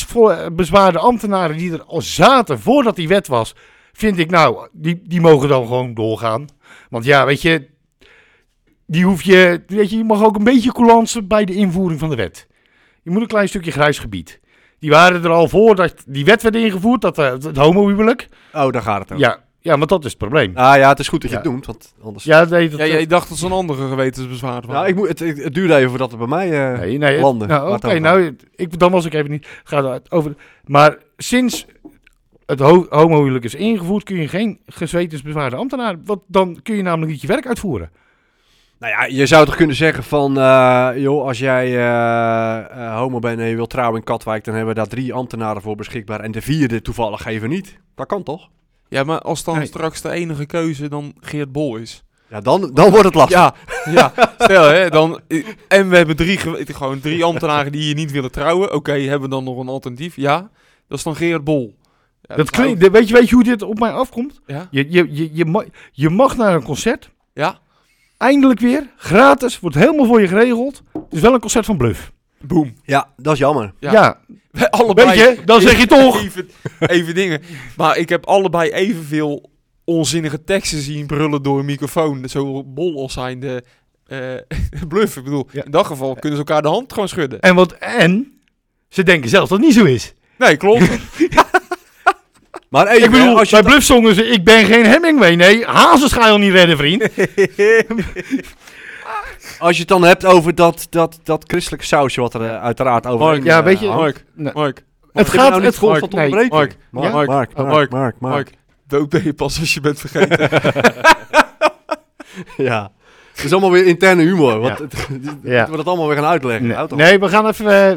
Speaker 3: gewetensbezwaarde ambtenaren die er al zaten voordat die wet was, vind ik nou, die, die mogen dan gewoon doorgaan. Want ja, weet je, die hoef je, weet je, je mag ook een beetje coulance bij de invoering van de wet. Je moet een klein stukje grijs gebied. Die waren er al voordat die wet werd ingevoerd, dat eh, het homohuwelijk.
Speaker 4: oh, daar gaat het over.
Speaker 3: Ja, ja, want dat is het probleem.
Speaker 4: Ah ja, het is goed dat je
Speaker 3: Ja.
Speaker 4: het noemt, want anders...
Speaker 3: Ja, nee, dat,
Speaker 1: Ja, jij dacht dat ze een andere gewetensbezwaar was.
Speaker 4: Nou, ik moet, het, het, het duurde even voordat het bij mij... eh,
Speaker 3: nee, nee, het-
Speaker 4: landen,
Speaker 3: Nou,
Speaker 4: waar
Speaker 3: Oké,
Speaker 4: het over
Speaker 3: nou, ik, dan was ik even niet. Ga daar over. Maar sinds het ho- homohuwelijk is ingevoerd, kun je geen gezwetensbezwaarde ambtenaar. Want dan kun je namelijk niet je werk uitvoeren.
Speaker 4: Nou ja, je zou toch kunnen zeggen van, eh, joh, als jij eh, eh, homo bent en je wilt trouwen in Katwijk, dan hebben we daar drie ambtenaren voor beschikbaar en de vierde toevallig even niet. Dat kan toch?
Speaker 1: Ja, maar als dan
Speaker 3: Nee.
Speaker 1: straks de enige keuze dan Geert Bol is.
Speaker 4: Ja, dan, dan wordt het lastig.
Speaker 1: Ja, ja. [laughs] Stel, hè, dan... En we hebben drie, gewe- gewoon drie ambtenaren die hier niet willen trouwen. Oké, hebben we dan nog een alternatief? Ja. Dat is dan Geert Bol. Ja,
Speaker 3: dat
Speaker 1: zou-
Speaker 3: klinkt, weet, je, weet je hoe dit op mij afkomt?
Speaker 1: Ja?
Speaker 3: Je, je, je, je, ma- je mag naar een concert.
Speaker 1: Ja?
Speaker 3: Eindelijk weer. Gratis. Wordt helemaal voor je geregeld. Het is wel een concert van bluff.
Speaker 1: Boom.
Speaker 4: Ja, dat is jammer.
Speaker 1: Ja.
Speaker 3: ja
Speaker 1: Wij Allebei.
Speaker 3: Weet je, dan
Speaker 1: [laughs]
Speaker 3: zeg je toch.
Speaker 1: Even, even dingen. Maar ik heb allebei evenveel onzinnige teksten zien brullen door een microfoon. Zo bol als zijnde eh [laughs] bluff. Ik bedoel,
Speaker 3: Ja.
Speaker 1: in dat geval kunnen ze elkaar de hand gewoon
Speaker 3: [laughs]
Speaker 1: schudden.
Speaker 3: En wat en? Ze denken zelf dat het niet zo is.
Speaker 1: Nee, klopt.
Speaker 4: Maar even,
Speaker 3: Ik bedoel,
Speaker 4: als je
Speaker 3: bij Bluff zongen ze, ik ben geen Hemingway. Nee, hazes ga je al niet redden,
Speaker 4: [laughs]
Speaker 3: vriend.
Speaker 4: Als je het dan hebt over dat, dat, dat christelijke sausje wat er eh, uiteraard over
Speaker 1: Mark,
Speaker 3: ja, weet je-
Speaker 4: Mark,
Speaker 1: [laughs] Mark,
Speaker 3: Nee.
Speaker 1: Mark,
Speaker 3: Het
Speaker 4: ik ben
Speaker 3: gaat,
Speaker 4: nou niet
Speaker 3: het
Speaker 4: voor
Speaker 3: gaat,
Speaker 4: tot
Speaker 3: nee.
Speaker 4: onderbreken.
Speaker 1: Mark, eh,
Speaker 3: Mark,
Speaker 4: Mark, Mark, Mark, Mark,
Speaker 1: Mark, Mark. Dood ben je pas als je bent [laughs] vergeten.
Speaker 4: [laughs] Ja. Het is allemaal weer interne humor. Wat, [laughs]
Speaker 3: Ja.
Speaker 4: we dat allemaal weer gaan uitleggen.
Speaker 3: Nee,
Speaker 4: Houd op.
Speaker 3: nee, we gaan even, eh,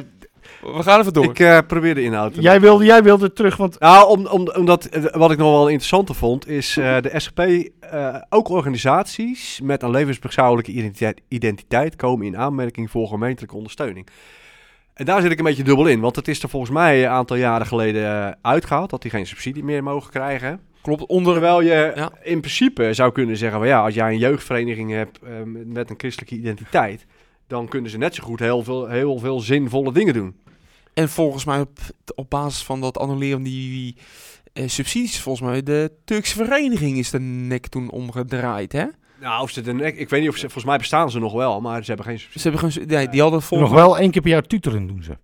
Speaker 1: We gaan even door.
Speaker 4: Ik eh, probeer de inhoud te
Speaker 3: jij, wilde, jij wilde terug, want
Speaker 4: Nou, om, om, omdat eh, wat ik nog wel interessanter vond, is
Speaker 3: Mhm.
Speaker 4: eh, de SGP eh, ook organisaties met een levensbeschouwelijke identiteit, identiteit komen in aanmerking voor gemeentelijke ondersteuning. En daar zit ik een beetje dubbel in, want het is er volgens mij een aantal jaren geleden eh, uitgehaald dat die geen subsidie meer mogen krijgen.
Speaker 1: eh, Klopt, onder...
Speaker 4: Terwijl je
Speaker 1: Ja.
Speaker 4: in principe zou kunnen zeggen, van, ja, als jij een jeugdvereniging hebt eh, met een christelijke identiteit, dan kunnen ze net zo goed heel veel, heel veel zinvolle dingen doen.
Speaker 1: En volgens mij op, op basis van dat annuleren van die eh, subsidies, volgens mij, de Turkse vereniging is de nek toen omgedraaid, hè?
Speaker 4: Nou, of ze de nek, ik weet niet of ze, volgens mij bestaan ze nog wel, maar ze hebben geen subsidie.
Speaker 1: Ze hebben gewoon... su- Nee, die hadden volgens
Speaker 3: nog wel één keer per jaar tuteren doen ze.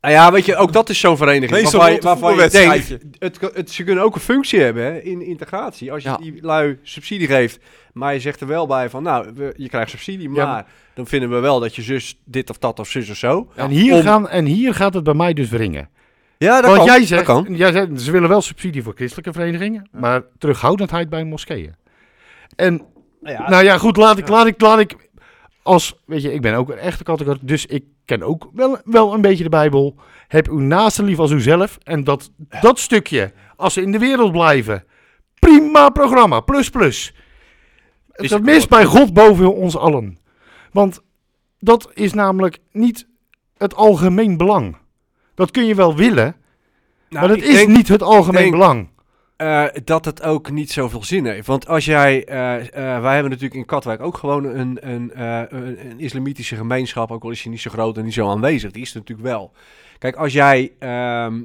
Speaker 4: Nou ja, weet je, ook dat is zo'n vereniging.
Speaker 1: Meestal
Speaker 4: waarvan je,
Speaker 1: rond een
Speaker 4: waarvan je denkt,
Speaker 1: voetbalwedstrijdje.
Speaker 4: het, kan- het, ze kunnen ook een functie hebben hè, in integratie. Als je
Speaker 1: Ja.
Speaker 4: die lui subsidie geeft, maar je zegt er wel bij van, nou, we- je krijgt subsidie, maar,
Speaker 3: Ja,
Speaker 4: dan vinden we wel dat je zus dit of dat of zus of zo.
Speaker 1: Ja,
Speaker 3: en, hier
Speaker 4: om-
Speaker 3: gaan, en hier gaat het bij mij dus wringen.
Speaker 4: Ja, dat
Speaker 3: Want
Speaker 4: kan.
Speaker 3: jij
Speaker 4: dat
Speaker 3: zegt,
Speaker 4: kan.
Speaker 3: jij zegt, ze willen wel subsidie voor christelijke verenigingen, maar terughoudendheid bij moskeeën. En
Speaker 4: Ja,
Speaker 3: nou ja, goed, laat ik, laat ik, laat ik, als, weet je, ik ben ook een echte katholiek, dus ik ken ook wel, wel een beetje de Bijbel. Heb uw naaste lief als uzelf. En dat, dat stukje, als ze in de wereld blijven, prima programma, plus plus. Het
Speaker 4: Is
Speaker 3: staat
Speaker 4: het
Speaker 3: mis
Speaker 4: ook-
Speaker 3: bij God boven ons allen. Want dat is namelijk niet het algemeen belang. Dat kun je wel willen,
Speaker 4: Nou,
Speaker 3: maar dat
Speaker 4: ik
Speaker 3: is
Speaker 4: denk,
Speaker 3: niet het algemeen
Speaker 4: denk-
Speaker 3: belang.
Speaker 4: eh, dat het ook niet zoveel zin heeft. Want als jij, eh, eh, wij hebben natuurlijk in Katwijk ook gewoon een, een, eh, een, een islamitische gemeenschap, ook al is die niet zo groot en niet zo aanwezig, die is er natuurlijk wel. Kijk, als jij ehm,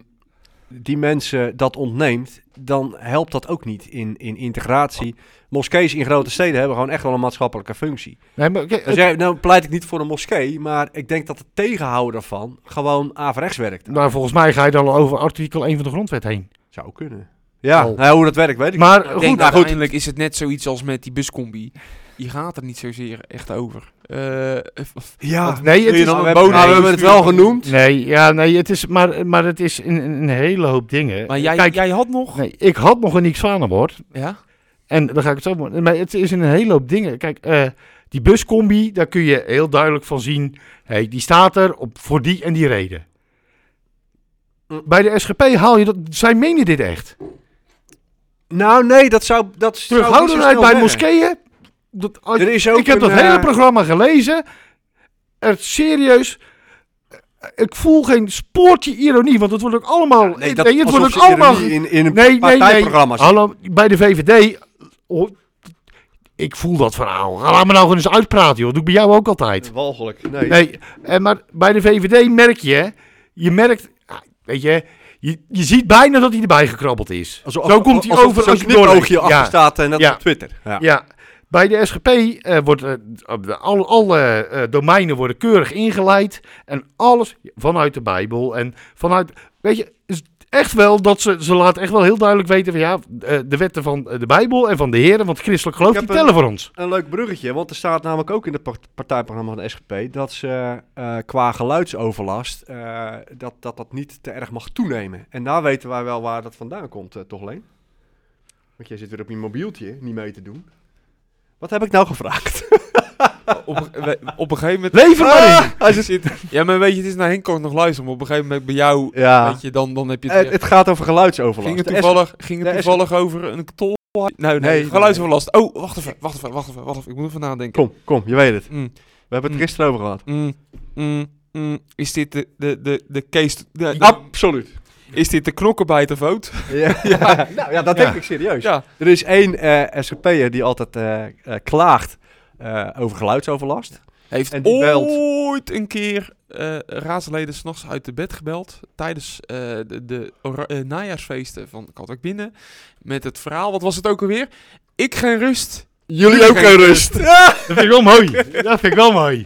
Speaker 4: die mensen dat ontneemt, dan helpt dat ook niet in, in integratie. Moskees in grote steden hebben gewoon echt wel een maatschappelijke functie.
Speaker 3: Nee, maar, oké,
Speaker 4: Dus
Speaker 3: het-
Speaker 4: jij, nou pleit ik niet voor een moskee, maar ik denk dat het tegenhouden daarvan gewoon averechts werkt.
Speaker 3: nou, volgens mij ga je dan al over artikel 1 van de grondwet heen.
Speaker 4: Zou kunnen. Ja,
Speaker 3: Oh.
Speaker 4: nou, hoe dat werkt weet ik
Speaker 3: Maar
Speaker 1: Ik
Speaker 3: goed,
Speaker 1: denk,
Speaker 4: nou, goed.
Speaker 1: uiteindelijk is het net zoiets als met die buscombi. Je gaat er niet zozeer echt over. Eh,
Speaker 4: niet. Ja,
Speaker 1: want
Speaker 3: nee, het
Speaker 1: wil je
Speaker 3: is-
Speaker 1: dan een
Speaker 4: we
Speaker 1: bonus
Speaker 4: hebben- Nou, we hebben het wel
Speaker 1: sturen?
Speaker 4: genoemd.
Speaker 3: Nee, ja, nee, het is, maar, maar het is een, een een hele hoop dingen.
Speaker 1: Maar jij,
Speaker 3: Kijk,
Speaker 1: jij had nog...
Speaker 3: nee, ik had nog een Nick Zwanenbord.
Speaker 1: Ja?
Speaker 3: En dan ga ik het zo doen. Maar het is een hele hoop dingen. Kijk, eh, die buscombi, daar kun je heel duidelijk van zien. Hey, die staat er op, voor die en die reden. Bij de SGP haal je dat. Zij menen dit echt.
Speaker 4: Nou, nee, dat zou. Dat zou niet zo
Speaker 3: Terughoudendheid
Speaker 4: snel
Speaker 3: bij
Speaker 4: werken.
Speaker 3: moskeeën. Dat, als-
Speaker 4: Er is ook
Speaker 3: ik heb
Speaker 4: een,
Speaker 3: dat
Speaker 4: eh,
Speaker 3: hele programma gelezen. Er, serieus. eh, Ik voel geen spoortje ironie, want het wordt ook allemaal.
Speaker 4: Nee, dat
Speaker 3: nee, het wordt ook allemaal.
Speaker 4: in, in een
Speaker 3: nee, nee, Ah. nee.
Speaker 4: partijprogramma. zit.
Speaker 3: Hallo, bij de VVD. oh, ik voel dat verhaal. Ga Laat me nou gewoon eens uitpraten, joh. Dat doe ik bij jou ook altijd.
Speaker 4: Walgelijk. Nee.
Speaker 3: Nee, eh, maar bij de VVD merk je. Je merkt. ah, Weet je. Je, je ziet bijna dat hij erbij gekrabbeld is.
Speaker 4: Alsof-
Speaker 3: zo komt hij
Speaker 4: alsof er
Speaker 3: over
Speaker 4: zo'n
Speaker 3: als je
Speaker 4: knipoogje
Speaker 3: doorleest.
Speaker 4: achter
Speaker 3: Ja.
Speaker 4: staat en dat
Speaker 3: Ja.
Speaker 4: op Twitter. Ja.
Speaker 3: Ja, bij de SGP eh, wordt eh, op de- al, alle eh, domeinen worden keurig ingeleid. En alles vanuit de Bijbel en vanuit... Weet je, is echt wel dat ze, ze laat echt wel heel duidelijk weten van... Ja, eh, de wetten van eh, de Bijbel en van de Heer en van het christelijk geloof,
Speaker 4: Ik
Speaker 3: die
Speaker 4: heb
Speaker 3: tellen voor ons.
Speaker 4: Een leuk bruggetje, want er staat namelijk ook in het part- partijprogramma van de SGP dat ze eh, qua geluidsoverlast eh, dat, dat dat niet te erg mag toenemen. En daar weten wij wel waar dat vandaan komt, eh, toch Leen? Want jij zit weer op je mobieltje niet mee te doen. Wat heb ik nou gevraagd?
Speaker 1: Op, we- op een gegeven moment...
Speaker 3: Lever
Speaker 4: Ah,
Speaker 3: maar in!
Speaker 1: Als je zit, ja, maar weet je, het is naar Henk kan ik nog luisteren. Maar op een gegeven moment bij jou,
Speaker 4: Ja,
Speaker 1: weet je, dan, dan heb je
Speaker 4: het,
Speaker 1: het...
Speaker 4: Eh, het gaat over geluidsoverlast.
Speaker 1: ging het
Speaker 4: De SGP
Speaker 1: toevallig, ging het
Speaker 4: de S-
Speaker 1: toevallig over een tol... Nee, nee,
Speaker 4: Nee,
Speaker 1: geluidsoverlast. Oh, wacht even, wacht even, wacht even, wacht even. Ik moet even nadenken.
Speaker 4: Kom, kom, je weet het.
Speaker 1: Mm,
Speaker 4: We hebben het
Speaker 1: Mm.
Speaker 4: gisteren over
Speaker 1: [laughs]
Speaker 4: gehad.
Speaker 1: mm, mm, mm. Is dit de, de, de, de case... De, de-
Speaker 4: Absoluut.
Speaker 1: is dit de knokkenbijtervoot?
Speaker 4: Ja, ja. Nou ja, dat denk ik serieus.
Speaker 1: Ja.
Speaker 4: Er is één eh SGP'er die altijd eh, eh, klaagt eh, over geluidsoverlast.
Speaker 1: Heeft
Speaker 4: En die belt.
Speaker 1: ooit een keer eh raadsleden s'nachts uit de bed gebeld. Tijdens eh, de, de ora- eh, najaarsfeesten van Katwijk Binnen. Met het verhaal, wat was het ook alweer? Ik geen rust. Jullie ook geen
Speaker 4: rust. [laughs]
Speaker 1: [laughs]
Speaker 3: Dat vind ik wel mooi. Dat vind ik wel mooi.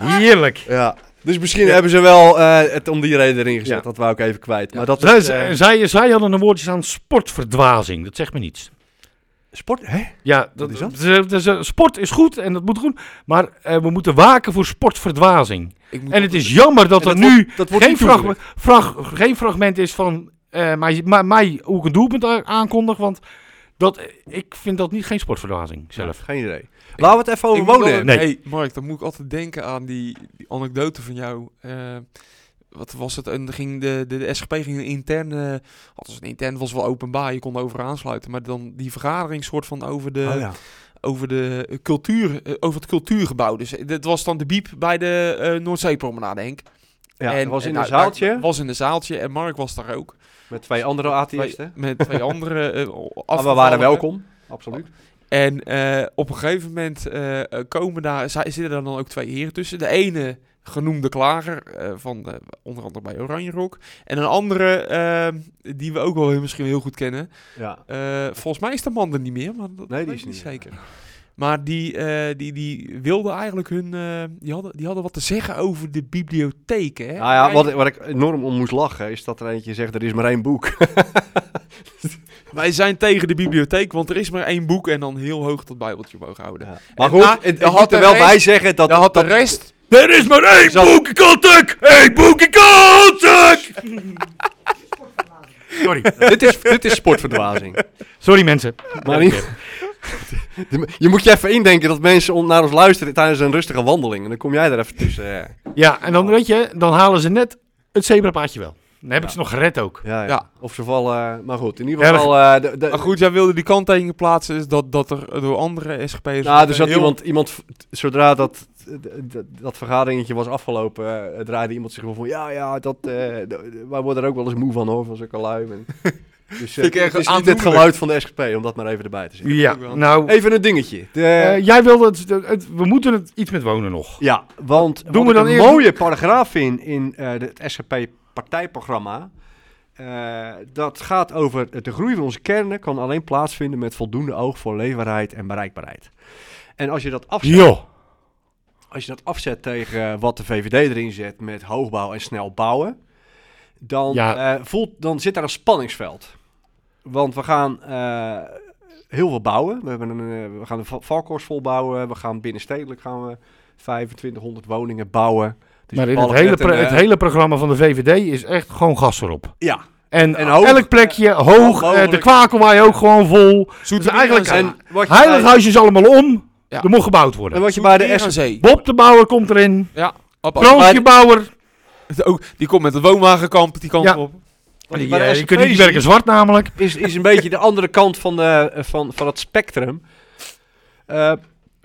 Speaker 3: Heerlijk.
Speaker 4: Ja, Dus misschien hebben ze wel eh, het om die reden erin gezet.
Speaker 3: Ja.
Speaker 4: Dat wou ik even kwijt. Maar dat
Speaker 3: Zij,
Speaker 4: is, eh,
Speaker 3: zij, zij hadden een woordje aan sportverdwazing. Dat zegt me niets.
Speaker 4: sport, hè?
Speaker 3: Ja,
Speaker 4: Wat
Speaker 3: dat,
Speaker 4: is
Speaker 3: is
Speaker 4: dat?
Speaker 3: sport is goed en dat moet goed. Maar eh, we moeten waken voor sportverdwazing.
Speaker 1: Ik moet-
Speaker 3: En het is jammer dat
Speaker 4: En
Speaker 3: er nu
Speaker 4: wordt- dat wordt
Speaker 3: geen,
Speaker 4: niet
Speaker 3: fragme-
Speaker 4: toegelicht.
Speaker 3: frag- geen fragment is van eh, mij, mij, mij hoe ik een doelpunt a- aankondig. Want dat, eh, ik vind dat niet geen sportverdwazing zelf.
Speaker 4: Geen idee. Laten we het even over
Speaker 1: Ik moet
Speaker 4: wonen
Speaker 1: altijd-
Speaker 4: hebben.
Speaker 3: Nee.
Speaker 1: Hey, Mark, dan moet ik altijd denken aan die, die anekdote van jou. Eh, wat was het? En ging de, de, de SGP ging een interne... Althans, een intern was wel openbaar. Je kon over aansluiten. Maar dan die vergadering soort van over de...
Speaker 4: Oh ja.
Speaker 1: over, de eh, cultuur, eh, over het cultuurgebouw. Dus eh, dat was dan de biep bij de eh, Noordzeepromenade, Henk.
Speaker 4: Ja,
Speaker 1: En-
Speaker 4: dat was in
Speaker 1: en
Speaker 4: een
Speaker 1: nou, daar-
Speaker 4: zaaltje
Speaker 1: was in een zaaltje en Mark was daar ook.
Speaker 4: met twee andere atheïsten.
Speaker 1: Twee- met
Speaker 4: [laughs]
Speaker 1: twee andere eh,
Speaker 4: Maar Ah, we waren
Speaker 1: afgevallen.
Speaker 4: welkom. Absoluut.
Speaker 1: En eh, op een gegeven moment eh, komen daar, zij- zitten daar dan ook twee heren tussen. De ene genoemde klager, eh, van eh, onder andere bij Oranje Rock. En een andere, eh, die we ook wel heel- misschien heel goed kennen.
Speaker 4: Ja.
Speaker 1: Eh, volgens mij is de man er niet meer, maar dat
Speaker 4: Nee, die
Speaker 1: weet
Speaker 4: is
Speaker 1: ik
Speaker 4: niet meer.
Speaker 1: zeker. Maar die, eh, die, die wilden eigenlijk hun... eh, die, hadden, die hadden wat te zeggen over de bibliotheken. Hè?
Speaker 4: Nou ja, wat, wat ik enorm om moest lachen is dat er eentje zegt, er is maar één boek. [laughs]
Speaker 1: Wij zijn tegen de bibliotheek, want er is maar één boek... en dan heel hoog dat bijbeltje mogen houden.
Speaker 4: Maar
Speaker 1: En na-
Speaker 4: goed, het,
Speaker 1: dan
Speaker 4: ik
Speaker 1: had
Speaker 4: moet er
Speaker 1: de
Speaker 4: wel
Speaker 1: rest-
Speaker 4: bij zeggen dat...
Speaker 1: Dan had de
Speaker 4: dat-
Speaker 1: rest...
Speaker 3: Er is maar één
Speaker 4: Zat-
Speaker 3: boekenkantuk! Eén
Speaker 1: [laughs]
Speaker 3: boekenkantuk! Sorry.
Speaker 4: dit, is, dit is sportverdwazing.
Speaker 3: Sorry mensen.
Speaker 4: [laughs] Maar in- De- [laughs] je moet je even indenken dat mensen on- naar ons luisteren tijdens een rustige wandeling. En dan kom jij er even tussen. eh.
Speaker 3: Ja, en dan weet je, dan halen ze net het zebrapaadje wel. Dan heb ik ze nog gered ook.
Speaker 4: Ja, ja.
Speaker 1: Ja.
Speaker 4: Of ze vallen... eh, maar goed, in ieder
Speaker 3: Ja,
Speaker 4: geval... eh, de, de-
Speaker 1: Maar goed, jij wilde die kanttekening plaatsen... is dat, dat er door andere SGP'ers...
Speaker 3: Dus
Speaker 4: nou, er zat
Speaker 1: eh, heel-
Speaker 4: iemand, iemand... v- t- Zodra dat, d- d- dat vergaderingetje was afgelopen, eh, draaide iemand zich wel van... Ja, ja, dat, eh, d- d- wij worden er ook wel eens moe van hoor, van zulke lui.
Speaker 3: [laughs]
Speaker 4: En- dus eh,
Speaker 1: ik
Speaker 4: het
Speaker 1: echt
Speaker 4: is niet het
Speaker 1: aandoenlijk.
Speaker 4: geluid van de SGP, om dat maar even erbij te zeggen.
Speaker 3: Ja,
Speaker 1: wel.
Speaker 3: nou,
Speaker 4: Even een dingetje. De-
Speaker 3: eh, jij wilde het, het- we moeten het iets met wonen nog.
Speaker 4: Ja, want
Speaker 3: Doen we
Speaker 4: wat ik
Speaker 3: dan
Speaker 4: een
Speaker 3: eerst-
Speaker 4: mooie paragraaf in, in eh, de- het SGP-partijprogramma. eh, dat gaat over de groei van onze kernen kan alleen plaatsvinden met voldoende oog voor leefbaarheid en bereikbaarheid. En als je dat afzet,
Speaker 3: Joh.
Speaker 4: als je dat afzet tegen eh, wat de VVD erin zet met hoogbouw en snel bouwen, dan,
Speaker 3: Ja.
Speaker 4: eh, voelt, dan zit daar een spanningsveld. Want we gaan eh, heel veel bouwen. We, hebben een, eh, we gaan de va- Valkhorst volbouwen. We gaan binnenstedelijk gaan we 2500 woningen bouwen. Dus
Speaker 3: Maar in het
Speaker 4: Balk
Speaker 3: hele,
Speaker 4: net een,
Speaker 3: pro-
Speaker 4: eh,
Speaker 3: het hele programma van de VVD is echt gewoon gas erop.
Speaker 4: Ja.
Speaker 3: En,
Speaker 4: En hoog.
Speaker 3: elk plekje, hoog, eh, de
Speaker 4: mogelijk.
Speaker 3: kwakelwaai ook gewoon vol.
Speaker 1: Zoet
Speaker 3: Dus eigenlijk-
Speaker 1: en...
Speaker 4: wat je, bij,
Speaker 3: Heilighuisjes allemaal om,
Speaker 1: Ja.
Speaker 3: er mocht gebouwd
Speaker 4: en
Speaker 3: worden.
Speaker 4: wat je bij de SGP...
Speaker 1: zee.
Speaker 3: Bob de Bouwer komt erin,
Speaker 1: Ja, apart.
Speaker 3: Fransje Bouwer.
Speaker 1: Ook, die komt met het woonwagenkamp die kant
Speaker 3: Ja.
Speaker 1: op.
Speaker 4: wat je bij
Speaker 3: Ja,
Speaker 4: de
Speaker 3: je
Speaker 4: SGP
Speaker 3: kunt niet
Speaker 4: ziet,
Speaker 3: werken zwart namelijk.
Speaker 4: is, is een beetje de andere kant van, de, van, van het spectrum. Eh,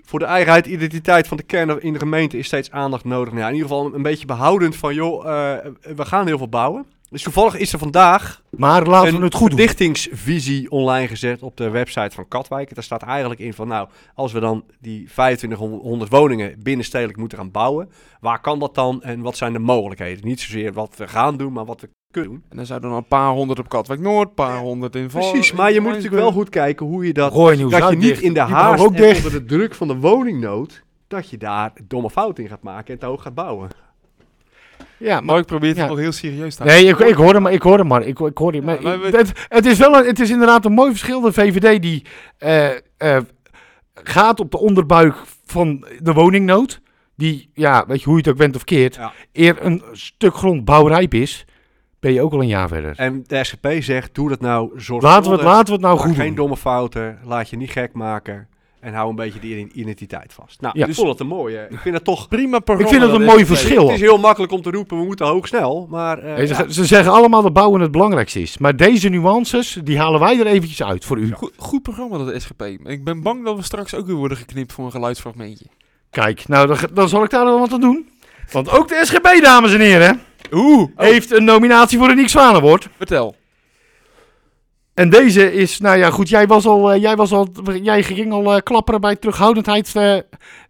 Speaker 4: voor de eigenheid, identiteit van de kern in de gemeente is steeds aandacht nodig. Nou ja, in ieder geval een beetje behoudend van, joh, eh, we gaan heel veel bouwen. Dus toevallig is er vandaag
Speaker 3: Maar laten
Speaker 4: een
Speaker 3: we het goed doen.
Speaker 4: verdichtingsvisie online gezet op de website van Katwijk. Daar staat eigenlijk in van, nou, als we dan die 2500 woningen binnenstedelijk moeten gaan bouwen, waar kan dat dan en wat zijn de mogelijkheden? Niet zozeer wat we gaan doen, maar wat we kunnen doen.
Speaker 1: En dan zouden er een paar honderd op Katwijk Noord, een paar honderd in Val.
Speaker 4: Precies, maar je moet natuurlijk wel goed kijken hoe je dat
Speaker 3: Gooi nieuws
Speaker 4: dat je
Speaker 3: uit
Speaker 4: niet
Speaker 3: dicht.
Speaker 4: in de
Speaker 3: Die bouwen
Speaker 4: haast
Speaker 3: ook
Speaker 4: en
Speaker 3: dicht.
Speaker 4: onder de druk van de woningnood, dat je daar domme fouten in gaat maken en te hoog gaat bouwen.
Speaker 3: Ja,
Speaker 1: Maar ik probeer het
Speaker 3: Ja.
Speaker 1: wel heel serieus te houden.
Speaker 3: Nee, ik, ik hoor hem, maar ik hoor hem maar. Ik, ik hoor hem, maar
Speaker 1: Ja, maar
Speaker 3: ik-
Speaker 1: we-
Speaker 3: het, het is wel een, het is inderdaad een mooi verschil. De VVD die eh, eh, gaat op de onderbuik van de woningnood. Die, ja, weet je hoe je het ook bent of keert.
Speaker 4: Ja.
Speaker 3: Eer een stuk grond bouwrijp is, ben je ook al een jaar verder.
Speaker 4: En de SGP zegt, doe dat nou zorgvuldig.
Speaker 3: Laten we het, laten we het nou
Speaker 4: maak
Speaker 3: goed
Speaker 4: geen
Speaker 3: doen.
Speaker 4: domme fouten, laat je niet gek maken en hou een beetje die identiteit vast. Nou,
Speaker 3: Ja.
Speaker 4: ik vond het een mooie. Ik vind het toch...
Speaker 1: Prima
Speaker 3: Ik
Speaker 1: programma.
Speaker 3: vind het een
Speaker 1: dat
Speaker 3: mooi
Speaker 1: SGP.
Speaker 3: verschil.
Speaker 4: Het is heel makkelijk om te roepen, we moeten hoog snel, maar... eh,
Speaker 3: Nee, ze,
Speaker 4: ja.
Speaker 3: ze zeggen allemaal dat bouwen het belangrijkste is. Maar deze nuances, die halen wij er eventjes uit voor u.
Speaker 1: Goed, goed programma dat SGP. Ik ben bang dat we straks ook weer worden geknipt voor een geluidsfragmentje.
Speaker 3: Kijk, nou dan, dan zal ik daar wel wat aan doen. Want ook de SGP, dames en heren,
Speaker 1: Oeh,
Speaker 3: heeft een nominatie voor een Nick Zwanenwoord.
Speaker 1: vertel.
Speaker 3: En deze is, nou ja, goed, jij was al, eh, jij was al, jij ging al eh, klapperen bij terughoudendheid eh,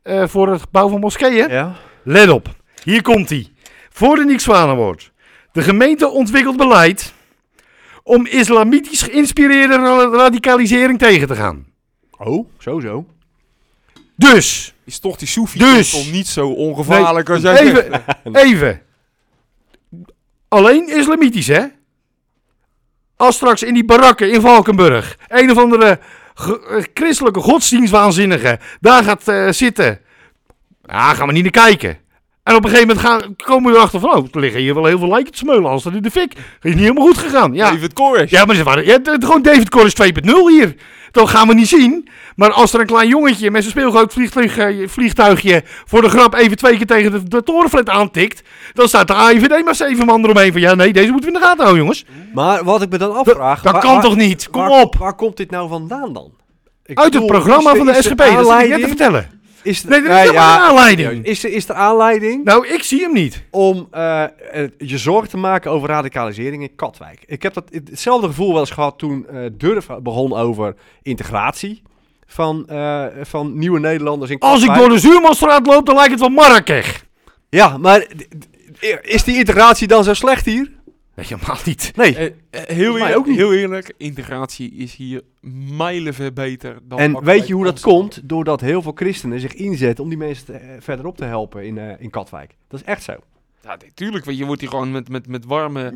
Speaker 3: eh, voor het bouwen van moskeeën.
Speaker 4: Ja.
Speaker 3: Let op, hier komt hij. Voor de Nick Zwanenwoord. De gemeente ontwikkelt beleid om islamitisch geïnspireerde ra- radicalisering tegen te gaan.
Speaker 4: Oh, sowieso.
Speaker 3: Dus,
Speaker 1: Is toch die Soefie
Speaker 3: Dus-
Speaker 1: toch niet zo ongevaarlijk als jij zegt.
Speaker 3: even, even. Alleen islamitisch, hè? Als straks in die barakken in Valkenburg een of andere ge- eh, christelijke godsdienstwaanzinnige daar gaat eh, zitten. Ja, gaan we niet naar kijken. En op een gegeven moment gaan, komen we erachter van, oh, er liggen hier wel heel veel lijken te smeulen, als dat in de fik. Is niet helemaal goed gegaan. Ja.
Speaker 1: David Koresh.
Speaker 3: Ja, maar ze waren, ja, d- gewoon David Corris 2.0 hier. Dat gaan we niet zien. Maar als er een klein jongetje met zijn speelgroot vliegtuig, eh, vliegtuigje voor de grap even twee keer tegen de, de torenflat aantikt, dan staat de AIVD maar zeven man eromheen van ja, nee, deze moeten we in de gaten houden, jongens.
Speaker 4: Maar wat ik me dan afvraag...
Speaker 3: dat
Speaker 4: waar-
Speaker 3: kan
Speaker 4: waar-
Speaker 3: toch niet? Kom
Speaker 4: waar-
Speaker 3: op.
Speaker 4: Waar komt dit nou vandaan dan? Ik
Speaker 3: Uit het
Speaker 4: bedoel,
Speaker 3: programma
Speaker 4: is er-
Speaker 3: van de
Speaker 4: is er
Speaker 3: SGP, dat is net te
Speaker 4: aanleiding?
Speaker 3: vertellen.
Speaker 4: Is er-
Speaker 3: Nee, dat is
Speaker 4: nou
Speaker 3: helemaal
Speaker 4: ja,
Speaker 3: geen aanleiding.
Speaker 4: Is er, is er aanleiding
Speaker 3: Nou, ik zie hem niet.
Speaker 4: om eh, eh, je zorgen te maken over radicalisering in Katwijk? Ik heb dat, hetzelfde gevoel wel eens gehad toen eh Durf begon over integratie van, eh, van nieuwe Nederlanders in
Speaker 3: Als
Speaker 4: Katwijk.
Speaker 3: ik door de Zuurmanstraat loop, dan lijkt het wel Marrakech.
Speaker 4: Ja, maar d- d- is die integratie dan zo slecht hier?
Speaker 3: Nee, helemaal niet.
Speaker 4: Nee.
Speaker 1: Eh, eh, heel,
Speaker 4: mij
Speaker 1: eerlijk,
Speaker 4: ook niet.
Speaker 1: heel eerlijk, integratie is hier mijlenver beter dan...
Speaker 4: En
Speaker 1: Katwijk
Speaker 4: weet je hoe dat
Speaker 1: Amsterdam.
Speaker 4: komt? Doordat heel veel christenen zich inzetten om die mensen te- eh, verderop te helpen in, eh, in Katwijk. Dat is echt zo.
Speaker 1: Ja, natuurlijk. want Je wordt hier gewoon met, met, met warme...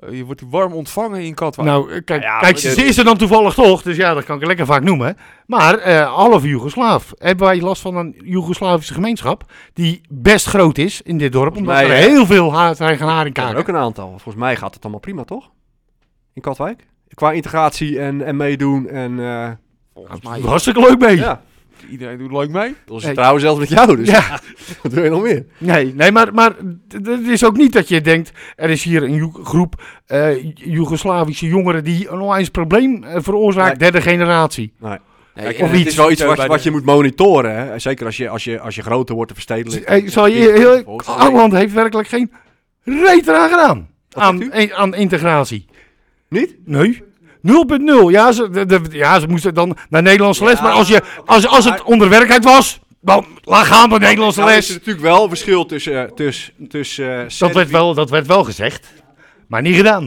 Speaker 1: eh, Je wordt hier warm ontvangen in Katwijk.
Speaker 3: Nou, eh, kijk,
Speaker 4: Ja, maar
Speaker 3: kijk
Speaker 4: dit-
Speaker 3: ze is er dan toevallig toch, dus ja, dat kan ik lekker vaak noemen. Maar eh half Joegoslaaf. Hebben wij last van een Joegoslavische gemeenschap die best groot is in dit dorp, omdat
Speaker 4: mij,
Speaker 3: er
Speaker 4: eh,
Speaker 3: heel veel haar zijn gaan haar in
Speaker 4: Ik heb er
Speaker 3: kaken.
Speaker 4: ook een aantal. Volgens mij gaat het allemaal prima, toch? In Katwijk? Qua integratie en, en meedoen en... eh,
Speaker 1: Volgens mij,
Speaker 3: Hartstikke leuk mee.
Speaker 4: ja,
Speaker 1: iedereen doet leuk mee.
Speaker 4: dat is
Speaker 3: Nee.
Speaker 4: trouwens zelfs met jou, dus
Speaker 3: Ja,
Speaker 4: [laughs] wat wil je nog meer?
Speaker 3: nee, nee maar, maar d- d- het is ook niet dat je denkt, er is hier een Jo- groep eh Joegoslavische jongeren die een onwijs probleem eh, veroorzaakt,
Speaker 4: Nee.
Speaker 3: derde generatie.
Speaker 4: Kijk,
Speaker 1: en
Speaker 4: en
Speaker 1: het
Speaker 4: het is wel iets
Speaker 1: eh,
Speaker 4: wat,
Speaker 1: bij
Speaker 4: wat
Speaker 1: de-
Speaker 4: je moet monitoren, hè? Zeker als je, als je, als je groter wordt te verstedelijk.
Speaker 3: Ik zal je heel... Oudland heeft werkelijk geen reet eraan gedaan. Aan, aan integratie.
Speaker 4: Niet?
Speaker 3: Nee. 0.0. Ja ze, de, de- ja, ze moesten dan naar Nederlandse les. Maar als, je, als, als het onder werkheid was, dan laat gaan naar Nederlandse
Speaker 4: Nou is er
Speaker 3: les.
Speaker 4: natuurlijk wel verschil tussen... eh, tussen, tussen eh,
Speaker 3: Dat werd,
Speaker 4: Servië-
Speaker 3: wel, dat werd wel gezegd, maar niet gedaan.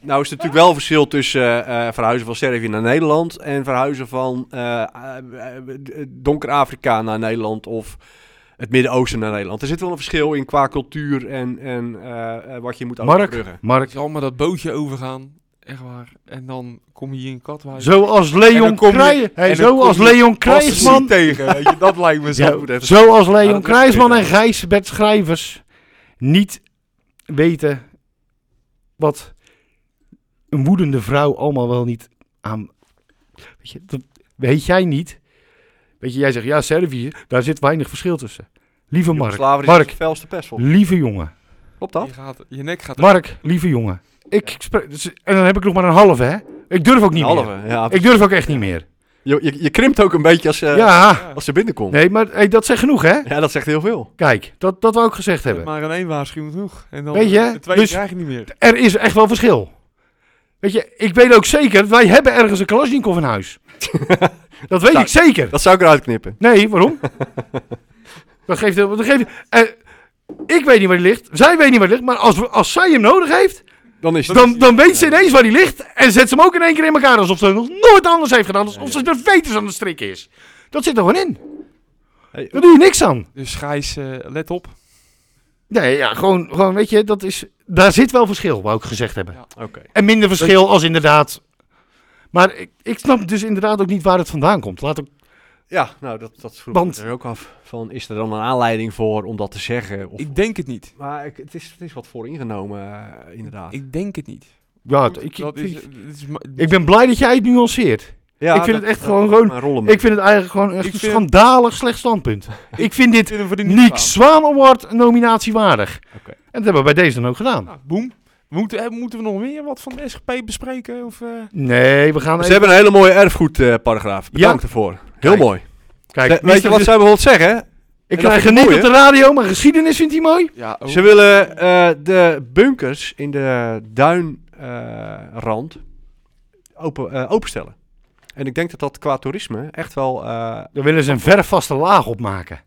Speaker 4: Nou is er natuurlijk wel verschil tussen eh, eh, verhuizen van Servië naar Nederland en verhuizen van eh, eh, eh, Donker Afrika naar Nederland of het Midden-Oosten naar Nederland. Er zit wel een verschil in qua cultuur en, en eh, eh, wat je moet
Speaker 3: Mark,
Speaker 4: overbruggen.
Speaker 3: Mark,
Speaker 1: Zal maar dat bootje overgaan. Echt waar. En dan kom je hier in Katwijk.
Speaker 3: zoals
Speaker 1: En
Speaker 3: Leon
Speaker 1: dan kom je-
Speaker 3: Krij-
Speaker 1: en
Speaker 3: hey,
Speaker 1: dan
Speaker 3: Zoals
Speaker 1: kom je
Speaker 3: Leon
Speaker 1: Passen
Speaker 3: Krijsman.
Speaker 1: niet tegen. weet je, dat
Speaker 3: [laughs]
Speaker 1: lijkt me zo.
Speaker 3: Ja,
Speaker 1: goed even.
Speaker 3: zoals
Speaker 4: Ja,
Speaker 3: Leon
Speaker 4: dat
Speaker 3: Krijsman
Speaker 4: is
Speaker 3: en
Speaker 4: het,
Speaker 3: Gijsbert Schrijvers niet weten wat een woedende vrouw allemaal wel niet aan. Weet, je, dat weet jij niet? Weet je, jij zegt ja, Servië, daar zit weinig verschil tussen. Lieve Mark,
Speaker 4: Slaven is
Speaker 3: Mark,
Speaker 4: de felste pest volgens
Speaker 3: lieve jongen.
Speaker 4: mij. Klopt dat?
Speaker 1: Je, gaat, je nek gaat...
Speaker 3: Mark, lieve jongen. Ik spreek- dus- en dan heb ik nog maar een halve, hè? Ik durf ook niet meer.
Speaker 4: Halve, ja.
Speaker 3: Ik durf ook echt niet meer.
Speaker 4: Je, je, je krimpt ook een beetje als, eh,
Speaker 3: ja,
Speaker 4: als ze binnenkomt.
Speaker 3: nee, maar hey, dat zegt genoeg, hè?
Speaker 4: Ja, dat zegt heel veel.
Speaker 3: Kijk, dat, dat we ook gezegd
Speaker 1: Je hebt
Speaker 3: hebben.
Speaker 1: maar in één waarschuwing genoeg. En dan eh,
Speaker 3: Weet je,
Speaker 1: de tweede
Speaker 3: dus-
Speaker 1: krijg je niet meer.
Speaker 3: er is echt wel verschil. Weet je, ik weet ook zeker, wij hebben ergens een Kalashnikov in [laughs] huis. dat weet
Speaker 4: Nou,
Speaker 3: ik zeker.
Speaker 4: Dat zou ik eruit knippen.
Speaker 3: Nee, [laughs] waarom? dat geeft... Dat geeft eh, ik weet niet waar die ligt, zij weet niet waar die ligt, maar als, we- als zij hem nodig heeft,
Speaker 4: Dan is het.
Speaker 3: dan, dan weet ze ineens waar die ligt en zet ze hem ook in één keer in elkaar alsof ze nog nooit anders heeft gedaan, alsof ze de veters aan de strik is. Dat zit er gewoon in.
Speaker 4: Hey,
Speaker 3: Daar doe je niks aan.
Speaker 1: Dus Gijs, eh, let op.
Speaker 3: Nee, ja, gewoon, gewoon weet je, dat is, daar zit wel verschil, wou ik gezegd hebben.
Speaker 4: Oké.
Speaker 3: En minder verschil als inderdaad. Maar ik, ik snap dus inderdaad ook niet waar het vandaan komt. Laat ook,
Speaker 4: Ja, nou, dat, dat vroeg
Speaker 3: Want-
Speaker 4: ik er ook af. Van, is er dan een aanleiding voor om dat te zeggen? Of,
Speaker 1: Ik denk het niet.
Speaker 4: maar ik- het, is, het is wat voor ingenomen, eh, inderdaad.
Speaker 1: Ik denk het niet.
Speaker 3: ja,
Speaker 1: Goed,
Speaker 3: ik,
Speaker 1: dat is,
Speaker 3: ik,
Speaker 1: dit is ma-
Speaker 3: ik
Speaker 1: [laughs]
Speaker 3: ben blij dat jij het nuanceert.
Speaker 4: Ja,
Speaker 3: Ik vind
Speaker 4: dat-
Speaker 3: het echt
Speaker 4: dat-
Speaker 3: gewoon-
Speaker 4: dat-
Speaker 3: gewoon-
Speaker 4: maar rollen
Speaker 3: Ik vind het eigenlijk gewoon echt
Speaker 1: Ik
Speaker 3: een
Speaker 1: vind-
Speaker 3: schandalig slecht
Speaker 4: [laughs]
Speaker 3: standpunt. Ik vind dit
Speaker 1: vind hem voor de
Speaker 3: Nick Zwaan Award een nominatie waardig.
Speaker 4: Oké.
Speaker 3: En dat hebben we bij deze dan ook gedaan.
Speaker 1: Nou, boem. Moeten, eh, moeten we nog meer wat van de SGP bespreken? Of, eh?
Speaker 3: Nee, we gaan
Speaker 4: Ze
Speaker 3: even...
Speaker 4: hebben een hele mooie erfgoedparagraaf. Bedankt ervoor. Heel
Speaker 3: Kijk,
Speaker 4: mooi.
Speaker 3: Kijk, dus-
Speaker 4: Ze- weet je wat zij bijvoorbeeld zeggen?
Speaker 3: ik
Speaker 4: en dat
Speaker 3: krijg
Speaker 4: vind
Speaker 3: het
Speaker 4: ik
Speaker 3: niet
Speaker 4: mooi,
Speaker 3: op de radio, maar geschiedenis vindt hij mooi.
Speaker 1: Ja,
Speaker 4: Ze willen eh, de bunkers in de duinrand open, eh, openstellen. En ik denk dat dat qua toerisme echt wel... eh,
Speaker 3: Daar willen ze een vervaste laag op maken.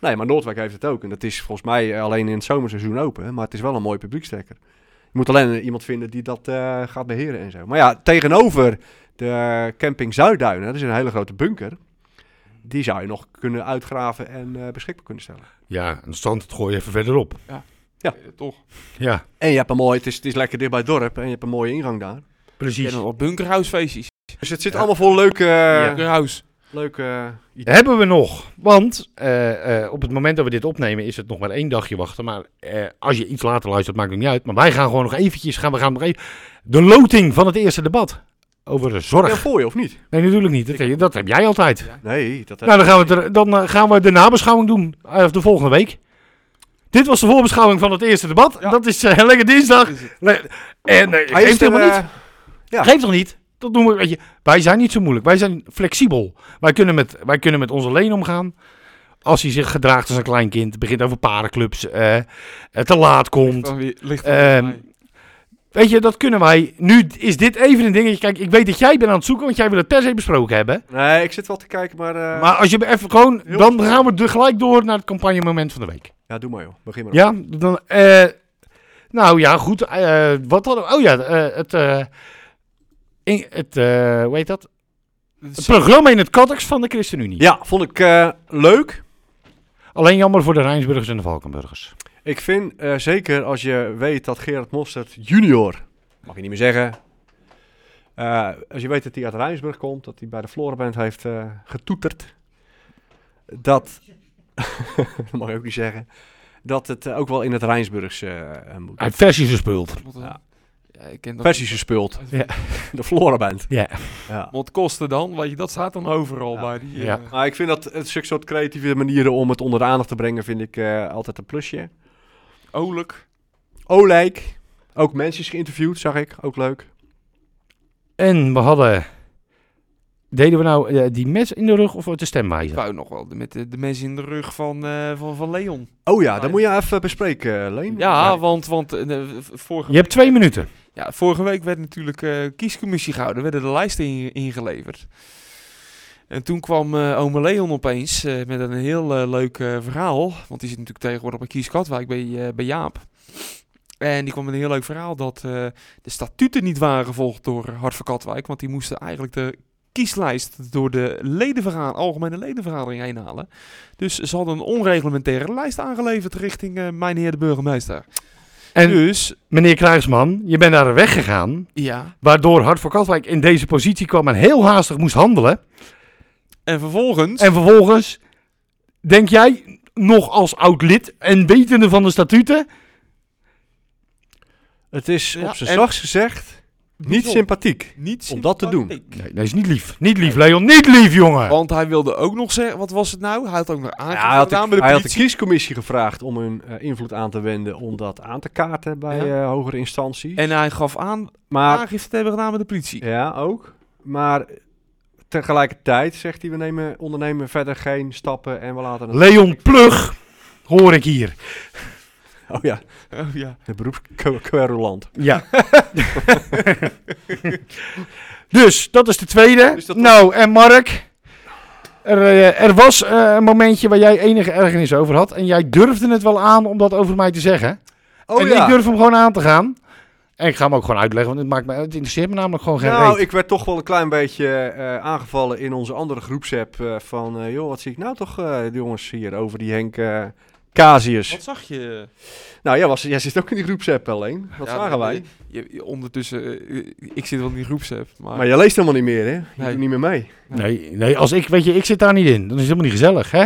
Speaker 4: Nee, maar Noordwijk heeft het ook. En dat is volgens mij eh, alleen in het zomerseizoen open. Maar het is wel een mooi publiekstrekker. Je moet alleen eh, iemand vinden die dat eh, gaat beheren en zo. Maar ja, tegenover de camping Zuidduinen, dat is een hele grote bunker. Die zou je nog kunnen uitgraven en eh, beschikbaar kunnen stellen.
Speaker 3: Ja, en stand het gooi je even verderop.
Speaker 1: Eh, toch?
Speaker 3: Ja,
Speaker 4: En je hebt een mooi, het is, het is lekker dicht bij het dorp en je hebt een mooie ingang daar.
Speaker 1: En
Speaker 3: precies.
Speaker 1: dan wat bunkerhuisfeestjes.
Speaker 4: Dus het zit allemaal vol leuke, eh,
Speaker 1: Bunkerhuis.
Speaker 4: leuke eh, ideeën.
Speaker 3: Hebben we nog? Want eh, eh, op het moment dat we dit opnemen is het nog maar één dagje wachten. Maar eh, als je iets later luistert, maakt het niet uit. Maar wij gaan gewoon nog eventjes, gaan we gaan nog even... De loting van het eerste debat over de
Speaker 4: Ja,
Speaker 3: zorg.
Speaker 4: voor je of niet?
Speaker 3: Nee, natuurlijk niet. Dat, dat heb jij altijd.
Speaker 4: Nee, dat heb
Speaker 3: Nou, dan gaan, we het er- dan eh, gaan we de nabeschouwing doen. eh, de volgende week. Dit was de voorbeschouwing van het eerste debat. Dat is eh, lekker dinsdag.
Speaker 1: Is het.
Speaker 3: Le- En eh,
Speaker 4: Hij is
Speaker 3: geeft
Speaker 4: er,
Speaker 3: helemaal niet.
Speaker 4: eh, ja.
Speaker 3: Geeft toch niet? Dat doen we, weet je. Wij zijn niet zo moeilijk. Wij zijn flexibel. Wij kunnen met, wij kunnen met onze leen omgaan. Als hij zich gedraagt als een klein kind. Begint over parenclubs. eh, eh, te laat komt.
Speaker 1: Dan weer ligt
Speaker 3: Ehm, Weet je, dat kunnen wij. Nu is dit even een dingetje. Kijk, ik weet dat jij bent aan het zoeken. Want jij wil het per se besproken hebben.
Speaker 4: Nee, ik zit wel te kijken, maar... eh,
Speaker 3: Maar als je even gewoon,
Speaker 4: Heel
Speaker 3: dan
Speaker 4: goed.
Speaker 3: gaan we er gelijk door naar het campagnemoment van de week.
Speaker 4: Ja, doe maar joh. Begin maar.
Speaker 3: Ja, dan, eh, nou ja, goed. eh, wat hadden we? Oh ja, eh, het, eh, in- het eh, hoe heet dat? Het programma in het Kattex van de ChristenUnie.
Speaker 4: Ja, vond ik eh, leuk.
Speaker 3: Alleen jammer voor de Rijnsburgers en de Valkenburgers.
Speaker 4: Ik vind, eh, zeker als je weet dat Gerard Mostert junior, mag je niet meer zeggen, eh, als je weet dat hij uit Rijnsburg komt, dat hij bij de Floreband heeft eh, getoeterd, dat, [laughs] dat mag je ook niet zeggen, dat het eh, ook wel in het Rijnsburgs eh, eh, moet.
Speaker 3: Hij heeft versies gespeeld.
Speaker 1: eh, Ja. ik ken dat.
Speaker 4: Versies gespeeld,
Speaker 3: Ja.
Speaker 4: [laughs] de Floreband.
Speaker 3: Ja.
Speaker 4: Ja.
Speaker 1: Wat kosten dan? Weet je, dat staat dan overal bij die... eh,
Speaker 3: Ja.
Speaker 4: Maar ik vind dat het zulke soort creatieve manieren om het onder de aandacht te brengen, vind ik eh, altijd een plusje.
Speaker 1: Olijk.
Speaker 4: Olijk, ook mensen is geïnterviewd, zag ik, ook leuk.
Speaker 3: En we hadden, deden we nou eh, die mes in de rug of de
Speaker 1: Ik
Speaker 3: stemwijzer?
Speaker 1: wou nog wel de- met de, de mensen in de rug van, eh, van, van Leon.
Speaker 4: Oh ja, dat moet je even bespreken, Leen.
Speaker 1: Ja, want, want eh, v- vorige,
Speaker 3: Je hebt twee minuten.
Speaker 1: ja, vorige week werd natuurlijk eh, kiescommissie gehouden. werden de lijsten in- ingeleverd. En toen kwam eh ome Leon opeens eh, met een heel eh, leuk eh, verhaal. Want die zit natuurlijk tegenwoordig bij Kies Katwijk bij, eh, bij Jaap. En die kwam met een heel leuk verhaal dat eh, de statuten niet waren gevolgd door Hart van Katwijk. Want die moesten eigenlijk de kieslijst door de ledenverga- algemene ledenvergadering heen halen. Dus ze hadden een onreglementaire lijst aangeleverd richting eh mijn heer de burgemeester.
Speaker 3: En
Speaker 1: dus,
Speaker 3: meneer Kruisman, je bent daar weggegaan.
Speaker 1: ja,
Speaker 3: Waardoor Hart voor Katwijk in deze positie kwam en heel haastig moest handelen.
Speaker 1: En vervolgens.
Speaker 3: En vervolgens, denk jij, nog als oud lid en wetende van de statuten,
Speaker 4: Het is
Speaker 1: Ja,
Speaker 4: op zijn
Speaker 1: en-
Speaker 4: zachts gezegd niet
Speaker 1: Bijzonder.
Speaker 4: sympathiek.
Speaker 1: niet
Speaker 4: om dat te doen.
Speaker 1: sympathiek.
Speaker 3: Nee, dat is niet lief. Oh. Niet lief, Leon. Niet lief, jongen.
Speaker 1: Want hij wilde ook nog zeggen. Wat was het nou? Hij had ook nog
Speaker 4: Ja,
Speaker 1: aangifte
Speaker 4: hij, had
Speaker 1: gedaan
Speaker 4: de,
Speaker 1: bij de
Speaker 4: hij had de
Speaker 1: politie.
Speaker 4: kiescommissie gevraagd om hun eh, invloed aan te wenden om dat aan te kaarten bij
Speaker 1: Ja.
Speaker 4: eh, hogere instanties.
Speaker 1: en hij gaf aan
Speaker 4: maar
Speaker 1: aangifte te hebben gedaan bij de politie.
Speaker 4: ja, ook. Maar tegelijkertijd zegt hij, we nemen, ondernemen verder geen stappen en we laten het...
Speaker 3: Leon Plug, hoor ik hier.
Speaker 4: oh ja,
Speaker 1: [laughs] Oh, ja.
Speaker 4: de [laughs] beroepsquerulant.
Speaker 3: Ja. [laughs] dus, dat is de tweede.
Speaker 4: Dus dat-
Speaker 3: nou, en Mark, er, eh, er was eh, een momentje waar jij enige ergernis over had. En jij durfde het wel aan om dat over mij te zeggen.
Speaker 4: Oh
Speaker 3: en ik durf hem gewoon aan te gaan. En ik ga hem ook gewoon uitleggen, want het, maakt me, het interesseert me namelijk gewoon geen
Speaker 4: Nou,
Speaker 3: reet.
Speaker 4: ik werd toch wel een klein beetje eh, aangevallen in onze andere groepsapp eh, van... eh, joh, wat zie ik nou toch, eh, de jongens, hier over die Henk eh Casius.
Speaker 1: Wat zag je?
Speaker 4: Nou, jij, was, jij zit ook in die groepsapp alleen. Dat
Speaker 1: Ja,
Speaker 4: zagen wij.
Speaker 1: eh, je- je- ondertussen, eh, eh, ik zit wel in die groepsapp. Maar,
Speaker 4: Maar jij leest helemaal niet meer, hè? Je
Speaker 1: Nee.
Speaker 4: doet niet meer mee.
Speaker 3: Nee, nee, als ik, weet je, ik zit daar niet in. Dan is het helemaal niet gezellig, hè?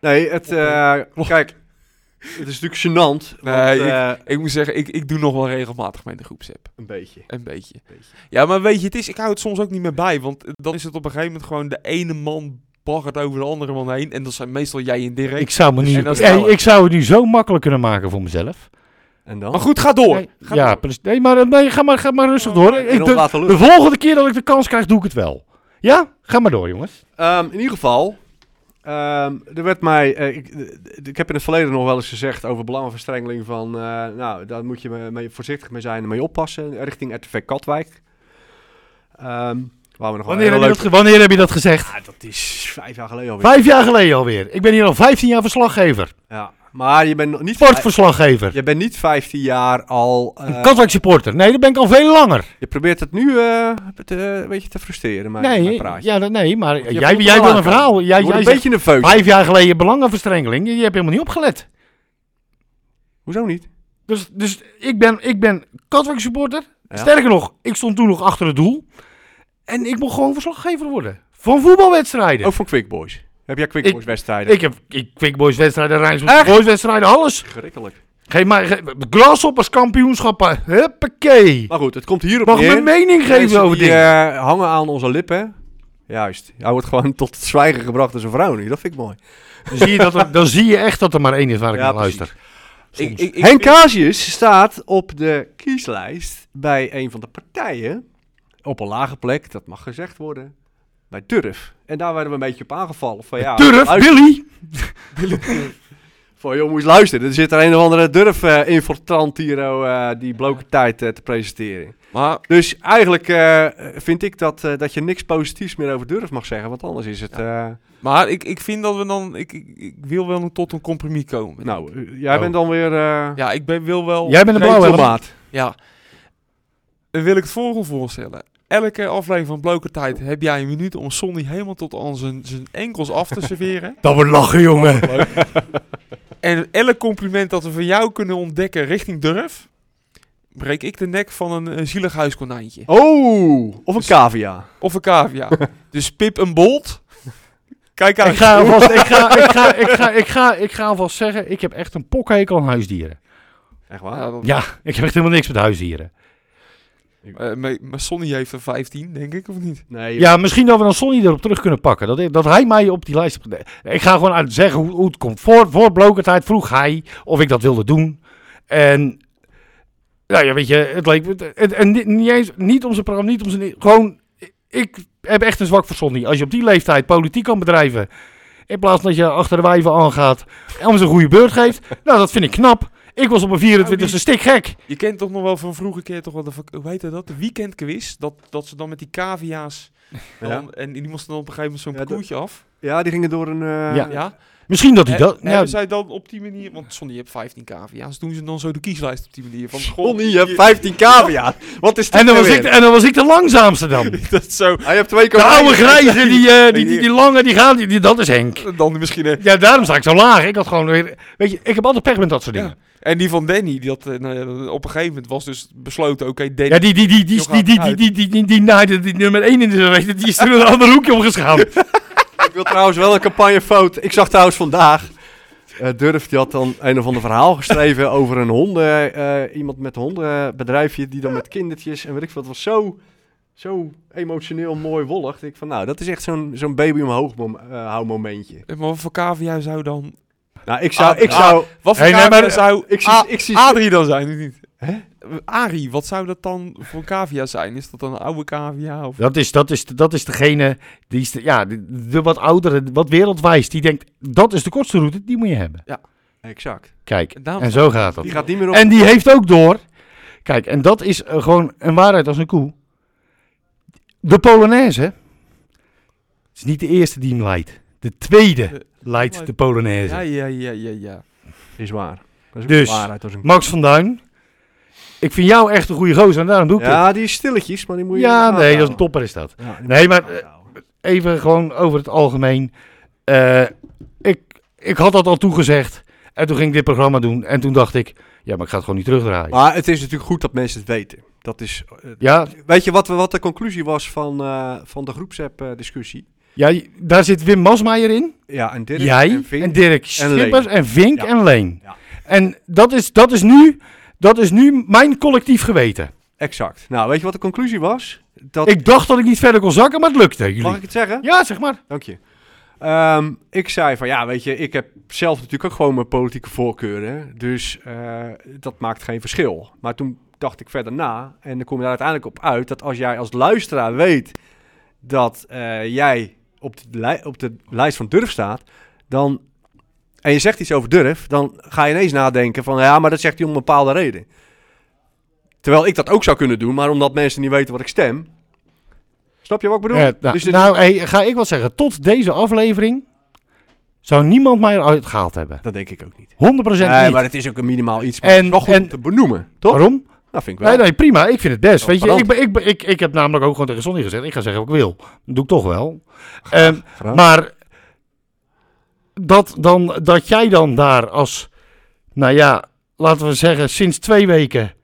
Speaker 4: Nee, het... eh, kijk, [laughs] het is natuurlijk gênant.
Speaker 1: Nee,
Speaker 4: want, eh,
Speaker 1: ik moet zeggen, ik, ik doe nog wel regelmatig mee in de groepsapp.
Speaker 4: Een beetje.
Speaker 1: Een beetje.
Speaker 4: Beetje.
Speaker 1: Ja, maar weet je, het is, ik hou het soms ook niet meer bij. Want eh, dan is het op een gegeven moment gewoon de ene man baggert over de andere man heen. En dat zijn meestal jij en Dirk.
Speaker 3: Ik zou, me
Speaker 1: Dus-
Speaker 3: nu,
Speaker 1: en dat is
Speaker 3: Hey,
Speaker 1: sneller.
Speaker 3: ik zou het nu zo makkelijk kunnen maken voor mezelf.
Speaker 4: En dan?
Speaker 1: Maar goed, ga door.
Speaker 3: Nee,
Speaker 1: Ga
Speaker 3: ja,
Speaker 1: door.
Speaker 3: precies. Nee, maar, nee, ga maar, ga maar rustig door. Ik,
Speaker 4: Oh, en ons
Speaker 3: de,
Speaker 4: laten
Speaker 3: de
Speaker 4: lukken.
Speaker 3: volgende keer dat ik de kans krijg, doe ik het wel. Ja? Ga maar door, jongens.
Speaker 4: Ehm, in ieder geval... ehm, er werd mij, eh, ik, d- ik heb in het verleden nog wel eens gezegd over belangenverstrengeling van, eh, nou, daar moet je me- mee voorzichtig mee zijn en mee oppassen, richting RTV Katwijk. Ehm, waar we nog wel
Speaker 3: Wanneer heb,
Speaker 4: heel
Speaker 3: je dat,
Speaker 4: leuk...
Speaker 3: ge- wanneer heb je dat gezegd?
Speaker 4: Ah, dat is vijf jaar geleden alweer.
Speaker 3: Vijf jaar geleden alweer. Ik ben hier al vijftien jaar verslaggever.
Speaker 4: Ja, Maar je bent nog niet,
Speaker 3: Sportverslaggever.
Speaker 4: je bent niet 15 jaar al. eh,
Speaker 3: Een Katwijk supporter. Nee, dat ben ik al veel langer.
Speaker 4: je probeert het nu eh, te, een beetje te frustreren. Maar,
Speaker 3: Nee, ja, dat- nee maar
Speaker 4: je
Speaker 3: jij,
Speaker 4: voelt
Speaker 3: jij
Speaker 4: wel
Speaker 3: wil een
Speaker 4: aan.
Speaker 3: verhaal. Jij,
Speaker 4: je wordt
Speaker 3: jij
Speaker 4: een
Speaker 3: zegt
Speaker 4: beetje nerveus.
Speaker 3: vijf jaar geleden belangenverstrengeling. Je hebt helemaal niet opgelet.
Speaker 4: Hoezo niet?
Speaker 3: Dus, dus ik ben, ik ben Katwijk supporter.
Speaker 4: Ja.
Speaker 3: Sterker nog, ik stond toen nog achter het doel. En ik mocht gewoon verslaggever worden. Van voetbalwedstrijden.
Speaker 4: Ook van Quick Boys. Heb jij Quick
Speaker 3: Ik-
Speaker 4: Boys wedstrijden?
Speaker 3: Ik heb ik, Quick Boys wedstrijden, Rijnsburg
Speaker 4: Echt?
Speaker 3: Boys wedstrijden, alles.
Speaker 4: Schrikkelijk.
Speaker 3: Geef maar ge- grasshoppers kampioenschappen. Huppakee.
Speaker 4: Maar goed, het komt hierop
Speaker 3: Mag ik
Speaker 4: neer.
Speaker 3: mijn mening
Speaker 4: Mensen
Speaker 3: geven over
Speaker 4: die,
Speaker 3: dingen?
Speaker 4: eh, hangen aan onze lippen. Juist. Hij wordt gewoon tot het zwijgen gebracht door zijn vrouw nu. Dat vind ik mooi.
Speaker 3: Dan zie, je dat er, dan zie je echt dat er maar één is waar ik
Speaker 4: Ja,
Speaker 3: naar
Speaker 4: precies.
Speaker 3: luister.
Speaker 1: Ik, ik, ik,
Speaker 4: Henk Casius staat op de kieslijst bij een van de partijen. Op een lage plek, dat mag gezegd worden. Bij Turf. En daar werden we een beetje op aangevallen. Van, ja,
Speaker 3: Turf,
Speaker 4: luister-
Speaker 3: Billy.
Speaker 4: Van joh, moet je eens luisteren. Er zit er een of andere Durf-infiltrant hier oh, eh, die bloke tijd eh, te presenteren.
Speaker 1: maar
Speaker 4: Dus eigenlijk eh, vind ik dat, eh, dat je niks positiefs meer over Durf mag zeggen. Want anders is het... eh,
Speaker 1: Maar ik, ik vind dat we dan... Ik, ik, ik wil wel een- tot een compromis komen.
Speaker 4: nou, eh, jij
Speaker 3: Oh.
Speaker 4: bent dan weer... eh,
Speaker 1: Ja, ik ben, wil wel...
Speaker 3: Jij bent een
Speaker 4: geen
Speaker 3: blauwe helm.
Speaker 4: tomaat.
Speaker 1: Ja. Dan wil ik het volgende voorstellen. Elke aflevering van Bloke Tijd heb jij een minuut om Sonny helemaal tot aan zijn, zijn enkels af te
Speaker 3: [laughs]
Speaker 1: serveren.
Speaker 3: Dat we lachen, jongen.
Speaker 1: En elk compliment dat we van jou kunnen ontdekken richting Durf, breek ik de nek van een, een zielig huiskonijntje.
Speaker 4: Oh,
Speaker 3: Dus-
Speaker 4: of een cavia.
Speaker 1: Of een
Speaker 3: [laughs]
Speaker 1: cavia. dus Pip en Bolt. Kijk
Speaker 3: Ik
Speaker 1: uit.
Speaker 3: ga, alvast, ik, ga, ik, ga, ik, ga, ik, ga, ik ga alvast zeggen, ik heb echt een pokhekel aan huisdieren.
Speaker 4: Echt waar?
Speaker 1: Ja, dat-
Speaker 3: Ja, ik heb echt helemaal niks met huisdieren.
Speaker 1: eh, maar- maar Sonny heeft er 15, denk ik, of niet?
Speaker 4: Nee,
Speaker 3: Ja, misschien dat we dan Sonny erop terug kunnen pakken. Dat, dat hij mij op die lijst... heeft gedaan. Ik ga gewoon uit zeggen hoe, hoe het komt. Voor, voor blokertijd vroeg hij of ik dat wilde doen. En... Nou ja, weet je, het leek... me- En, en niet, niet eens, niet om zijn programma, niet om zijn... Gewoon, ik heb echt een zwak voor Sonny. Als je op die leeftijd politiek kan bedrijven... In plaats dat je achter de wijven aangaat... En ons een goede beurt geeft... Nou, dat vind ik knap. Ik was op mijn 24e stik gek.
Speaker 1: Je kent toch nog wel van vroeger keer toch wel de, vak- hoe heette dat? De weekendquiz. Dat, dat ze dan met die cavia's
Speaker 4: [laughs]
Speaker 1: dan,
Speaker 4: Ja.
Speaker 1: en die moesten dan op een gegeven moment zo'n
Speaker 4: Ja, dat-
Speaker 1: parcoursje af.
Speaker 4: Ja, die gingen door een... eh,
Speaker 3: Ja.
Speaker 1: Ja.
Speaker 3: Misschien dat hij
Speaker 1: En-
Speaker 3: dat...
Speaker 1: en
Speaker 3: nou,
Speaker 1: hebben zij dan op die manier, want Sonny heeft 15 cavia's, doen ze dan zo de kieslijst op die manier van
Speaker 4: Kon
Speaker 1: Sonny
Speaker 4: niet, je hebt 15 cavia's. Wat is dit
Speaker 3: en, dan
Speaker 4: nou
Speaker 3: was ik,
Speaker 4: weer?
Speaker 3: en dan was ik de langzaamste dan.
Speaker 1: dat zo.
Speaker 4: Hij heeft twee
Speaker 3: De oude
Speaker 4: konijnen.
Speaker 3: grijze, die, eh, die, die, die lange, die gaat, die, die- dat is Henk.
Speaker 1: Dan misschien een-
Speaker 3: Ja, daarom sta ik zo laag. Ik had gewoon weer... Weet je, ik heb altijd pech met dat soort dingen.
Speaker 1: En die van Danny, die had, eh, nou ja, op een gegeven moment was dus besloten, oké, Danny...
Speaker 3: Ja, die, die, die, die,
Speaker 1: Joh,
Speaker 3: die, die, die,
Speaker 1: gaat
Speaker 3: die, die, die, die, naaide die nummer 1 in de reet, die is toen een ander hoekje omgeschaamd.
Speaker 4: Ik wil trouwens wel een campagnefoto. Ik zag trouwens vandaag. eh Durf die had dan een of ander verhaal geschreven over een honden. eh, iemand met een hondenbedrijfje die dan met kindertjes en weet ik veel. Het was zo, zo emotioneel mooi wollig. Dat Ik van nou, dat is echt zo'n zo'n baby omhoog mom, eh, hou momentje.
Speaker 1: Maar wat voor cavia zou dan...
Speaker 4: Nou, ik zou.
Speaker 1: Ah,
Speaker 4: ik
Speaker 1: ah,
Speaker 4: zou
Speaker 1: Wat voor
Speaker 3: Hey, nee,
Speaker 1: cavia
Speaker 3: maar- Ah,
Speaker 1: zou
Speaker 4: ik zie,
Speaker 1: A-
Speaker 4: ik zie,
Speaker 1: Adrie dan zijn, of niet?
Speaker 4: Hè?
Speaker 1: Arie, wat zou dat dan voor cavia zijn? Is dat dan een oude cavia?
Speaker 3: [laughs]
Speaker 1: Of...
Speaker 3: Dat is, dat is, dat is degene, die is de, ja, de, de wat oudere, wat wereldwijs, die denkt, dat is de kortste route, die moet je hebben.
Speaker 4: exact.
Speaker 3: Kijk,
Speaker 1: En daarom-
Speaker 3: en zo gaat dat.
Speaker 4: Die gaat niet meer op.
Speaker 3: En die heeft ook door. Kijk, en dat is eh, gewoon een waarheid als een koe. De Polonaise is niet de eerste die hem leidt. De tweede leidt de
Speaker 1: Ja,
Speaker 3: Polonaise.
Speaker 1: ja, ja, ja, ja.
Speaker 4: is waar. Dat is ook
Speaker 3: Dus-
Speaker 4: waarheid als een.
Speaker 3: Max van Duin, ik vind jou echt een goede gozer en daarom doe ik
Speaker 4: Ja, Ah. die is stilletjes, maar die moet
Speaker 3: het.
Speaker 4: je. in de
Speaker 3: Ja,
Speaker 4: gaten
Speaker 3: nee, dat is een
Speaker 4: houden.
Speaker 3: topper is dat.
Speaker 4: Ja, die
Speaker 3: Nee,
Speaker 4: moet je in de
Speaker 3: maar,
Speaker 4: gaten
Speaker 3: eh,
Speaker 4: houden.
Speaker 3: Even gewoon over het algemeen. Eh, ik, ik had dat al toegezegd en toen ging ik dit programma doen en toen dacht ik, ja, maar ik ga het gewoon niet terugdraaien.
Speaker 4: Maar het is natuurlijk goed dat mensen het weten. Dat is eh,
Speaker 3: Ja,
Speaker 4: Weet je wat, we- wat de conclusie was van, eh, van de groepsapp-discussie?
Speaker 3: ja, daar zit Wim Masmeijer in.
Speaker 4: ja, en Dirk
Speaker 3: Jij en,
Speaker 4: en Vink.
Speaker 3: Dirk Schippers en, Vink
Speaker 4: Ja.
Speaker 3: en Leen.
Speaker 4: Ja.
Speaker 3: En dat is, dat, is nu, dat is nu mijn collectief geweten.
Speaker 4: Exact. Nou, weet je wat de conclusie was? Dat,
Speaker 3: Ik dacht dat ik niet verder kon zakken, maar het lukte. Jullie.
Speaker 4: mag ik het zeggen?
Speaker 3: Ja, zeg maar.
Speaker 4: Dank je. Ehm, ik zei van, ja, weet je, ik heb zelf natuurlijk ook gewoon mijn politieke voorkeuren. Dus eh, dat maakt geen verschil. Maar toen dacht ik verder na. En dan kom je daar uiteindelijk op uit dat als jij als luisteraar weet dat eh, jij op de, lij- op de lijst van durf staat, dan... En je zegt iets over durf, dan ga je ineens nadenken van, ja, maar dat zegt hij om een bepaalde reden. Terwijl ik dat ook zou kunnen doen, maar omdat mensen niet weten wat ik stem... Snap je wat ik bedoel?
Speaker 3: Eh, nou,
Speaker 4: Dus dit-
Speaker 3: nou, hey, ga ik wat zeggen. Tot deze aflevering Zou niemand mij eruit gehaald hebben. 100%
Speaker 4: Dat denk ik ook niet.
Speaker 3: niet.
Speaker 4: Nee, maar het is ook een minimaal iets. Maar
Speaker 3: En-
Speaker 4: het is wel goed
Speaker 3: en-
Speaker 4: om te benoemen, toch?
Speaker 3: Waarom?
Speaker 4: Dat vind ik wel. Oh,
Speaker 3: Nee, nee, prima. Ik vind het best. Weet je, ik,
Speaker 4: Transparant.
Speaker 3: ben- ik, ben- ik, ik heb namelijk ook gewoon tegen Sonny gezegd. Ik ga zeggen wat ik wil. Dat doe ik toch wel. Ehm,
Speaker 4: Graag.
Speaker 3: maar dat, dan, dat jij dan daar als, nou ja, laten we zeggen, sinds twee weken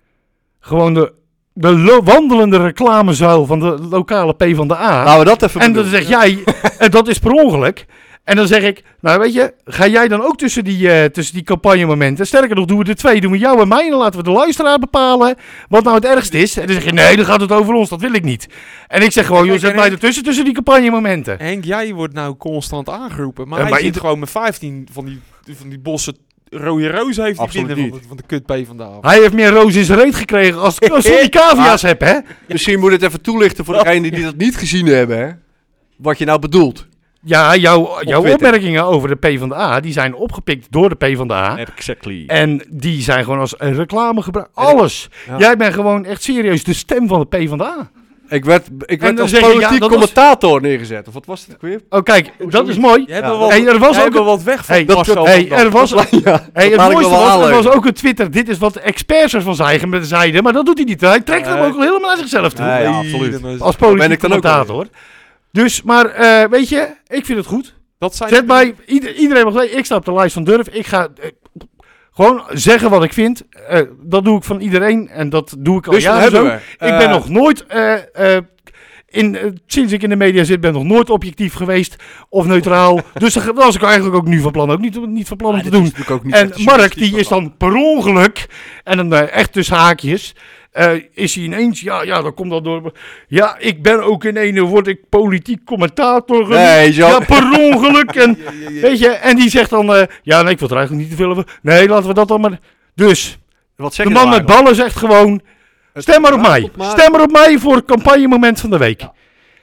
Speaker 3: gewoon de, de lo- wandelende reclamezuil van de lokale P van de A.
Speaker 4: Laten we dat even
Speaker 3: en dan
Speaker 4: benoemen.
Speaker 3: zeg jij, en dat is per ongeluk. En dan zeg ik, nou weet je, ga jij dan ook tussen die, eh, tussen die campagnemomenten? Sterker nog, doen we er twee, doen we jou en mij. En dan laten we de luisteraar bepalen wat nou het ergst is. En dan zeg je, nee, dan gaat het over ons, dat wil ik niet. En ik zeg gewoon, joh, zet mij ertussen, tussen die campagnemomenten.
Speaker 1: Henk, jij wordt nou constant aangeroepen. Maar
Speaker 3: Eh,
Speaker 1: hij
Speaker 3: maar
Speaker 1: zit
Speaker 3: ieder-
Speaker 1: gewoon met 15 van die, van die bossen rode roos heeft die
Speaker 4: Absoluut
Speaker 1: binnen van
Speaker 4: niet.
Speaker 1: de, van de kut P vandaag.
Speaker 3: Hij heeft meer roos in zijn reet gekregen als
Speaker 4: [laughs]
Speaker 3: als ik die cavia's heb, hè?
Speaker 4: Misschien moet je het even toelichten voor degenen die dat niet gezien hebben. hè. Wat je nou bedoelt.
Speaker 3: Ja, jouw, jouw
Speaker 4: Twitter.
Speaker 3: opmerkingen over de P van de A, die zijn opgepikt door de P van de A.
Speaker 4: Exactly.
Speaker 3: En die zijn gewoon als een reclame gebruikt. Alles.
Speaker 4: Ja.
Speaker 3: Jij bent gewoon echt serieus de stem van de P van de A.
Speaker 4: Ik werd, ik
Speaker 3: dan
Speaker 4: werd als
Speaker 3: zeg je, ja,
Speaker 4: politiek
Speaker 3: dat was-
Speaker 4: commentator neergezet. Of wat was het ook weer?
Speaker 3: Oh, kijk, dat is mooi.
Speaker 1: Je hebt
Speaker 4: Ja.
Speaker 1: er wel
Speaker 3: Hey, er was
Speaker 1: jij
Speaker 3: ook
Speaker 1: hebt er wat weg van.
Speaker 3: Hey,
Speaker 1: Marcel
Speaker 3: dat-
Speaker 1: van
Speaker 3: hey,
Speaker 1: Dam.
Speaker 3: er was,
Speaker 4: Ja,
Speaker 3: hey, het
Speaker 4: laat ik
Speaker 3: mooiste
Speaker 4: wel
Speaker 3: was, er
Speaker 4: aanleunen.
Speaker 3: was ook een Twitter. Dit is wat de experts ervan zijn, met zeiden. Maar dat doet hij niet. Hij trekt hem
Speaker 4: Nee.
Speaker 3: ook helemaal naar zichzelf toe.
Speaker 4: Nee, ja,
Speaker 1: Nee,
Speaker 4: absoluut.
Speaker 1: dat is-
Speaker 3: Als
Speaker 4: ben
Speaker 3: politiek
Speaker 4: ik dan ook
Speaker 3: commentator. Dus, maar eh, weet je, ik vind het goed.
Speaker 1: Dat zijn
Speaker 3: Zet mij, ieder- iedereen mag weten, ik sta op de lijst van Durf. Ik ga eh, gewoon zeggen wat ik vind. Eh, dat doe ik van iedereen en dat doe ik al
Speaker 4: Dus dan
Speaker 3: jaren
Speaker 4: hebben
Speaker 3: zo.
Speaker 4: we.
Speaker 3: ik ben nog nooit, eh, eh, in, eh, sinds ik in de media zit, ben ik nog nooit objectief geweest of neutraal. dus dat was ik eigenlijk ook nu van plan, ook niet, niet van plan om te doen. En Mark, die is dan per ongeluk, en dan eh, echt tussen haakjes, eh, is hij ineens, ja, ja, dat komt dan door... Ja, ik ben ook in ene, word ik politiek commentator genoemd.
Speaker 4: Nee, zo.
Speaker 3: Ja, per ongeluk. En,
Speaker 4: [laughs]
Speaker 3: Weet je, en die zegt dan, eh, ja, nee, ik wil er eigenlijk niet te veel over. Nee, laten we dat dan maar... Dus,
Speaker 4: Wat zeg
Speaker 3: de
Speaker 4: je
Speaker 3: man
Speaker 4: nou
Speaker 3: met ballen zegt gewoon, stem maar op mij.
Speaker 4: eigenlijk?
Speaker 3: Stem maar op mij voor het campagnemoment van de week.
Speaker 4: Hij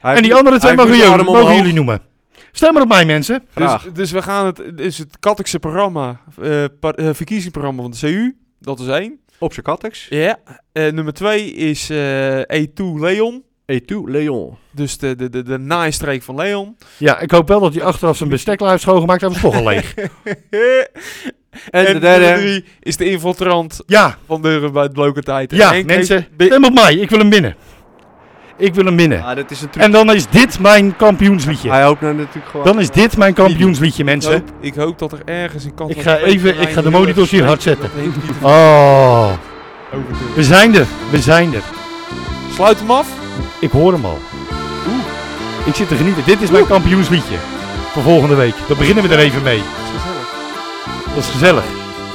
Speaker 3: En
Speaker 4: heeft-
Speaker 3: die andere twee
Speaker 4: hij heeft
Speaker 3: mogen
Speaker 4: nu de
Speaker 3: jullie,
Speaker 4: arm
Speaker 3: mogen
Speaker 4: omhoog.
Speaker 3: jullie noemen. Stem maar op mij, mensen.
Speaker 1: Dus,
Speaker 4: Graag.
Speaker 1: dus we gaan het, het is het Kattekse programma, eh, par- eh, verkiezingsprogramma van de CU. Dat is één.
Speaker 4: Op zijn kattex.
Speaker 1: Ja. Eh, nummer twee is eh E2 Leon.
Speaker 4: E2 Leon.
Speaker 1: Dus de, de, de, de naaistreek van Leon.
Speaker 3: Ja, ik hoop wel dat hij achteraf zijn besteklaar heeft schoongemaakt. Hij was toch al leeg.
Speaker 4: En, de
Speaker 1: nummer
Speaker 4: derde.
Speaker 1: drie is de infiltrant
Speaker 3: Ja,
Speaker 1: van de bij het bloke tijd.
Speaker 3: ja,
Speaker 1: Henk
Speaker 3: mensen.
Speaker 1: heeft- be-
Speaker 3: Stem op mij. Ik wil hem binnen. Ik wil hem binnen.
Speaker 4: Ah, dat is een truc.
Speaker 3: En dan is dit mijn kampioensliedje.
Speaker 4: Hij hoopt nou natuurlijk gewoon.
Speaker 3: Dan is dit mijn kampioensliedje,
Speaker 1: ik,
Speaker 3: mensen.
Speaker 1: hoop, ik hoop dat er ergens een kant
Speaker 3: Ik
Speaker 1: van
Speaker 3: ga
Speaker 1: het
Speaker 3: even-
Speaker 1: terrein
Speaker 3: ik ga de
Speaker 1: heel erg
Speaker 3: monitors
Speaker 1: [laughs]
Speaker 3: hier hard
Speaker 1: spreekt, dat heeft niet te
Speaker 3: Oh,
Speaker 1: overdoen.
Speaker 3: we zijn er. We zijn er.
Speaker 1: Sluit hem af.
Speaker 3: Ik hoor hem al. Ik zit te genieten. Dit is mijn kampioensliedje. Voor volgende week. Dan beginnen we er even mee. Dat is
Speaker 4: Ah,
Speaker 3: Oh, gezellig.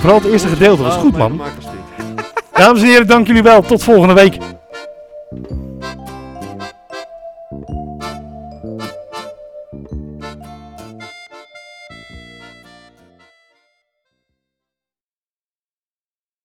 Speaker 3: Vooral het eerste gedeelte was goed, man. Dames en heren, dank jullie wel. Tot volgende week.